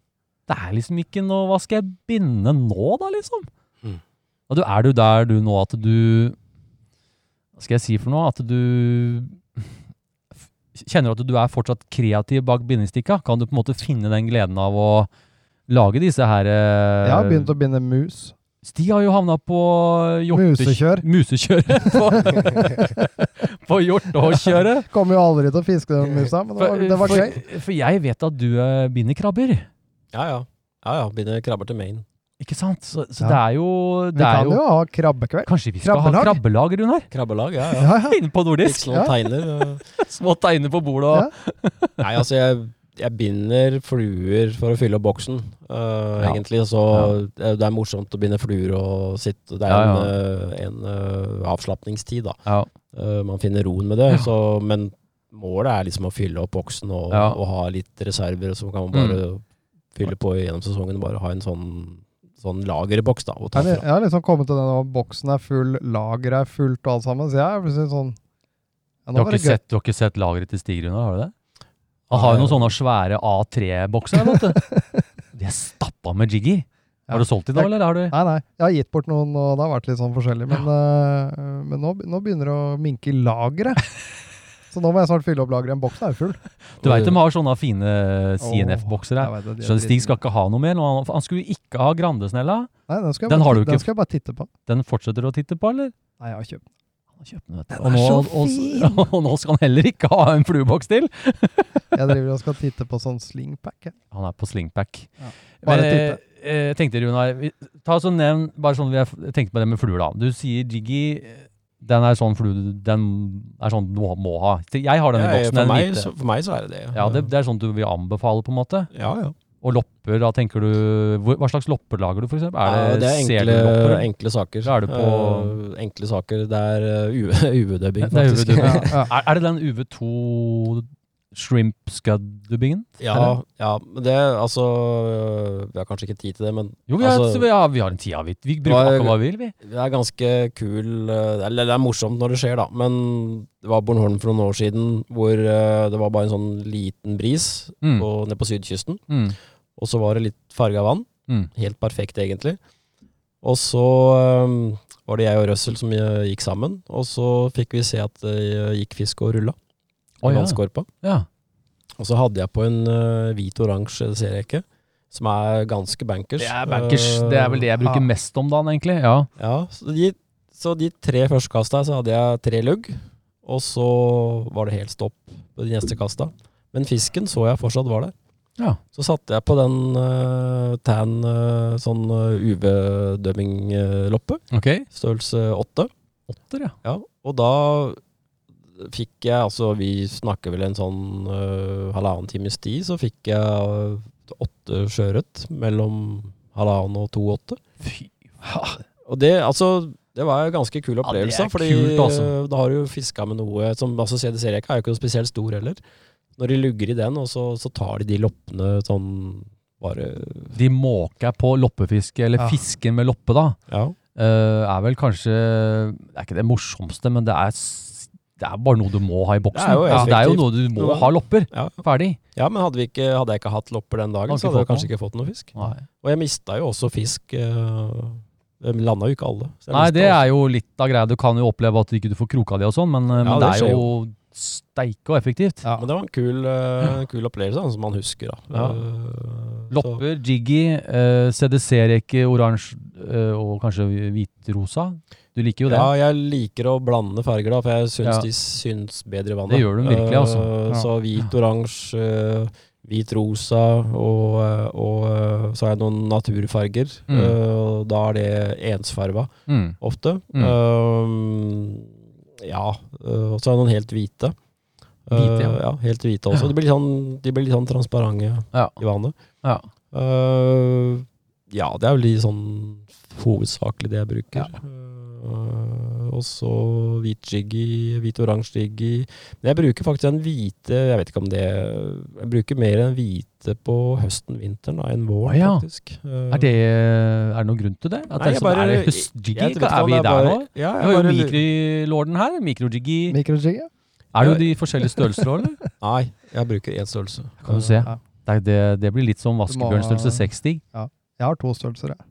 Speaker 1: Det er liksom ikke noe Hva skal jeg binde nå, da, liksom?
Speaker 6: Mm.
Speaker 1: Og du, er du der du nå at du Hva skal jeg si for noe? At du Kjenner at du er fortsatt kreativ bak bindestikka? Kan du på en måte finne den gleden av å lage disse her eh,
Speaker 5: Jeg har begynt å binde mus.
Speaker 1: Stig har jo havna på hjortekjø-
Speaker 5: Musekjør.
Speaker 1: Musekjøret. På, på hjortåkjøret.
Speaker 5: Kommer jo aldri til å fiske den musa, men det var, det var gøy.
Speaker 1: for, for jeg vet at du eh, binder krabber.
Speaker 6: Ja, ja. Ja, ja. Begynner krabber til Maine.
Speaker 1: Ikke sant? Så, så
Speaker 5: Ja.
Speaker 1: det er jo,
Speaker 5: Vi
Speaker 1: det er
Speaker 5: kan
Speaker 1: jo,
Speaker 5: jo ha krabbekveld.
Speaker 1: Kanskje vi skal ha krabbelag,
Speaker 5: Krabbelag?
Speaker 1: Runar?
Speaker 6: Krabbelag, ja. ja.
Speaker 5: Ja, ja.
Speaker 1: Inne på nordisk.
Speaker 6: Fikse noen
Speaker 5: Ja.
Speaker 6: teiner. eh.
Speaker 1: Små teiner på bordet og
Speaker 5: Ja.
Speaker 6: Nei, altså jeg, jeg binder fluer for å fylle opp boksen, øh,
Speaker 1: Ja.
Speaker 6: egentlig. Så det, det er morsomt å binde fluer og sitte. Det er
Speaker 1: Ja,
Speaker 6: en, øh, en øh, avslapningstid, da.
Speaker 1: Ja.
Speaker 6: Øh, man finner roen med det. Så, men målet er liksom å fylle opp boksen og,
Speaker 1: Ja. Mm.
Speaker 6: og ha litt reserver, og så kan man bare fylle på gjennom sesongen. Bare ha en sånn, sånn lagerboks, da. Og ta
Speaker 5: Jeg har li-
Speaker 6: fra.
Speaker 5: jeg har liksom kommet til den at boksen er full, lageret er fullt og alt sammen. Så jeg er plutselig sånn ja,
Speaker 1: Du
Speaker 5: nå
Speaker 1: har
Speaker 5: var det
Speaker 1: ikke
Speaker 5: gøy.
Speaker 1: sett, du har ikke sett lageret til Stig Rune, har du det? Han har jo noen sånne svære A3-bokser. vet du. De er stappa med jigger.
Speaker 5: Ja.
Speaker 1: Har du solgt de da, eller? Har du?
Speaker 5: Nei, nei. Jeg har gitt bort noen, og det har vært litt sånn forskjellig. Men, eh, men nå, be- nå begynner det å minke i lageret. Så nå må jeg snart fylle opp lageret. En boks er jo full.
Speaker 1: Du veit de har sånne fine CNF-bokser her.
Speaker 5: Jeg vet at de er
Speaker 1: Så Stig
Speaker 5: driten.
Speaker 1: skal ikke ha noe mer. nå. Han, han skulle ikke ha Grandesnella.
Speaker 5: Nei, den skal jeg,
Speaker 1: Den
Speaker 5: bare,
Speaker 1: har du
Speaker 5: titte-
Speaker 1: ikke.
Speaker 5: den skal jeg bare titte på.
Speaker 1: Den fortsetter å titte på, eller?
Speaker 5: Nei, jeg har kjøpt den.
Speaker 1: Han har kjøpt den, vet du.
Speaker 5: Den
Speaker 1: Og
Speaker 5: er
Speaker 1: nå,
Speaker 5: så
Speaker 1: og, og, og nå skal han heller ikke ha en flueboks til.
Speaker 5: Jeg driver og skal titte på sånn slingpack. jeg.
Speaker 1: Han er på slingpack.
Speaker 5: Ja.
Speaker 1: Men,
Speaker 5: Bare
Speaker 1: eh,
Speaker 5: titte.
Speaker 1: eh, tenkte Runar, vi- ta så nevn, bare sånn vi har f- tenkt på det med fluer da. Du sier Jiggy, eh, den er sånn flue, du- den er sånn du må, må ha. Så Jeg har denne
Speaker 6: Ja,
Speaker 1: boksen,
Speaker 6: for,
Speaker 1: den
Speaker 6: meg,
Speaker 1: hvite.
Speaker 6: så, for meg så er det det.
Speaker 1: Ja, det, det er sånn du vil anbefale på en måte.
Speaker 6: ja, ja.
Speaker 1: Og lopper, da tenker du, hvor, hva slags lopper lager du for eksempel?
Speaker 6: Ja,
Speaker 1: Er det,
Speaker 6: det er enkle,
Speaker 1: serielopper?
Speaker 6: enkle saker.
Speaker 1: Da er du på-
Speaker 6: Eh, enkle saker. Det er eh, U-
Speaker 1: Det
Speaker 6: UV-dubbing,
Speaker 1: er
Speaker 6: faktisk.
Speaker 1: UV-dubbing.
Speaker 5: Ja, ja.
Speaker 1: Er, er det den UV2 shrimp scud-dubbingen?
Speaker 6: ja, ja, men det altså eh, Vi har kanskje ikke tid til det, men
Speaker 1: Jo, vi har,
Speaker 6: Altså-
Speaker 1: vi har, vi har en tida, vi, vi
Speaker 6: var-
Speaker 1: bruker akkurat hva vi vil, vi.
Speaker 6: det er ganske kul eh, Eller det er morsomt når det skjer, da, men det var Bornholm for noen år siden hvor eh, det var bare en sånn liten bris
Speaker 1: Mm.
Speaker 6: på, nede på sydkysten,
Speaker 1: Mm.
Speaker 6: og så var det litt farga vann.
Speaker 1: Mm.
Speaker 6: Helt perfekt, egentlig. Og så eh, var det jeg og Russell som eh, gikk sammen, og så fikk vi se at det eh, gikk fisk og rulla.
Speaker 1: Å,
Speaker 6: i
Speaker 1: ja.
Speaker 6: vannskorpa.
Speaker 1: Ja.
Speaker 6: Og så hadde jeg på en eh, hvit-oransje seriekke, som er ganske bankers.
Speaker 1: Det er bankers.
Speaker 6: Eh,
Speaker 1: Det er vel det jeg bruker
Speaker 5: ja.
Speaker 1: mest om dagen, egentlig. Ja.
Speaker 6: Ja, så de, så de tre første kasta så hadde jeg tre lugg, og så var det helt stopp på de neste kasta. Men fisken så jeg fortsatt var der.
Speaker 1: Ja.
Speaker 6: Så satte jeg på den eh, tan eh, sånn UV-dømming-loppe,
Speaker 1: Ok.
Speaker 6: størrelse åtte.
Speaker 1: Åtter, ja.
Speaker 6: Ja, og da fikk jeg, altså vi snakker vel en sånn eh, halvannen times tid, så fikk jeg eh, åtte sjøørret mellom halvannen og to åtte.
Speaker 1: Fy.
Speaker 6: Og det, altså, det var en ganske kul opplevelse.
Speaker 1: det er
Speaker 6: fordi
Speaker 1: kult, altså.
Speaker 6: eh, da har du fiska med noe som altså, CDC-reka er jo ikke noe spesielt stor heller. Når de lugger i den, og så, så tar de de loppene sånn bare
Speaker 1: De måker på loppefiske, eller
Speaker 5: Ja.
Speaker 1: fisken med loppe, da.
Speaker 6: Ja.
Speaker 1: eh, er vel kanskje Det er ikke det morsomste, men det er, s- det er bare noe du må ha i boksen.
Speaker 6: Det er jo
Speaker 1: Ja, det er jo
Speaker 6: effektivt.
Speaker 1: noe du må
Speaker 6: Noe-
Speaker 1: ha lopper.
Speaker 6: Ja.
Speaker 1: Ferdig.
Speaker 6: ja, men hadde, vi ikke, hadde jeg ikke hatt lopper den dagen,
Speaker 1: Hadde ikke
Speaker 6: så hadde jeg
Speaker 1: fått
Speaker 6: kanskje ikke fått noe fisk.
Speaker 1: Nei,
Speaker 6: Og jeg mista jo også fisk. Uh, Landa jo ikke alle. så jeg
Speaker 1: Nei
Speaker 6: mistet
Speaker 1: det
Speaker 6: også-
Speaker 1: er jo litt av greia. Du kan jo oppleve at du ikke får kroka di og sånn, men, eh,
Speaker 6: Ja,
Speaker 1: men det,
Speaker 6: det skjer
Speaker 1: er jo steike og effektivt.
Speaker 5: Ja.
Speaker 6: Men det var en kul, eh, en kul opplevelse da, som man husker. da.
Speaker 1: Ja.
Speaker 6: Eh, så-
Speaker 1: Lopper, jiggy, eh, CDC-reke, oransje eh, og kanskje hvitrosa. Du liker jo det.
Speaker 6: Ja, jeg liker å blande farger, da, for jeg syns
Speaker 1: Ja.
Speaker 6: de syns bedre i vannet.
Speaker 1: Det gjør de virkelig, altså.
Speaker 6: Eh,
Speaker 5: Ja.
Speaker 6: Så hvit, oransje, eh, hvit, rosa, og, eh, og eh, så har jeg noen naturfarger.
Speaker 1: Mm.
Speaker 6: eh, og da er det ensfarva
Speaker 1: Mm.
Speaker 6: ofte.
Speaker 1: Mm.
Speaker 6: Eh, ja. eh, og så er det noen helt hvite. Eh,
Speaker 1: Hvite, ja.
Speaker 6: ja. Helt hvite også.
Speaker 1: Ja.
Speaker 6: De, blir litt sånn, de blir litt sånn transparente
Speaker 1: Ja.
Speaker 6: i vannet.
Speaker 1: ja.
Speaker 6: Eh, ja, det er vel de sånn hovedsakelig det jeg bruker. Eh, og så hvit jiggy, hvit oransje jiggy. Men jeg bruker faktisk den hvite Jeg vet ikke om det Jeg bruker mer den hvite på høsten, vinteren da, enn
Speaker 1: Å
Speaker 6: våren,
Speaker 1: ja.
Speaker 6: faktisk. Eh,
Speaker 1: Er det, er det noen grunn til det? At
Speaker 6: Nei,
Speaker 1: det er,
Speaker 6: jeg
Speaker 1: sånn, er
Speaker 6: bare-
Speaker 1: det
Speaker 6: jeg
Speaker 1: høstjiggy?
Speaker 6: vet ikke
Speaker 1: Er
Speaker 6: om
Speaker 1: vi
Speaker 6: det er
Speaker 1: der nå?
Speaker 6: bare- Ja,
Speaker 1: Vi
Speaker 6: jeg
Speaker 1: har jo
Speaker 6: bare-
Speaker 1: mikrolorden her. Mikrojiggy.
Speaker 5: Mikrojig, ja.
Speaker 1: Er det jo de forskjellige størrelser òg, eller?
Speaker 6: Nei, jeg bruker én størrelse.
Speaker 1: Kan du se.
Speaker 5: Ja.
Speaker 1: Det, er- det, det blir litt som
Speaker 5: Du må-
Speaker 1: vaskebjørnstørrelse 60.
Speaker 5: Jeg har to størrelser, jeg.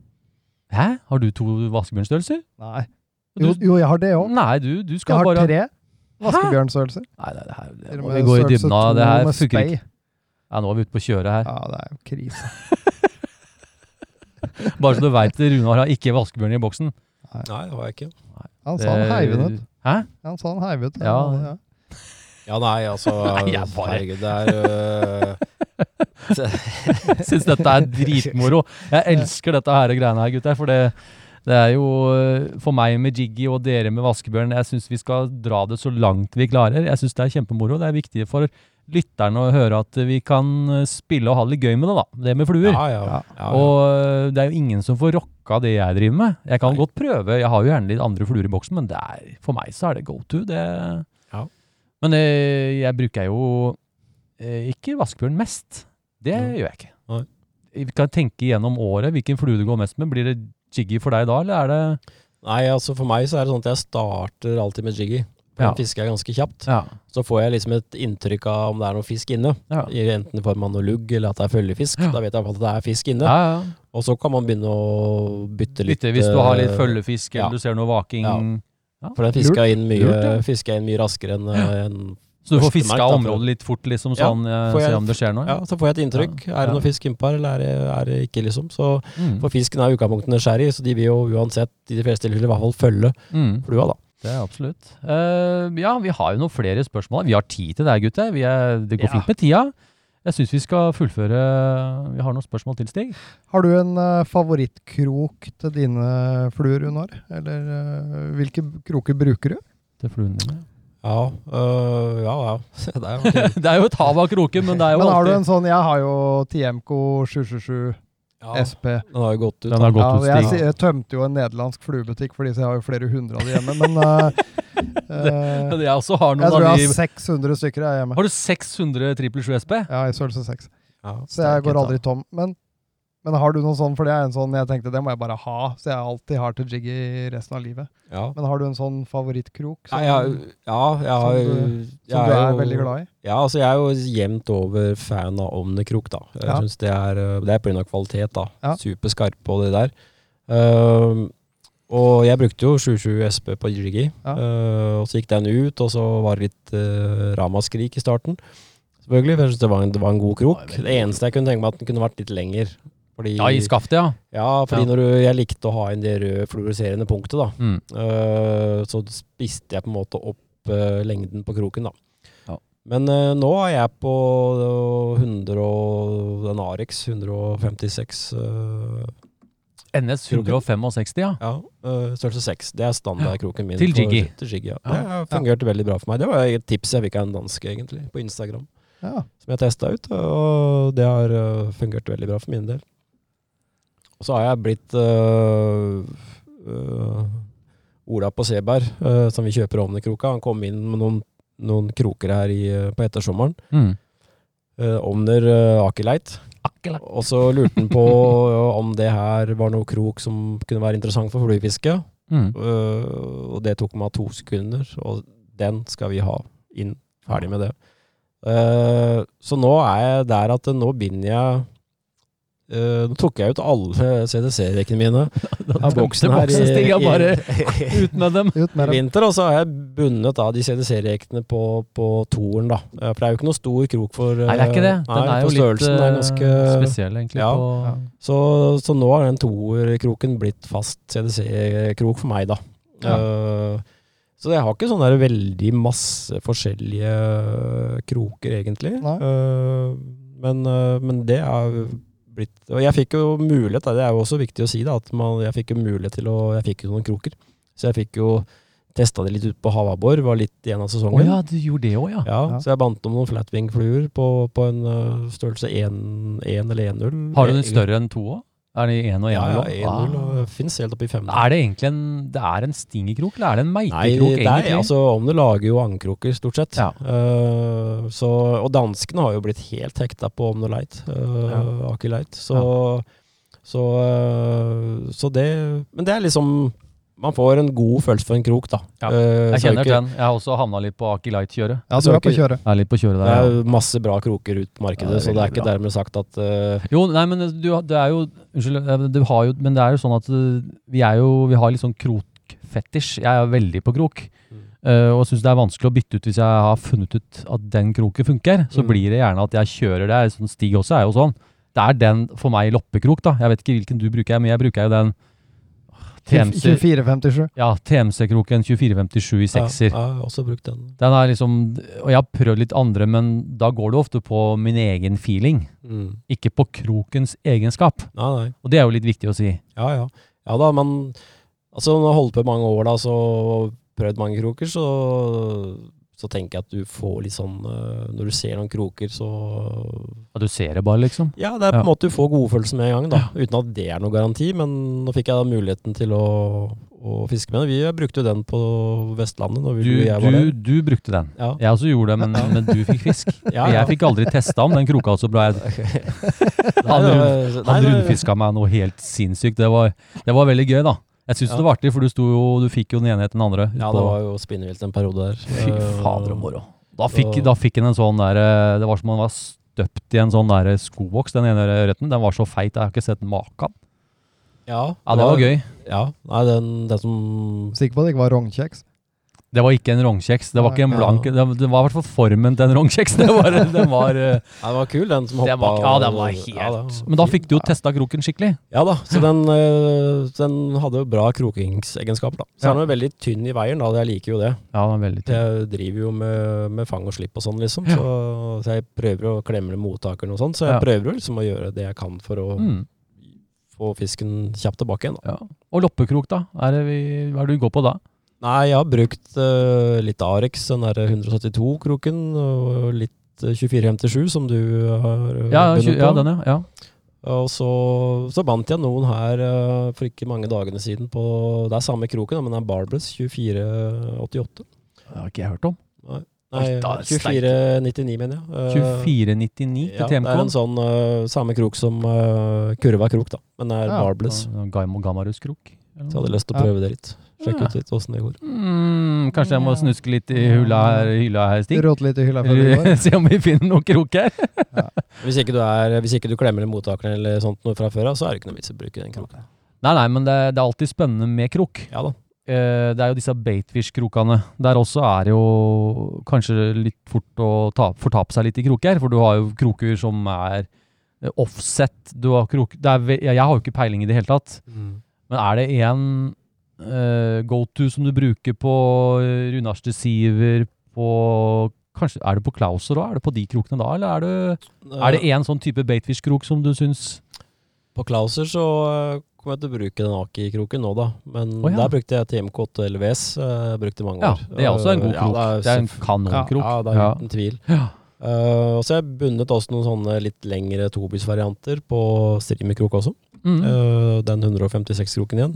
Speaker 1: Hæ? Har du to vaskebjørnstørrelser?
Speaker 5: Nei.
Speaker 1: Du-
Speaker 5: Jo, jo jeg har det òg.
Speaker 1: Nei, du, du
Speaker 5: Jeg
Speaker 1: skal
Speaker 5: har
Speaker 1: bare
Speaker 5: tre vaskebjørnstørrelser.
Speaker 1: Nei, det, det, her- det,
Speaker 5: Til og
Speaker 1: må
Speaker 5: med
Speaker 1: vi gå i
Speaker 5: størrelse
Speaker 1: dybden av. Det
Speaker 5: to
Speaker 1: her
Speaker 5: med
Speaker 1: funker
Speaker 5: spey.
Speaker 1: ikke. Ja, nå er vi ute på kjøret her.
Speaker 5: Ja, det er jo krise.
Speaker 1: Bare så du veit det, Runar har ikke vaskebjørn i boksen.
Speaker 6: Nei, det har jeg ikke.
Speaker 5: Han sa han heiv den ut.
Speaker 1: Hæ?
Speaker 5: Han sa han heiv ut. den.
Speaker 1: Ja.
Speaker 5: ja.
Speaker 6: Ja, nei, altså
Speaker 1: Nei, jeg bare-
Speaker 6: Herregud, det er eh, øh,
Speaker 1: Syns Eh, dette er dritmoro. Jeg elsker dette her greiene her, gutter. For det, det er jo eh, for meg med Jiggy og dere med Vaskebjørn Jeg syns vi skal dra det så langt vi klarer. Jeg syns det er kjempemoro. Det er viktig for lytterne å høre at vi kan eh, spille og ha det litt gøy med det, da. Det med fluer.
Speaker 6: Ja, ja. ja, ja.
Speaker 1: Og eh, det er jo ingen som får rocka det jeg driver med. Jeg kan godt prøve, jeg har jo gjerne litt andre fluer i boksen, men det er, for meg så er det go to. Det,
Speaker 6: Ja.
Speaker 1: Men eh, jeg bruker jo eh, ikke vaskebjørn mest. Det
Speaker 6: Nei.
Speaker 1: gjør jeg ikke.
Speaker 6: Nei.
Speaker 1: Vi kan tenke gjennom året hvilken flue du går mest med. Blir det jiggy for deg da, eller er det
Speaker 6: Nei, altså for meg så er det sånn at jeg starter alltid med jiggy. For
Speaker 1: Ja.
Speaker 6: Den fisker jeg ganske kjapt.
Speaker 1: Ja.
Speaker 6: Så får jeg liksom et inntrykk av om det er noe fisk inne.
Speaker 1: Ja.
Speaker 6: I- Enten i form av noe lugg eller at det er følgefisk.
Speaker 1: Ja.
Speaker 6: Da vet jeg i hvert fall at det er fisk inne.
Speaker 1: Ja, ja.
Speaker 6: Og så kan man begynne å bytte litt.
Speaker 1: Litt, hvis du har litt
Speaker 6: eh,
Speaker 1: følgefisk, eller
Speaker 6: ja.
Speaker 1: du ser noe vaking.
Speaker 6: Ja. eh, For den fisker jeg inn mye,
Speaker 1: Lurt, ja.
Speaker 6: fisker jeg inn mye raskere enn eh, enn-
Speaker 1: Så du får
Speaker 6: Første merk,
Speaker 1: fiska
Speaker 6: da, for-
Speaker 1: området litt fort, liksom,
Speaker 6: Ja,
Speaker 1: sånn eh,
Speaker 6: får jeg-
Speaker 1: se om det skjer noe?
Speaker 6: Ja, så får jeg et inntrykk. Er det
Speaker 1: Ja.
Speaker 6: noe fisk innpå her, eller er det, er det ikke, liksom? Så,
Speaker 1: Mm.
Speaker 6: for fisken er i utgangspunktet nysgjerrig, så de vil jo uansett, i de fleste tilfeller, i hvert fall følge
Speaker 1: Mm.
Speaker 6: flua, da.
Speaker 1: Det er absolutt. Eh, ja, vi har jo noen flere spørsmål. Vi har tid til det, her, gutter. Vi er, det går
Speaker 6: Ja.
Speaker 1: fint med tida. Jeg syns vi skal fullføre Vi har noen spørsmål til, Stig.
Speaker 5: Har du en eh, favorittkrok til dine fluer, Unar? Eller eh, hvilke kroker bruker du?
Speaker 1: Til fluene dine.
Speaker 6: Ja, øh, ja, ja. Det er jo
Speaker 1: det er jo et hav av kroker, men det er jo
Speaker 5: Men har du
Speaker 1: alltid
Speaker 5: en sånn Jeg har jo TMK 777
Speaker 6: ja,
Speaker 5: SP.
Speaker 6: Den har jo gått ut.
Speaker 1: Den har
Speaker 6: da.
Speaker 1: gått
Speaker 5: Ja,
Speaker 1: ut,
Speaker 5: jeg,
Speaker 1: Stig.
Speaker 5: si- jeg tømte jo en nederlandsk fluebutikk fordi så jeg har jo flere hundre av de hjemme, men eh, eh,
Speaker 1: Men jeg også har
Speaker 5: jeg
Speaker 1: noen
Speaker 5: tror
Speaker 1: av
Speaker 5: jeg
Speaker 1: de
Speaker 5: har 600 stykker jeg hjemme.
Speaker 1: Har du 600 trippel 7 SP?
Speaker 5: Ja, i størrelse 6.
Speaker 6: Ja,
Speaker 5: Så jeg
Speaker 6: sterk,
Speaker 5: går
Speaker 6: da.
Speaker 5: aldri tom. Men, men har du noe sånn, for det er en sånn jeg tenkte det må jeg bare ha, så jeg alltid har til Jiggy resten av livet.
Speaker 6: Ja.
Speaker 5: Men har du en sånn
Speaker 6: Ja,
Speaker 5: favorittkrok som,
Speaker 6: jeg, ja, jeg, har-
Speaker 5: eh, Som du-
Speaker 6: jeg
Speaker 5: som du er
Speaker 6: jo-
Speaker 5: veldig glad i?
Speaker 6: Ja, altså jeg er jo jevnt over fan av Omnikrok, da. Jeg
Speaker 5: Ja.
Speaker 6: synes det er, øh, det er på grunn av kvalitet, da.
Speaker 5: Ja.
Speaker 6: Superskarp på det der. Ehm, og jeg brukte jo 720 SP på Jiggy,
Speaker 5: Ja.
Speaker 6: Eh, og så gikk den ut, og så var det litt eh, ramaskrik i starten. Selvfølgelig, for jeg synes det var en, det var en god krok. Det, eneste jeg kunne tenke meg at den kunne vært litt lenger. Fordi,
Speaker 1: Ja, i skaftet, ja.
Speaker 6: ja, fordi
Speaker 1: Ja.
Speaker 6: når du, jeg likte å ha inn det røde fluoreserende punktet, da.
Speaker 1: Mm.
Speaker 6: Eh, så spiste jeg på en måte opp eh, lengden på kroken, da.
Speaker 1: Ja.
Speaker 6: Men eh, nå er jeg på eh, 100 og den Arix 156. eh,
Speaker 1: NS 165, ja.
Speaker 6: ja, eh, størrelse 6. Det er standardkroken min.
Speaker 1: Til
Speaker 6: for-
Speaker 1: Jiggy.
Speaker 6: Til Jiggy, ja.
Speaker 1: Ja.
Speaker 6: Det har fungert veldig bra for meg. Det var et tips jeg fikk av en danske, egentlig, på Instagram.
Speaker 5: Ja.
Speaker 6: Som jeg testa ut, og det har eh, fungert veldig bra for min del. Og så har jeg blitt eh, eh, Ola på Seberg, eh, som vi kjøper Ovner-kroka. Han kom inn med noen, noen kroker her i, eh, på ettersommeren.
Speaker 1: Mm.
Speaker 6: Uh, Ovner uh, Akeleit.
Speaker 1: Akkurat.
Speaker 6: Og så lurte han på eh, om det her var noe krok som kunne være interessant for fluefiske.
Speaker 1: Mm.
Speaker 6: Øh, og det tok meg to sekunder, og den skal vi ha inn. Ferdig med det. Eh, så nå er jeg der at nå binder jeg eh, Nå tok jeg ut alle CDC-rekkene mine av boksen her
Speaker 1: boksen, Stig,
Speaker 6: i,
Speaker 1: jeg bare-
Speaker 6: i,
Speaker 1: Ut med dem.
Speaker 5: Ut
Speaker 6: i
Speaker 5: med det.
Speaker 6: vinter. Og så har jeg bundet av de CDC-rekkene på, på toeren, da. Eh, For det er jo ikke noe stor krok for eh,
Speaker 1: Nei, det er ikke det. Den
Speaker 6: nei,
Speaker 1: er jo
Speaker 6: for
Speaker 1: litt
Speaker 6: størrelsen er
Speaker 1: eh,
Speaker 6: ganske
Speaker 1: spesiell, egentlig.
Speaker 6: Ja.
Speaker 1: På,
Speaker 6: så, så nå har den toerkroken blitt fast CDC-krok for meg, da. Eh, så jeg har ikke sånn der veldig masse forskjellige kroker, egentlig.
Speaker 5: Nei.
Speaker 6: Eh, men, eh, men det er jo blitt Og jeg fikk jo mulighet, da, det er jo også viktig å si, da, at man, jeg fikk jo mulighet til å Jeg fikk jo noen kroker. Så jeg fikk jo testa det litt ut på Havabbor, var litt igjen av
Speaker 1: Å
Speaker 6: sesongen.
Speaker 1: ja, du gjorde det òg, ja.
Speaker 6: Ja,
Speaker 5: Ja.
Speaker 6: Så jeg bandt om noen flatwing-fluer på, på en øh, størrelse 1, 1 eller 1-0.
Speaker 1: Har du den større enn to òg? Er det én og én?
Speaker 6: Ja, ja,
Speaker 1: eller?
Speaker 6: 1-0
Speaker 1: Ah.
Speaker 6: og fins helt opp i 5
Speaker 1: Er det egentlig en, det er en stingekrok, eller er det en
Speaker 6: Nei,
Speaker 1: meitekrok?
Speaker 6: det er,
Speaker 1: egentlig?
Speaker 6: altså Omne lager jo angkroker, stort sett.
Speaker 1: Ja.
Speaker 6: Eh, så, og danskene har jo blitt helt hekta på Omne Light, uh, Aker Light. Så, så, eh, så det Men det er liksom Man får en god følelse for en krok, da.
Speaker 1: Ja,
Speaker 6: Eh,
Speaker 1: jeg
Speaker 6: så er det
Speaker 1: kjenner
Speaker 6: ikke-
Speaker 1: den. Jeg har også havna litt på Aki Light-kjøret.
Speaker 5: Ja, du er på kjøret.
Speaker 1: Jeg er litt på kjøret
Speaker 6: Det
Speaker 1: der.
Speaker 6: er
Speaker 1: ja.
Speaker 6: jo masse bra kroker ut på markedet,
Speaker 1: Ja, det er
Speaker 6: så det er
Speaker 1: veldig
Speaker 6: ikke
Speaker 1: bra.
Speaker 6: dermed sagt at eh,
Speaker 1: Jo, nei, men du, det er jo Unnskyld, eh, du har jo Men det er jo sånn at eh, vi er jo Vi har litt sånn krokfetisj. Jeg er veldig på krok.
Speaker 6: Mm.
Speaker 1: eh, og syns det er vanskelig å bytte ut hvis jeg har funnet ut at den kroken funker. Så
Speaker 6: Mm.
Speaker 1: blir det gjerne at jeg kjører det. Sånn Stig også er jo sånn. Det er den for meg loppekrok, da. Jeg vet ikke hvilken du bruker, men jeg bruker jo den ah, TMC
Speaker 5: 2457.
Speaker 1: Ja, TMC-kroken 2457 i sekser.
Speaker 6: Ja, jeg har også brukt den.
Speaker 1: Den er liksom Og jeg har prøvd litt andre, men da går det ofte på min egen feeling. Ikke på krokens egenskap.
Speaker 6: Nei, nei.
Speaker 1: Og det er jo litt viktig å si.
Speaker 6: Ja, ja. Ja da, men altså, når jeg har holdt på i mange år da, så og prøvd mange kroker, så, så tenker jeg at du får litt sånn eh, Når du ser noen kroker, så
Speaker 1: Ja, du ser det bare, liksom.
Speaker 6: Ja, det er på
Speaker 1: Ja.
Speaker 6: en måte du får godfølelsen med en gang, da. Uten at det er noen garanti, men nå fikk jeg da muligheten til å, og fiske med den. Vi eh, brukte jo den på Vestlandet når vi,
Speaker 1: Du,
Speaker 6: jeg var
Speaker 1: du,
Speaker 6: der.
Speaker 1: du brukte den.
Speaker 6: Ja.
Speaker 1: Jeg også gjorde det, men, men du fikk fisk.
Speaker 6: Ja, ja.
Speaker 1: Jeg fikk aldri testa om den kroka så bra. Jeg, han rund-
Speaker 6: Nei, det var- nei,
Speaker 1: han
Speaker 6: det-
Speaker 1: rundfiska meg noe helt sinnssykt. Det var, det var veldig gøy, da. Jeg syns
Speaker 6: Ja.
Speaker 1: det var artig, for du, sto jo, du fikk jo den ene etter den andre.
Speaker 6: Ja,
Speaker 1: utpå-
Speaker 6: det var jo spinnevilt en periode der.
Speaker 1: Fy fader og
Speaker 6: Eh,
Speaker 1: moro. Da fikk,
Speaker 6: Og-
Speaker 1: da fikk han en sånn der eh, Det var som om han var støpt i en sånn der skoboks, den ene ørreten. Den var så feit, jeg har ikke sett maken.
Speaker 6: Ja,
Speaker 1: Ja, det var gøy.
Speaker 6: Ja, nei, den, den som
Speaker 5: Sikker på at det ikke var rognkjeks?
Speaker 1: Det var ikke en rognkjeks. Det var ikke en
Speaker 5: Nei,
Speaker 1: blank
Speaker 6: ja.
Speaker 1: Det det var i hvert fall formen til en rognkjeks. Det var, det var, eh,
Speaker 6: Nei, den var kul, den som hoppa.
Speaker 1: det var, ja, den var
Speaker 6: og- ja, den
Speaker 1: helt
Speaker 6: var
Speaker 1: Men da
Speaker 6: fin.
Speaker 1: fikk du jo testa kroken skikkelig.
Speaker 6: Ja da, så den, eh, den hadde jo bra krokingsegenskaper, da. Så
Speaker 1: Ja.
Speaker 6: er den jo veldig tynn i veien, da. Jeg liker jo det.
Speaker 1: Ja, den var veldig tynn.
Speaker 6: Jeg driver jo med, med fang og slipp og sånn, liksom.
Speaker 1: Ja.
Speaker 6: Så, så jeg prøver å klemle mottakeren og sånn. Så
Speaker 1: Ja.
Speaker 6: jeg prøver jo liksom å gjøre det jeg kan for å
Speaker 1: Mm,
Speaker 6: få fisken kjapt tilbake igjen. Da.
Speaker 1: ja. Og loppekrok, da? Er det vi, hva er det du går på da?
Speaker 6: Nei, jeg har brukt eh, litt Arex, den der 172-kroken, og litt eh, 2457, som du har eh,
Speaker 1: Ja,
Speaker 6: bundet
Speaker 1: tju- ja den, ja. ja.
Speaker 6: Og så, så bandt jeg noen her eh, for ikke mange dagene siden på Det er samme kroken, da, men det er Barbless 2488.
Speaker 1: Det har ikke jeg hørt om.
Speaker 6: Nei,
Speaker 1: Oi, da er det
Speaker 6: 2499, mener jeg. Eh,
Speaker 1: 2499
Speaker 6: ja,
Speaker 1: til
Speaker 6: det er en
Speaker 1: TMK.
Speaker 6: sånn eh, samme krok som eh, kurva krok, da. Men det er
Speaker 5: Ja.
Speaker 6: Barbless.
Speaker 1: Gamarus-krok.
Speaker 6: Så jeg hadde lyst til å
Speaker 5: Ja.
Speaker 6: prøve det litt. Sjekke ut litt åssen det går.
Speaker 1: Mm, kanskje jeg må snuske litt i hula her, hylla her, Stig?
Speaker 5: Rote litt i hylla før vi går.
Speaker 1: Se om vi finner noen krok her.
Speaker 6: Hvis ikke du, er, hvis ikke du klemmer mottakeren eller sånt noe fra før av, så er det ikke noe vits i å bruke den kroken.
Speaker 1: Nei, nei, men det, det er alltid spennende med krok.
Speaker 6: Ja da.
Speaker 1: Eh, det er jo disse baitfish-krokene. Der også er det jo kanskje litt fort å ta, fortape seg litt i kroker, for du har jo kroker som er eh, offset. Du har krok, det er, ve- ja, jeg har jo ikke peiling i det hele tatt. Men er det én go-to som du bruker på eh, Runarste Siver, på Kanskje, Er det på Klauser òg? Er det på de krokene da, eller er det Er det én sånn type baitfish-krok som du syns
Speaker 6: På Klauser så eh, kommer jeg til å bruke den Aki-kroken nå, da. Men
Speaker 1: Å, ja.
Speaker 6: der brukte jeg TMK8 LVS. eh, brukte i mange
Speaker 1: Ja,
Speaker 6: år. Eh,
Speaker 1: det er også en god
Speaker 6: Ja,
Speaker 1: krok.
Speaker 6: det er,
Speaker 1: Det er en
Speaker 6: selvf-
Speaker 1: kanonkrok.
Speaker 6: Ja, det er
Speaker 1: Ja.
Speaker 6: uten tvil.
Speaker 1: Ja.
Speaker 6: Eh, og så har jeg bundet også noen sånne litt lengre tobisvarianter på streamerkrok også.
Speaker 1: Mm.
Speaker 6: Eh, den 156-kroken igjen.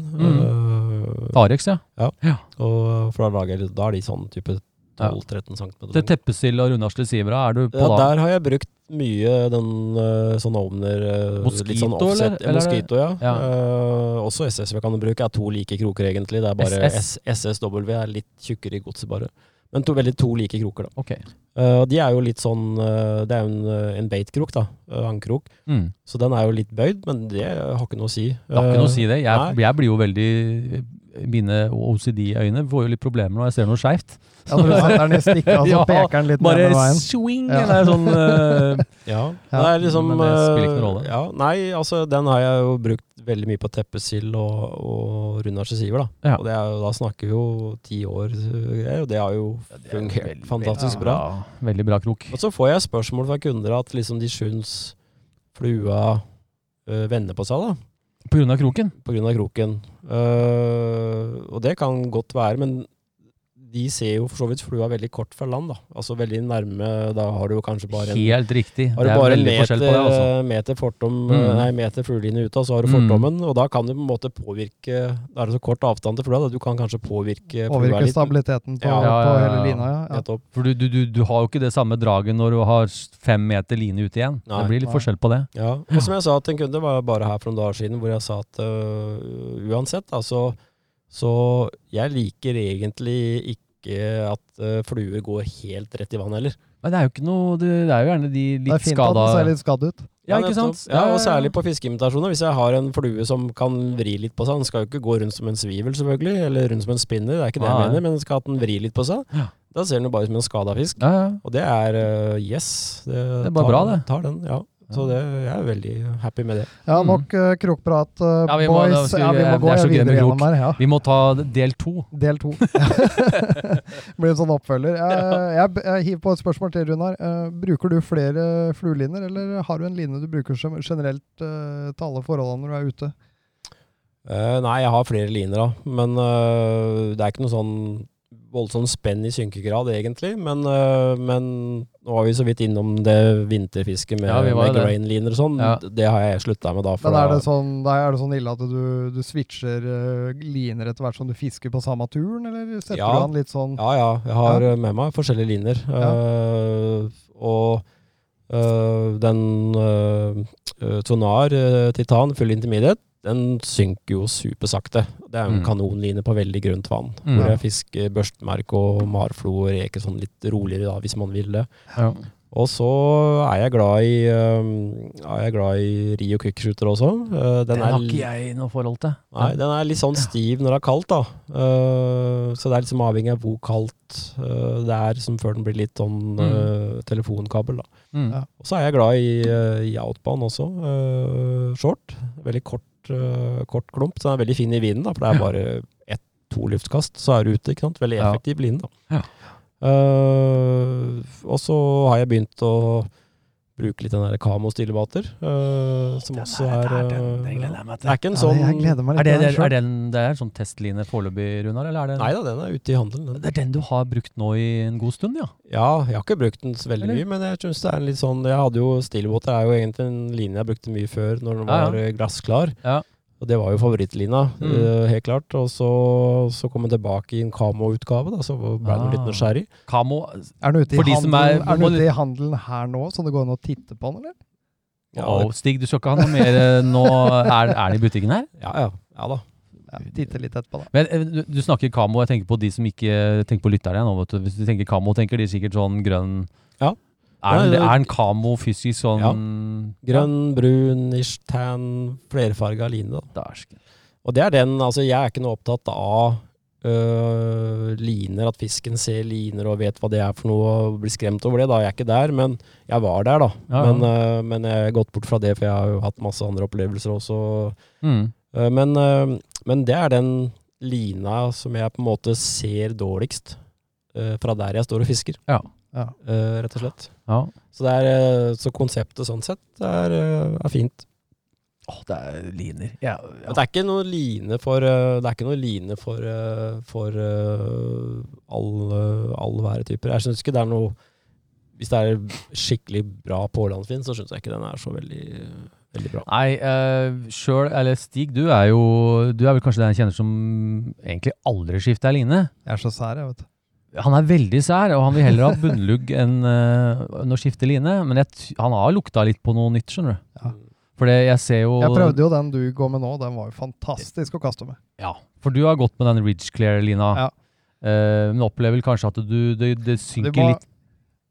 Speaker 6: Eh,
Speaker 1: Tarex, ja.
Speaker 6: og for da, lager, jeg- da er de sånn type 12-13 cm.
Speaker 1: Til teppesild og rundarsle sivra er du på
Speaker 6: Ja,
Speaker 1: da.
Speaker 6: der har jeg brukt mye den eh, sånn ovner eh, litt sånn
Speaker 1: Mosquito,
Speaker 6: offset,
Speaker 1: eller? Eller er det-
Speaker 6: Mosquito, ja.
Speaker 1: Ja.
Speaker 6: Eh, også SSV kan du bruke. Er to like kroker, egentlig. Det er bare
Speaker 1: SS.
Speaker 6: S- SSW er litt tjukkere i godset, bare. Men to, veldig to like kroker, da.
Speaker 1: Ok.
Speaker 6: Eh, og de er jo litt sånn eh, Det er jo en, eh, en beitkrok, da. eh, Ankkrok.
Speaker 1: Mm.
Speaker 6: Så den er jo litt bøyd, men det har ikke noe å si.
Speaker 1: Det har ikke noe å si det.
Speaker 6: Eh, nei.
Speaker 1: Jeg, jeg blir jo veldig Mine OCD-øyne får jo litt problemer når jeg ser noe skeivt.
Speaker 5: Ja, når du setter den i stikka, så
Speaker 1: Ja,
Speaker 5: peker den litt
Speaker 1: Bare
Speaker 5: nedover veien.
Speaker 1: swing!
Speaker 5: Ja.
Speaker 1: Eller sånn eh,
Speaker 6: Ja,
Speaker 5: Ja,
Speaker 6: det er liksom
Speaker 1: men det spiller ikke noen rolle.
Speaker 6: eh, Ja, nei, altså den har jeg jo brukt veldig mye på teppesild og, og Runar Siver, da.
Speaker 1: Ja.
Speaker 6: Og det er, jo- da snakker vi jo ti år, eh, og det har jo fungert fantastisk bra.
Speaker 1: Veldig bra krok.
Speaker 6: Og så får jeg spørsmål fra kunder at liksom de syns flua eh, vender på seg, da
Speaker 1: På grunn av kroken.
Speaker 6: pga. kroken. Eh, og det kan godt være, men de ser jo for så vidt flua veldig kort fra land. da. Altså veldig nærme. Da har du jo kanskje bare en
Speaker 1: Helt riktig.
Speaker 6: har du
Speaker 1: Det er
Speaker 6: bare eh,
Speaker 1: veldig
Speaker 6: en meter,
Speaker 1: forskjell på det, altså.
Speaker 6: meter, fortom, eh,
Speaker 1: Mm.
Speaker 6: nei, meter fluelinje ut, og så har du
Speaker 1: Mm.
Speaker 6: fortommen. Og da kan du på en måte påvirke Da er det så kort avstand til flua, da. Du kan kanskje påvirke flua
Speaker 5: Påvirker
Speaker 6: litt.
Speaker 5: stabiliteten på,
Speaker 6: Ja,
Speaker 1: ja,
Speaker 5: på
Speaker 1: ja, ja.
Speaker 5: hele lina, ja. ja.
Speaker 6: Nettopp.
Speaker 1: For du, du, du, du har jo ikke det samme draget når du har s- fem meter line ut igjen.
Speaker 6: Nei.
Speaker 1: det blir litt
Speaker 5: Nei.
Speaker 1: forskjell på det.
Speaker 6: Ja. Og som jeg sa til en kunde, var jeg bare her for noen dager siden, hvor jeg sa at øh, uansett, altså Så jeg liker egentlig ikke at øh, fluer går helt rett i vann heller.
Speaker 1: Men det er jo ikke noe Det, det er jo gjerne de
Speaker 5: Det er
Speaker 1: litt
Speaker 5: fint at
Speaker 1: skada
Speaker 5: den ser litt skadd ut.
Speaker 1: Ja, ikke sant?
Speaker 6: nettopp. Ja, og særlig på fiskeimitasjoner. Hvis jeg har en flue som kan vri litt på seg, den skal jo ikke gå rundt som en svivel, selvfølgelig, eller rundt som en spinner, det er ikke det
Speaker 1: Nei.
Speaker 6: jeg mener, men den skal at den vrir litt på seg.
Speaker 1: Ja.
Speaker 6: Da ser den jo bare ut som en skada fisk.
Speaker 1: ja, ja.
Speaker 6: Og det er øh, yes. Det,
Speaker 1: Det er bare
Speaker 6: tar,
Speaker 1: bra, det.
Speaker 6: Tar den, ja. Så det, jeg er veldig happy med det.
Speaker 5: Ja,
Speaker 1: Mm.
Speaker 5: nok eh, krokprat, eh,
Speaker 1: Ja, vi må-
Speaker 5: boys.
Speaker 1: da skal
Speaker 5: ja,
Speaker 1: vi-
Speaker 5: vi
Speaker 1: det
Speaker 5: må
Speaker 1: er
Speaker 5: gå
Speaker 1: så gøy med
Speaker 5: videre
Speaker 1: krok.
Speaker 5: gjennom her. Ja.
Speaker 1: Vi må ta del to.
Speaker 5: Del to. Blir en sånn oppfølger. Jeg, jeg, jeg hiver på et spørsmål til, Runar. Eh, bruker du flere flueliner, eller har du en line du bruker som generelt eh, til alle forholdene når du er ute?
Speaker 6: Eh, nei, jeg har flere liner da, men eh, det er ikke noe sånn voldsomt spenn i synkegrad, egentlig. Men, øh, men nå var vi så vidt innom det vinterfisket med,
Speaker 1: Ja, vi var jo
Speaker 6: med
Speaker 1: det.
Speaker 6: grainliner og sånn.
Speaker 1: Ja.
Speaker 6: Det har jeg slutta med da. For
Speaker 5: Men er det
Speaker 6: da
Speaker 5: sånn, da er det sånn ille at du, du switcher eh, liner etter hvert som du fisker på samme turen, eller setter
Speaker 6: Ja.
Speaker 5: du an litt sånn
Speaker 6: ja, ja. Jeg har
Speaker 5: Ja.
Speaker 6: øh, med meg forskjellige liner. Øh, og øh, den øh, øh, Tonar øh, Titan full intermediate, den synker jo supersakte. Det er jo en
Speaker 1: Mm.
Speaker 6: kanonline på veldig grunt vann.
Speaker 1: Mm.
Speaker 6: Hvor jeg fisker børstmerk eh, og marflo og reker sånn litt roligere, da, hvis man vil det.
Speaker 1: Ja.
Speaker 6: Og så er jeg glad i, um, er jeg glad i Rio Quickshooter også. Uh, den,
Speaker 1: Den
Speaker 6: er,
Speaker 1: har ikke jeg noe forhold til.
Speaker 6: Nei, den er litt sånn stiv når det er kaldt, da. Uh, så det er liksom avhengig av hvor kaldt uh, det er, som før den blir litt sånn uh, telefonkabel, da.
Speaker 1: Mm.
Speaker 5: Ja.
Speaker 6: Og så er jeg glad i, uh, i outbound også. Uh, short. Veldig kort, uh, kort klump. Så den er veldig fin i vinden, da, for det er bare ett-to luftkast, så er du ute. ikke sant? Veldig
Speaker 1: Ja.
Speaker 6: effektiv line, da.
Speaker 1: Ja.
Speaker 6: Uh, og så har jeg begynt å bruke litt den der Kamo-stillebater, uh, som også er
Speaker 1: der,
Speaker 6: uh,
Speaker 1: den- den gleder
Speaker 6: Det
Speaker 1: jeg meg til.
Speaker 6: er ikke en
Speaker 5: Ja,
Speaker 6: sånn
Speaker 5: Jeg gleder meg
Speaker 1: Er
Speaker 5: litt.
Speaker 1: det, det,
Speaker 5: til den
Speaker 1: er
Speaker 5: selv.
Speaker 1: den, det er en sånn testline foreløpig, Runar? Eller er det
Speaker 6: Nei da, den er ute i handelen. Den.
Speaker 1: Det er den du har brukt nå i en god stund, ja?
Speaker 6: Ja, jeg har ikke brukt den så veldig
Speaker 1: Eller?
Speaker 6: mye, men jeg synes det er litt sånn Jeg hadde jo Stillwater er jo egentlig en line jeg brukte mye før, når den
Speaker 1: Ja, ja.
Speaker 6: var eh, glassklar.
Speaker 1: Ja.
Speaker 6: Og det var jo favorittlina,
Speaker 1: Mm.
Speaker 6: eh, helt klart. Og så, så kom jeg tilbake i en Kamo-utgave, da, så ble jeg
Speaker 1: Ah.
Speaker 6: litt nysgjerrig.
Speaker 1: Kamo
Speaker 5: Er den ute i,
Speaker 1: For de som
Speaker 5: handelen,
Speaker 1: er-
Speaker 5: er, den
Speaker 1: må
Speaker 5: ute
Speaker 1: du-
Speaker 5: i handelen her nå, så det går an å titte på den, eller?
Speaker 6: Ja,
Speaker 1: Å,
Speaker 6: det-
Speaker 1: Stig, du skal ikke ha noe mer eh, nå? Er, er det i butikken her?
Speaker 6: ja, ja, ja da.
Speaker 5: Ja, titte litt etterpå, da.
Speaker 1: Men eh, du, du snakker Kamo, jeg tenker på de som ikke eh, tenker på lytterne nå, vet du. Hvis du tenker Kamo, tenker de sikkert sånn grønn
Speaker 6: Ja.
Speaker 1: Er, den-
Speaker 6: Nei, det-
Speaker 1: er en Kamo fysisk sånn
Speaker 6: Ja. Grønn, brun, ish, tan, flerfarga line, da.
Speaker 1: Ja, dæsken.
Speaker 6: Og det er den, altså jeg er ikke noe opptatt av øh, liner, at fisken ser liner og vet hva det er for noe og blir skremt over det. da, Jeg er ikke der, men jeg var der, da.
Speaker 1: Ja, ja.
Speaker 6: Men, øh, men jeg har gått bort fra det, for jeg har jo hatt masse andre opplevelser også.
Speaker 1: Mm.
Speaker 6: Øh, men, øh, men det er den lina som jeg på en måte ser dårligst øh, fra der jeg står og fisker,
Speaker 1: Ja.
Speaker 5: Ja.
Speaker 6: øh, rett og slett.
Speaker 1: ja.
Speaker 6: Så, det er, øh, så konseptet sånn sett er, øh, er fint.
Speaker 1: Åh, det er liner. Ja,
Speaker 6: Men Det er ikke noe line for øh, Det er ikke noe line for, øh, for eh, øh, alle, alle væretyper. Jeg syns ikke det er noe Hvis det er skikkelig bra pålandsvin, så syns jeg ikke den er så veldig, veldig bra.
Speaker 1: Nei, uh, sjøl, eller Stig, du er jo Du er vel kanskje den jeg kjenner som egentlig aldri skifter line.
Speaker 5: Jeg er så sær, jeg, vet du.
Speaker 1: Han er veldig sær, og han vil heller ha bunnlugg enn eh, enn å skifte line. Men jeg, t- han har lukta litt på noe nytt, skjønner du.
Speaker 5: Ja.
Speaker 1: For det- jeg ser jo
Speaker 5: Jeg prøvde jo den du går med nå, den var jo fantastisk å kaste med.
Speaker 1: Ja, for du har gått med den Ridge Clear-lina.
Speaker 5: Ja.
Speaker 1: Eh, men opplever vel kanskje at du, det, det synker
Speaker 5: var-
Speaker 1: litt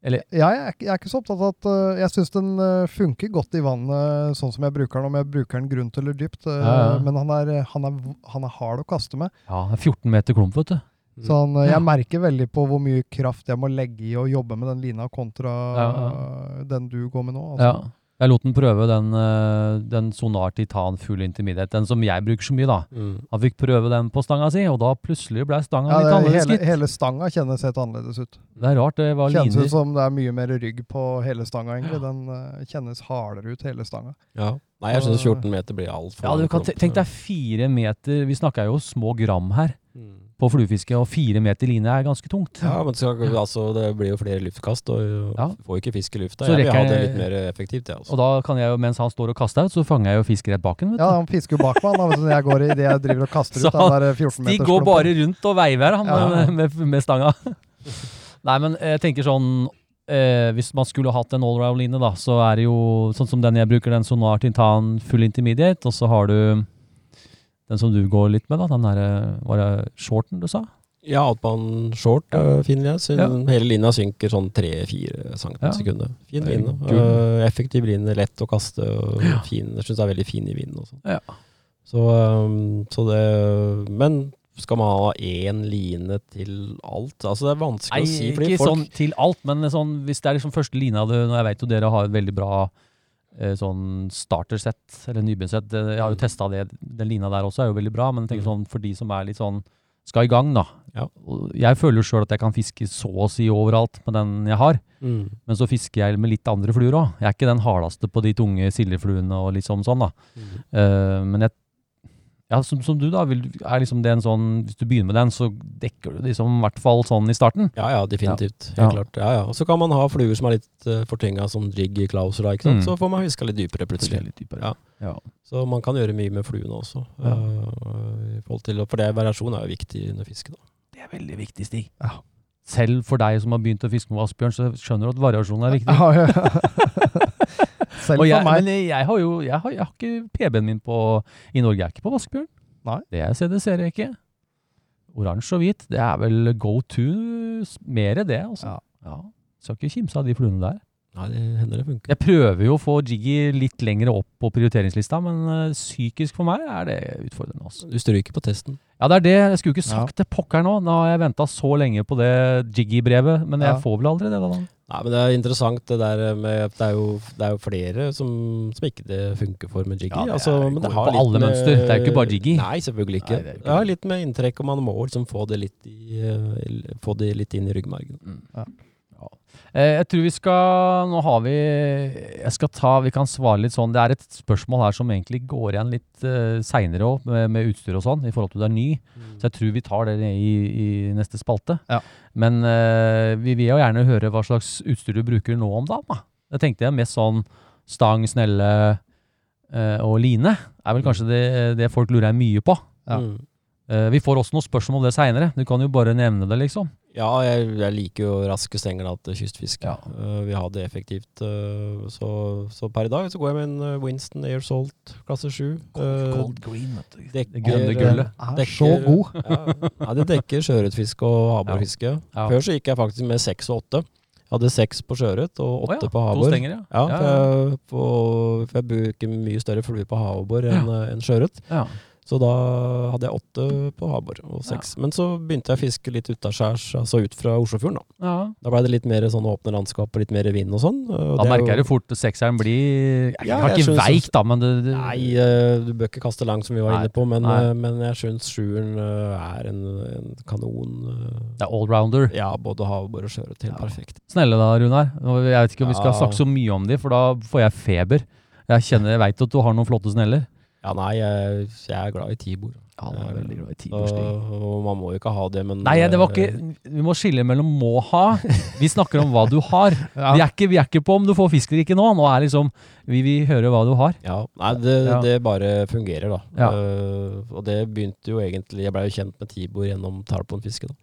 Speaker 1: Eller-
Speaker 5: Ja, jeg, er ikke- jeg er ikke så opptatt av at øh, Jeg syns den øh, funker godt i vannet sånn som jeg bruker den, om jeg bruker den grunt eller dypt. øh,
Speaker 1: Ja, ja.
Speaker 5: Men han er, øh, han, er, v- han er hard å kaste med.
Speaker 1: Ja, det er 14 meter klump, vet du.
Speaker 5: Så han, øh,
Speaker 1: Mm. Ja.
Speaker 5: jeg merker veldig på hvor mye kraft jeg må legge i å jobbe med den lina kontra
Speaker 1: Ja,
Speaker 5: øh, den du går med nå.
Speaker 1: Ja.
Speaker 5: Altså.
Speaker 1: Jeg lot den prøve den, eh, den Sonar Titan Full Intermediate, den som jeg bruker så mye, da.
Speaker 6: Mm.
Speaker 1: Han fikk prøve den på stanga si, og da plutselig ble stanga
Speaker 5: Ja,
Speaker 1: litt
Speaker 5: det,
Speaker 1: annerledes.
Speaker 5: hele,
Speaker 1: gitt.
Speaker 5: hele stanga kjennes helt annerledes ut.
Speaker 1: Det er rart, det var
Speaker 5: Kjennes
Speaker 1: liner.
Speaker 5: ut som det er mye mer rygg på hele stanga, egentlig. Den øh, kjennes hardere ut, hele stanga.
Speaker 6: Ja. Nei, jeg syns 14 meter blir altfor
Speaker 1: Ah. Ja, du kan te- Tenk deg fire meter Vi snakker jo små gram her på fluefiske, og fire meter line er ganske tungt.
Speaker 6: Ja, men skal, altså, det blir jo flere luftkast, og og
Speaker 1: Ja.
Speaker 6: får ikke fisk i lufta.
Speaker 1: Så
Speaker 6: Jeg vil ha
Speaker 1: rekker-
Speaker 6: det litt mer effektivt, jeg altså.
Speaker 1: Og
Speaker 6: også.
Speaker 1: da kan jeg jo, mens han står og kaster ut, så fanger jeg jo fisk rett bak ham.
Speaker 5: Ja, han fisker jo bak meg, han, da, når jeg går i det jeg driver og kaster
Speaker 1: Så
Speaker 5: ut den der 14
Speaker 1: De
Speaker 5: meters
Speaker 1: går bare rundt og veiver han, eh,
Speaker 5: Ja.
Speaker 1: med, med, med stanga. Nei, men jeg tenker sånn eh, Hvis man skulle hatt en allround-line, da, så er det jo sånn som den jeg bruker, den Sonar Tintan full intermediate, og så har du den som du går litt med, da. Den derre Var det shorten du sa?
Speaker 6: Ja, outbound short er fin line. Syn-
Speaker 1: Ja.
Speaker 6: Hele lina synker sånn 3-4 cm
Speaker 1: Ja.
Speaker 6: per sekunde. Fin
Speaker 1: Det er
Speaker 6: line.
Speaker 1: kul.
Speaker 6: Eh, effektiv line, lett å kaste. Og fin, jeg syns det er veldig fin i vinden. Også.
Speaker 1: Ja.
Speaker 6: Så, eh, så det Men skal man ha én line til alt? Altså, det er vanskelig å si. Fordi
Speaker 1: ikke
Speaker 6: folk
Speaker 1: sånn til alt, men sånn, hvis det er liksom første lina du Og jeg vet jo dere har et veldig bra eh, sånn starter-sett, eller nybegynnersett. Det- Jeg har
Speaker 6: Mm.
Speaker 1: jo testa det. Den lina der også er jo veldig bra, men jeg tenker sånn for de som er litt sånn skal i gang, da.
Speaker 6: Ja.
Speaker 1: Og Jeg føler jo sjøl at jeg kan fiske så å si overalt med den jeg har,
Speaker 6: mm.
Speaker 1: men så fisker jeg med litt andre fluer òg. sånn Jeg er ikke den hardeste på de tunge sildefluene og liksom sånn, da.
Speaker 6: Mm.
Speaker 1: Eh, men jeg, Ja, som, som du, da. Vil, er liksom det en sånn Hvis du begynner med den, så dekker du liksom i hvert fall sånn i starten.
Speaker 6: Ja, ja, definitivt.
Speaker 1: Ja.
Speaker 6: Helt klart. Ja, ja. Og så kan man ha fluer som er litt uh, fortynga, som jig i klauser, da, ikke sant?
Speaker 1: Mm.
Speaker 6: så får man fiska litt dypere plutselig.
Speaker 1: Litt dypere.
Speaker 6: Ja.
Speaker 1: Ja.
Speaker 6: Så man kan gjøre mye med fluene også.
Speaker 1: Ja.
Speaker 6: eh, i forhold til, for det variasjon er jo viktig under fiske. Da.
Speaker 1: Det er veldig viktig, Stig. Selv for deg som har begynt å fiske med asbjørn, så skjønner du at variasjonen er viktig.
Speaker 5: Ja, ja. Selv
Speaker 1: Og jeg,
Speaker 5: for meg.
Speaker 1: men jeg har jo jeg har, jeg har ikke PB-en min på, i Norge. Jeg er ikke på vaskebjørn.
Speaker 5: Nei.
Speaker 1: Det er CDC jeg ikke. Oransje og hvit, det er vel go to mer det, altså.
Speaker 5: Ja.
Speaker 1: Ja. Skal ikke kimse av de fluene der.
Speaker 6: Nei, det hender det funker.
Speaker 1: Jeg prøver jo å få Jiggy litt lengre opp på prioriteringslista, men eh, psykisk for meg er det utfordrende. altså.
Speaker 6: Du stryker på testen.
Speaker 1: Ja, det er det. Jeg skulle ikke sagt det pokker nå. Nå har jeg venta så lenge på det Jiggy-brevet, men
Speaker 5: Ja.
Speaker 1: jeg får vel aldri det, da.
Speaker 6: Nei, men det er interessant det der med Det er jo, det er jo flere som, som ikke det funker for med jiggy.
Speaker 1: Ja, det
Speaker 6: altså,
Speaker 1: er-
Speaker 6: men
Speaker 1: går
Speaker 6: det
Speaker 1: jo
Speaker 6: har
Speaker 1: på
Speaker 6: litt
Speaker 1: alle
Speaker 6: med-
Speaker 1: mønster. Det er jo ikke bare jiggy.
Speaker 6: Nei, selvfølgelig ikke.
Speaker 1: Nei, det er
Speaker 6: det,
Speaker 1: jo ikke
Speaker 6: har litt med inntrekk, og man må liksom få det litt, i, eh, få det litt inn i ryggmargen.
Speaker 1: Eh, Jeg tror vi skal Nå har vi Jeg skal ta Vi kan svare litt sånn. Det er et spørsmål her som egentlig går igjen litt uh, seinere òg, med, med utstyr og sånn, i forhold til du er ny. Så jeg tror vi tar det i, i neste spalte.
Speaker 5: Mm. Ja.
Speaker 1: Men eh, vi vil jo gjerne høre hva slags utstyr du bruker nå om dagen. da. Det tenkte jeg mest sånn stang, snelle eh, og line.
Speaker 5: Mm.
Speaker 1: Er vel kanskje det, det folk lurer mye på.
Speaker 5: Ja.
Speaker 6: Mm.
Speaker 1: Eh, vi får også noen spørsmål om det seinere. Du kan jo bare nevne det, liksom.
Speaker 6: Ja, jeg, jeg liker jo raske stenger da, til kystfiske.
Speaker 1: Ja.
Speaker 6: Eh, vi har det effektivt. eh, så, så per i dag så går jeg med en eh, Winston Air Salt klasse 7. eh,
Speaker 1: green,
Speaker 6: dekker, eh,
Speaker 1: Det grønne gullet.
Speaker 5: Den er
Speaker 6: Dekker-
Speaker 5: så god.
Speaker 6: ja, ja, det dekker sjøørretfiske og havbordfiske.
Speaker 1: Ja.
Speaker 6: Før så gikk jeg faktisk med seks og åtte. Jeg hadde seks på sjøørret og åtte på
Speaker 1: To
Speaker 6: havbord.
Speaker 1: stenger, ja.
Speaker 6: Ja,
Speaker 1: Ja,
Speaker 6: for jeg, på, for jeg bruker mye større flue på havbord enn eh, enn sjøørret.
Speaker 1: ja.
Speaker 6: Så da hadde jeg åtte på havbord og seks. Men så begynte jeg å fiske litt utaskjærs, altså ut fra Oslofjorden. da.
Speaker 1: ja.
Speaker 6: Da ble det litt mer sånn åpne landskap og litt mer vind og sånn.
Speaker 1: Da merker jeg det fort at sekseren blir Jeg
Speaker 6: Ja,
Speaker 1: har
Speaker 6: jeg
Speaker 1: ikke
Speaker 6: synes-
Speaker 1: veik, da, men det, det
Speaker 6: Nei, eh, du bør ikke kaste langt, som vi var
Speaker 1: Nei,
Speaker 6: inne på, men,
Speaker 1: nei.
Speaker 6: eh, men jeg syns sjueren eh, er en, en kanon eh,
Speaker 1: det er allrounder.
Speaker 6: Ja, både havbord og sjøørret. Helt perfekt.
Speaker 1: Snelle da, Runar. Og Jeg vet ikke om vi skal
Speaker 6: Ja.
Speaker 1: snakke så mye om de, for da får jeg feber. Jeg kjenner, jeg veit at du har noen flotte sneller.
Speaker 6: Ja, nei, jeg, jeg er glad i tibor.
Speaker 1: Ja,
Speaker 6: han er veldig
Speaker 1: glad i
Speaker 6: Og, og man må jo ikke ha det, men
Speaker 1: Nei, det var ikke
Speaker 6: eh,
Speaker 1: Vi må skille mellom må ha. Vi snakker om hva du har.
Speaker 5: Ja.
Speaker 1: Vi er ikke, vi er ikke på om du får fisk eller ikke nå. Nå er liksom Vi vil høre hva du har.
Speaker 6: Ja, nei, det,
Speaker 1: Ja.
Speaker 6: det bare fungerer, da.
Speaker 1: Ja.
Speaker 6: Eh, og det begynte jo egentlig Jeg blei jo kjent med tibor gjennom tarponfiske, da.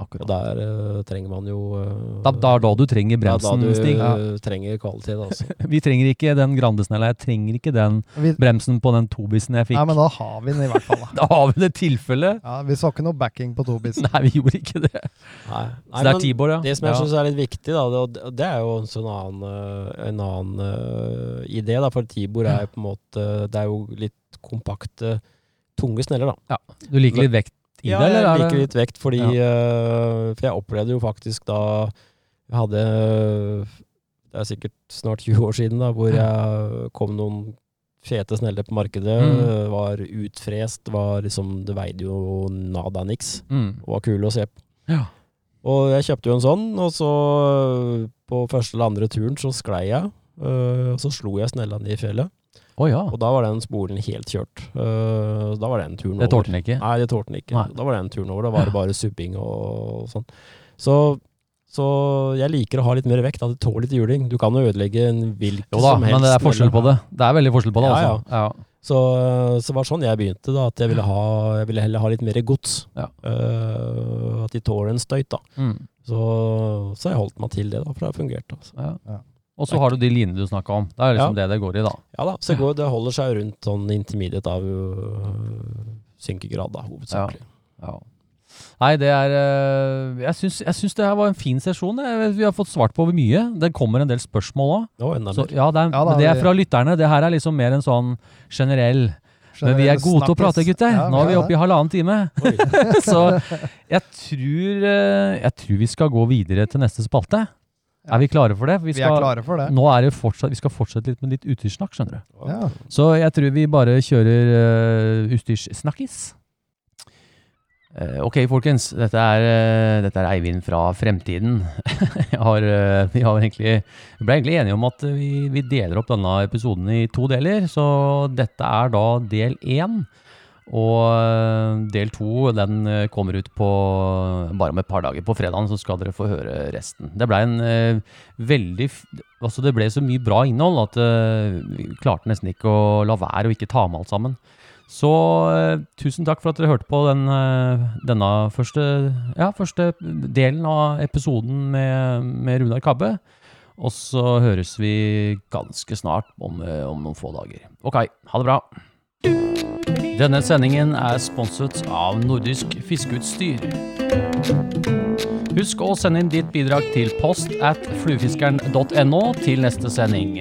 Speaker 6: Og
Speaker 1: Akkurat.
Speaker 6: der eh, trenger man jo eh,
Speaker 1: Da, da er da du trenger
Speaker 6: det er da
Speaker 1: bremsen,
Speaker 6: du
Speaker 1: Stig.
Speaker 6: eh, trenger kvalitet, altså.
Speaker 1: Vi trenger ikke den Grandesnella. Jeg trenger ikke den
Speaker 5: Vi,
Speaker 1: bremsen på den tobisen jeg fikk.
Speaker 5: nei, men da har vi den i hvert fall. Da.
Speaker 1: Da har vi det tilfellet.
Speaker 5: Ja, vi så ikke noe backing på Tobis.
Speaker 1: Nei, vi gjorde ikke det.
Speaker 6: Nei,
Speaker 1: Så
Speaker 6: nei,
Speaker 1: det
Speaker 6: men-
Speaker 1: er Tibor, ja.
Speaker 6: Det som jeg
Speaker 1: ja.
Speaker 6: synes er litt viktig, da, det, og det- det er jo også en annen, øh, en annen øh, idé. Da, for Tibor er jo på en måte Det er jo litt kompakte, tunge sneller, da.
Speaker 1: Du liker litt vekt i det, eller?
Speaker 6: jeg
Speaker 1: er
Speaker 6: liker
Speaker 1: det-
Speaker 6: litt vekt, fordi øh, For jeg opplevde jo faktisk da jeg hadde øh, Det er sikkert snart 20 år siden, da, hvor jeg kom noen fete sneller på markedet.
Speaker 1: Mm.
Speaker 6: øh, Var utfrest, var liksom Det veide jo nada niks.
Speaker 1: Mm.
Speaker 6: Og var kule å se på.
Speaker 1: Ja.
Speaker 6: Og jeg kjøpte jo en sånn, og så øh, på første eller andre turen så sklei jeg. øh, og så slo jeg snella ned i fjellet,
Speaker 1: Å ja.
Speaker 6: og da var den spolen helt kjørt. Øh, da var den turen
Speaker 1: Det
Speaker 6: over.
Speaker 1: tålte den ikke.
Speaker 6: Nei, det tålte den ikke.
Speaker 1: Nei.
Speaker 6: Da var den turen over. Da var det bare subbing og sånn. Så, så jeg liker å ha litt mer vekt. At det tåler litt juling. Du kan jo ødelegge en hvilken
Speaker 1: Jo da,
Speaker 6: som helst.
Speaker 1: men det er forskjell på
Speaker 6: snelle.
Speaker 1: det. Det er veldig forskjell på det,
Speaker 6: Ja,
Speaker 1: altså. Ja.
Speaker 6: Så, så var det sånn jeg begynte, da, at jeg ville, ha, jeg ville heller ha litt mer gods.
Speaker 1: Ja.
Speaker 6: Eh, at de tåler en støyt, da.
Speaker 1: Mm.
Speaker 6: Så, så har jeg holdt meg til det, da, for det har fungert. Altså.
Speaker 1: ja.
Speaker 5: Ja.
Speaker 1: Og så har du de linene du snakka om. Det er liksom det det går i, da.
Speaker 6: Ja da, så det, går, det holder seg rundt sånn intermediate av øh, synkegrad, da, hovedsakelig.
Speaker 1: Ja. Nei, det er eh, Jeg syns, jeg syns det her var en fin sesjon. Jeg- Vi har fått svart på mye. Det kommer en del spørsmål òg.
Speaker 6: Nå enda mer.
Speaker 1: Ja, det er,
Speaker 5: Ja, da,
Speaker 1: men det er
Speaker 5: vi-
Speaker 1: fra lytterne. Det her er liksom mer en sånn generell Men vi er gode til å prate, gutter. Nå er vi oppe i halvannen time.
Speaker 6: Oi.
Speaker 1: Så jeg tror, eh, jeg tror vi skal gå videre til neste spalte. Er vi klare for det? For vi
Speaker 5: Vi er
Speaker 1: skal,
Speaker 5: klare for det.
Speaker 1: Nå er det fortsatt, vi skal fortsette litt med litt utstyrssnakk, skjønner du.
Speaker 5: Ja.
Speaker 1: Så jeg tror vi bare kjører uh, utstyrssnakkis. Eh, ok, folkens. Dette er, eh, dette er Eivind fra Fremtiden. jeg har, eh, vi, har egentlig, vi ble egentlig enige om at eh, vi, vi deler opp denne episoden i to deler. Så dette er da del én. Og eh, del to den eh, kommer ut på bare om et par dager. På fredagen så skal dere få høre resten. Det ble en eh, veldig f- Altså det ble så mye bra innhold at eh, vi klarte nesten ikke å la være å ikke ta med alt sammen. Så eh, tusen takk for at dere hørte på den, eh, denne første, ja, første delen av episoden med, med Runar Kabbe. Og så høres vi ganske snart om, eh, om noen få dager. Ok, ha det bra. Denne sendingen er sponset av Nordisk Fiskeutstyr. Husk å sende inn ditt bidrag til post at fluefiskeren.no til neste sending.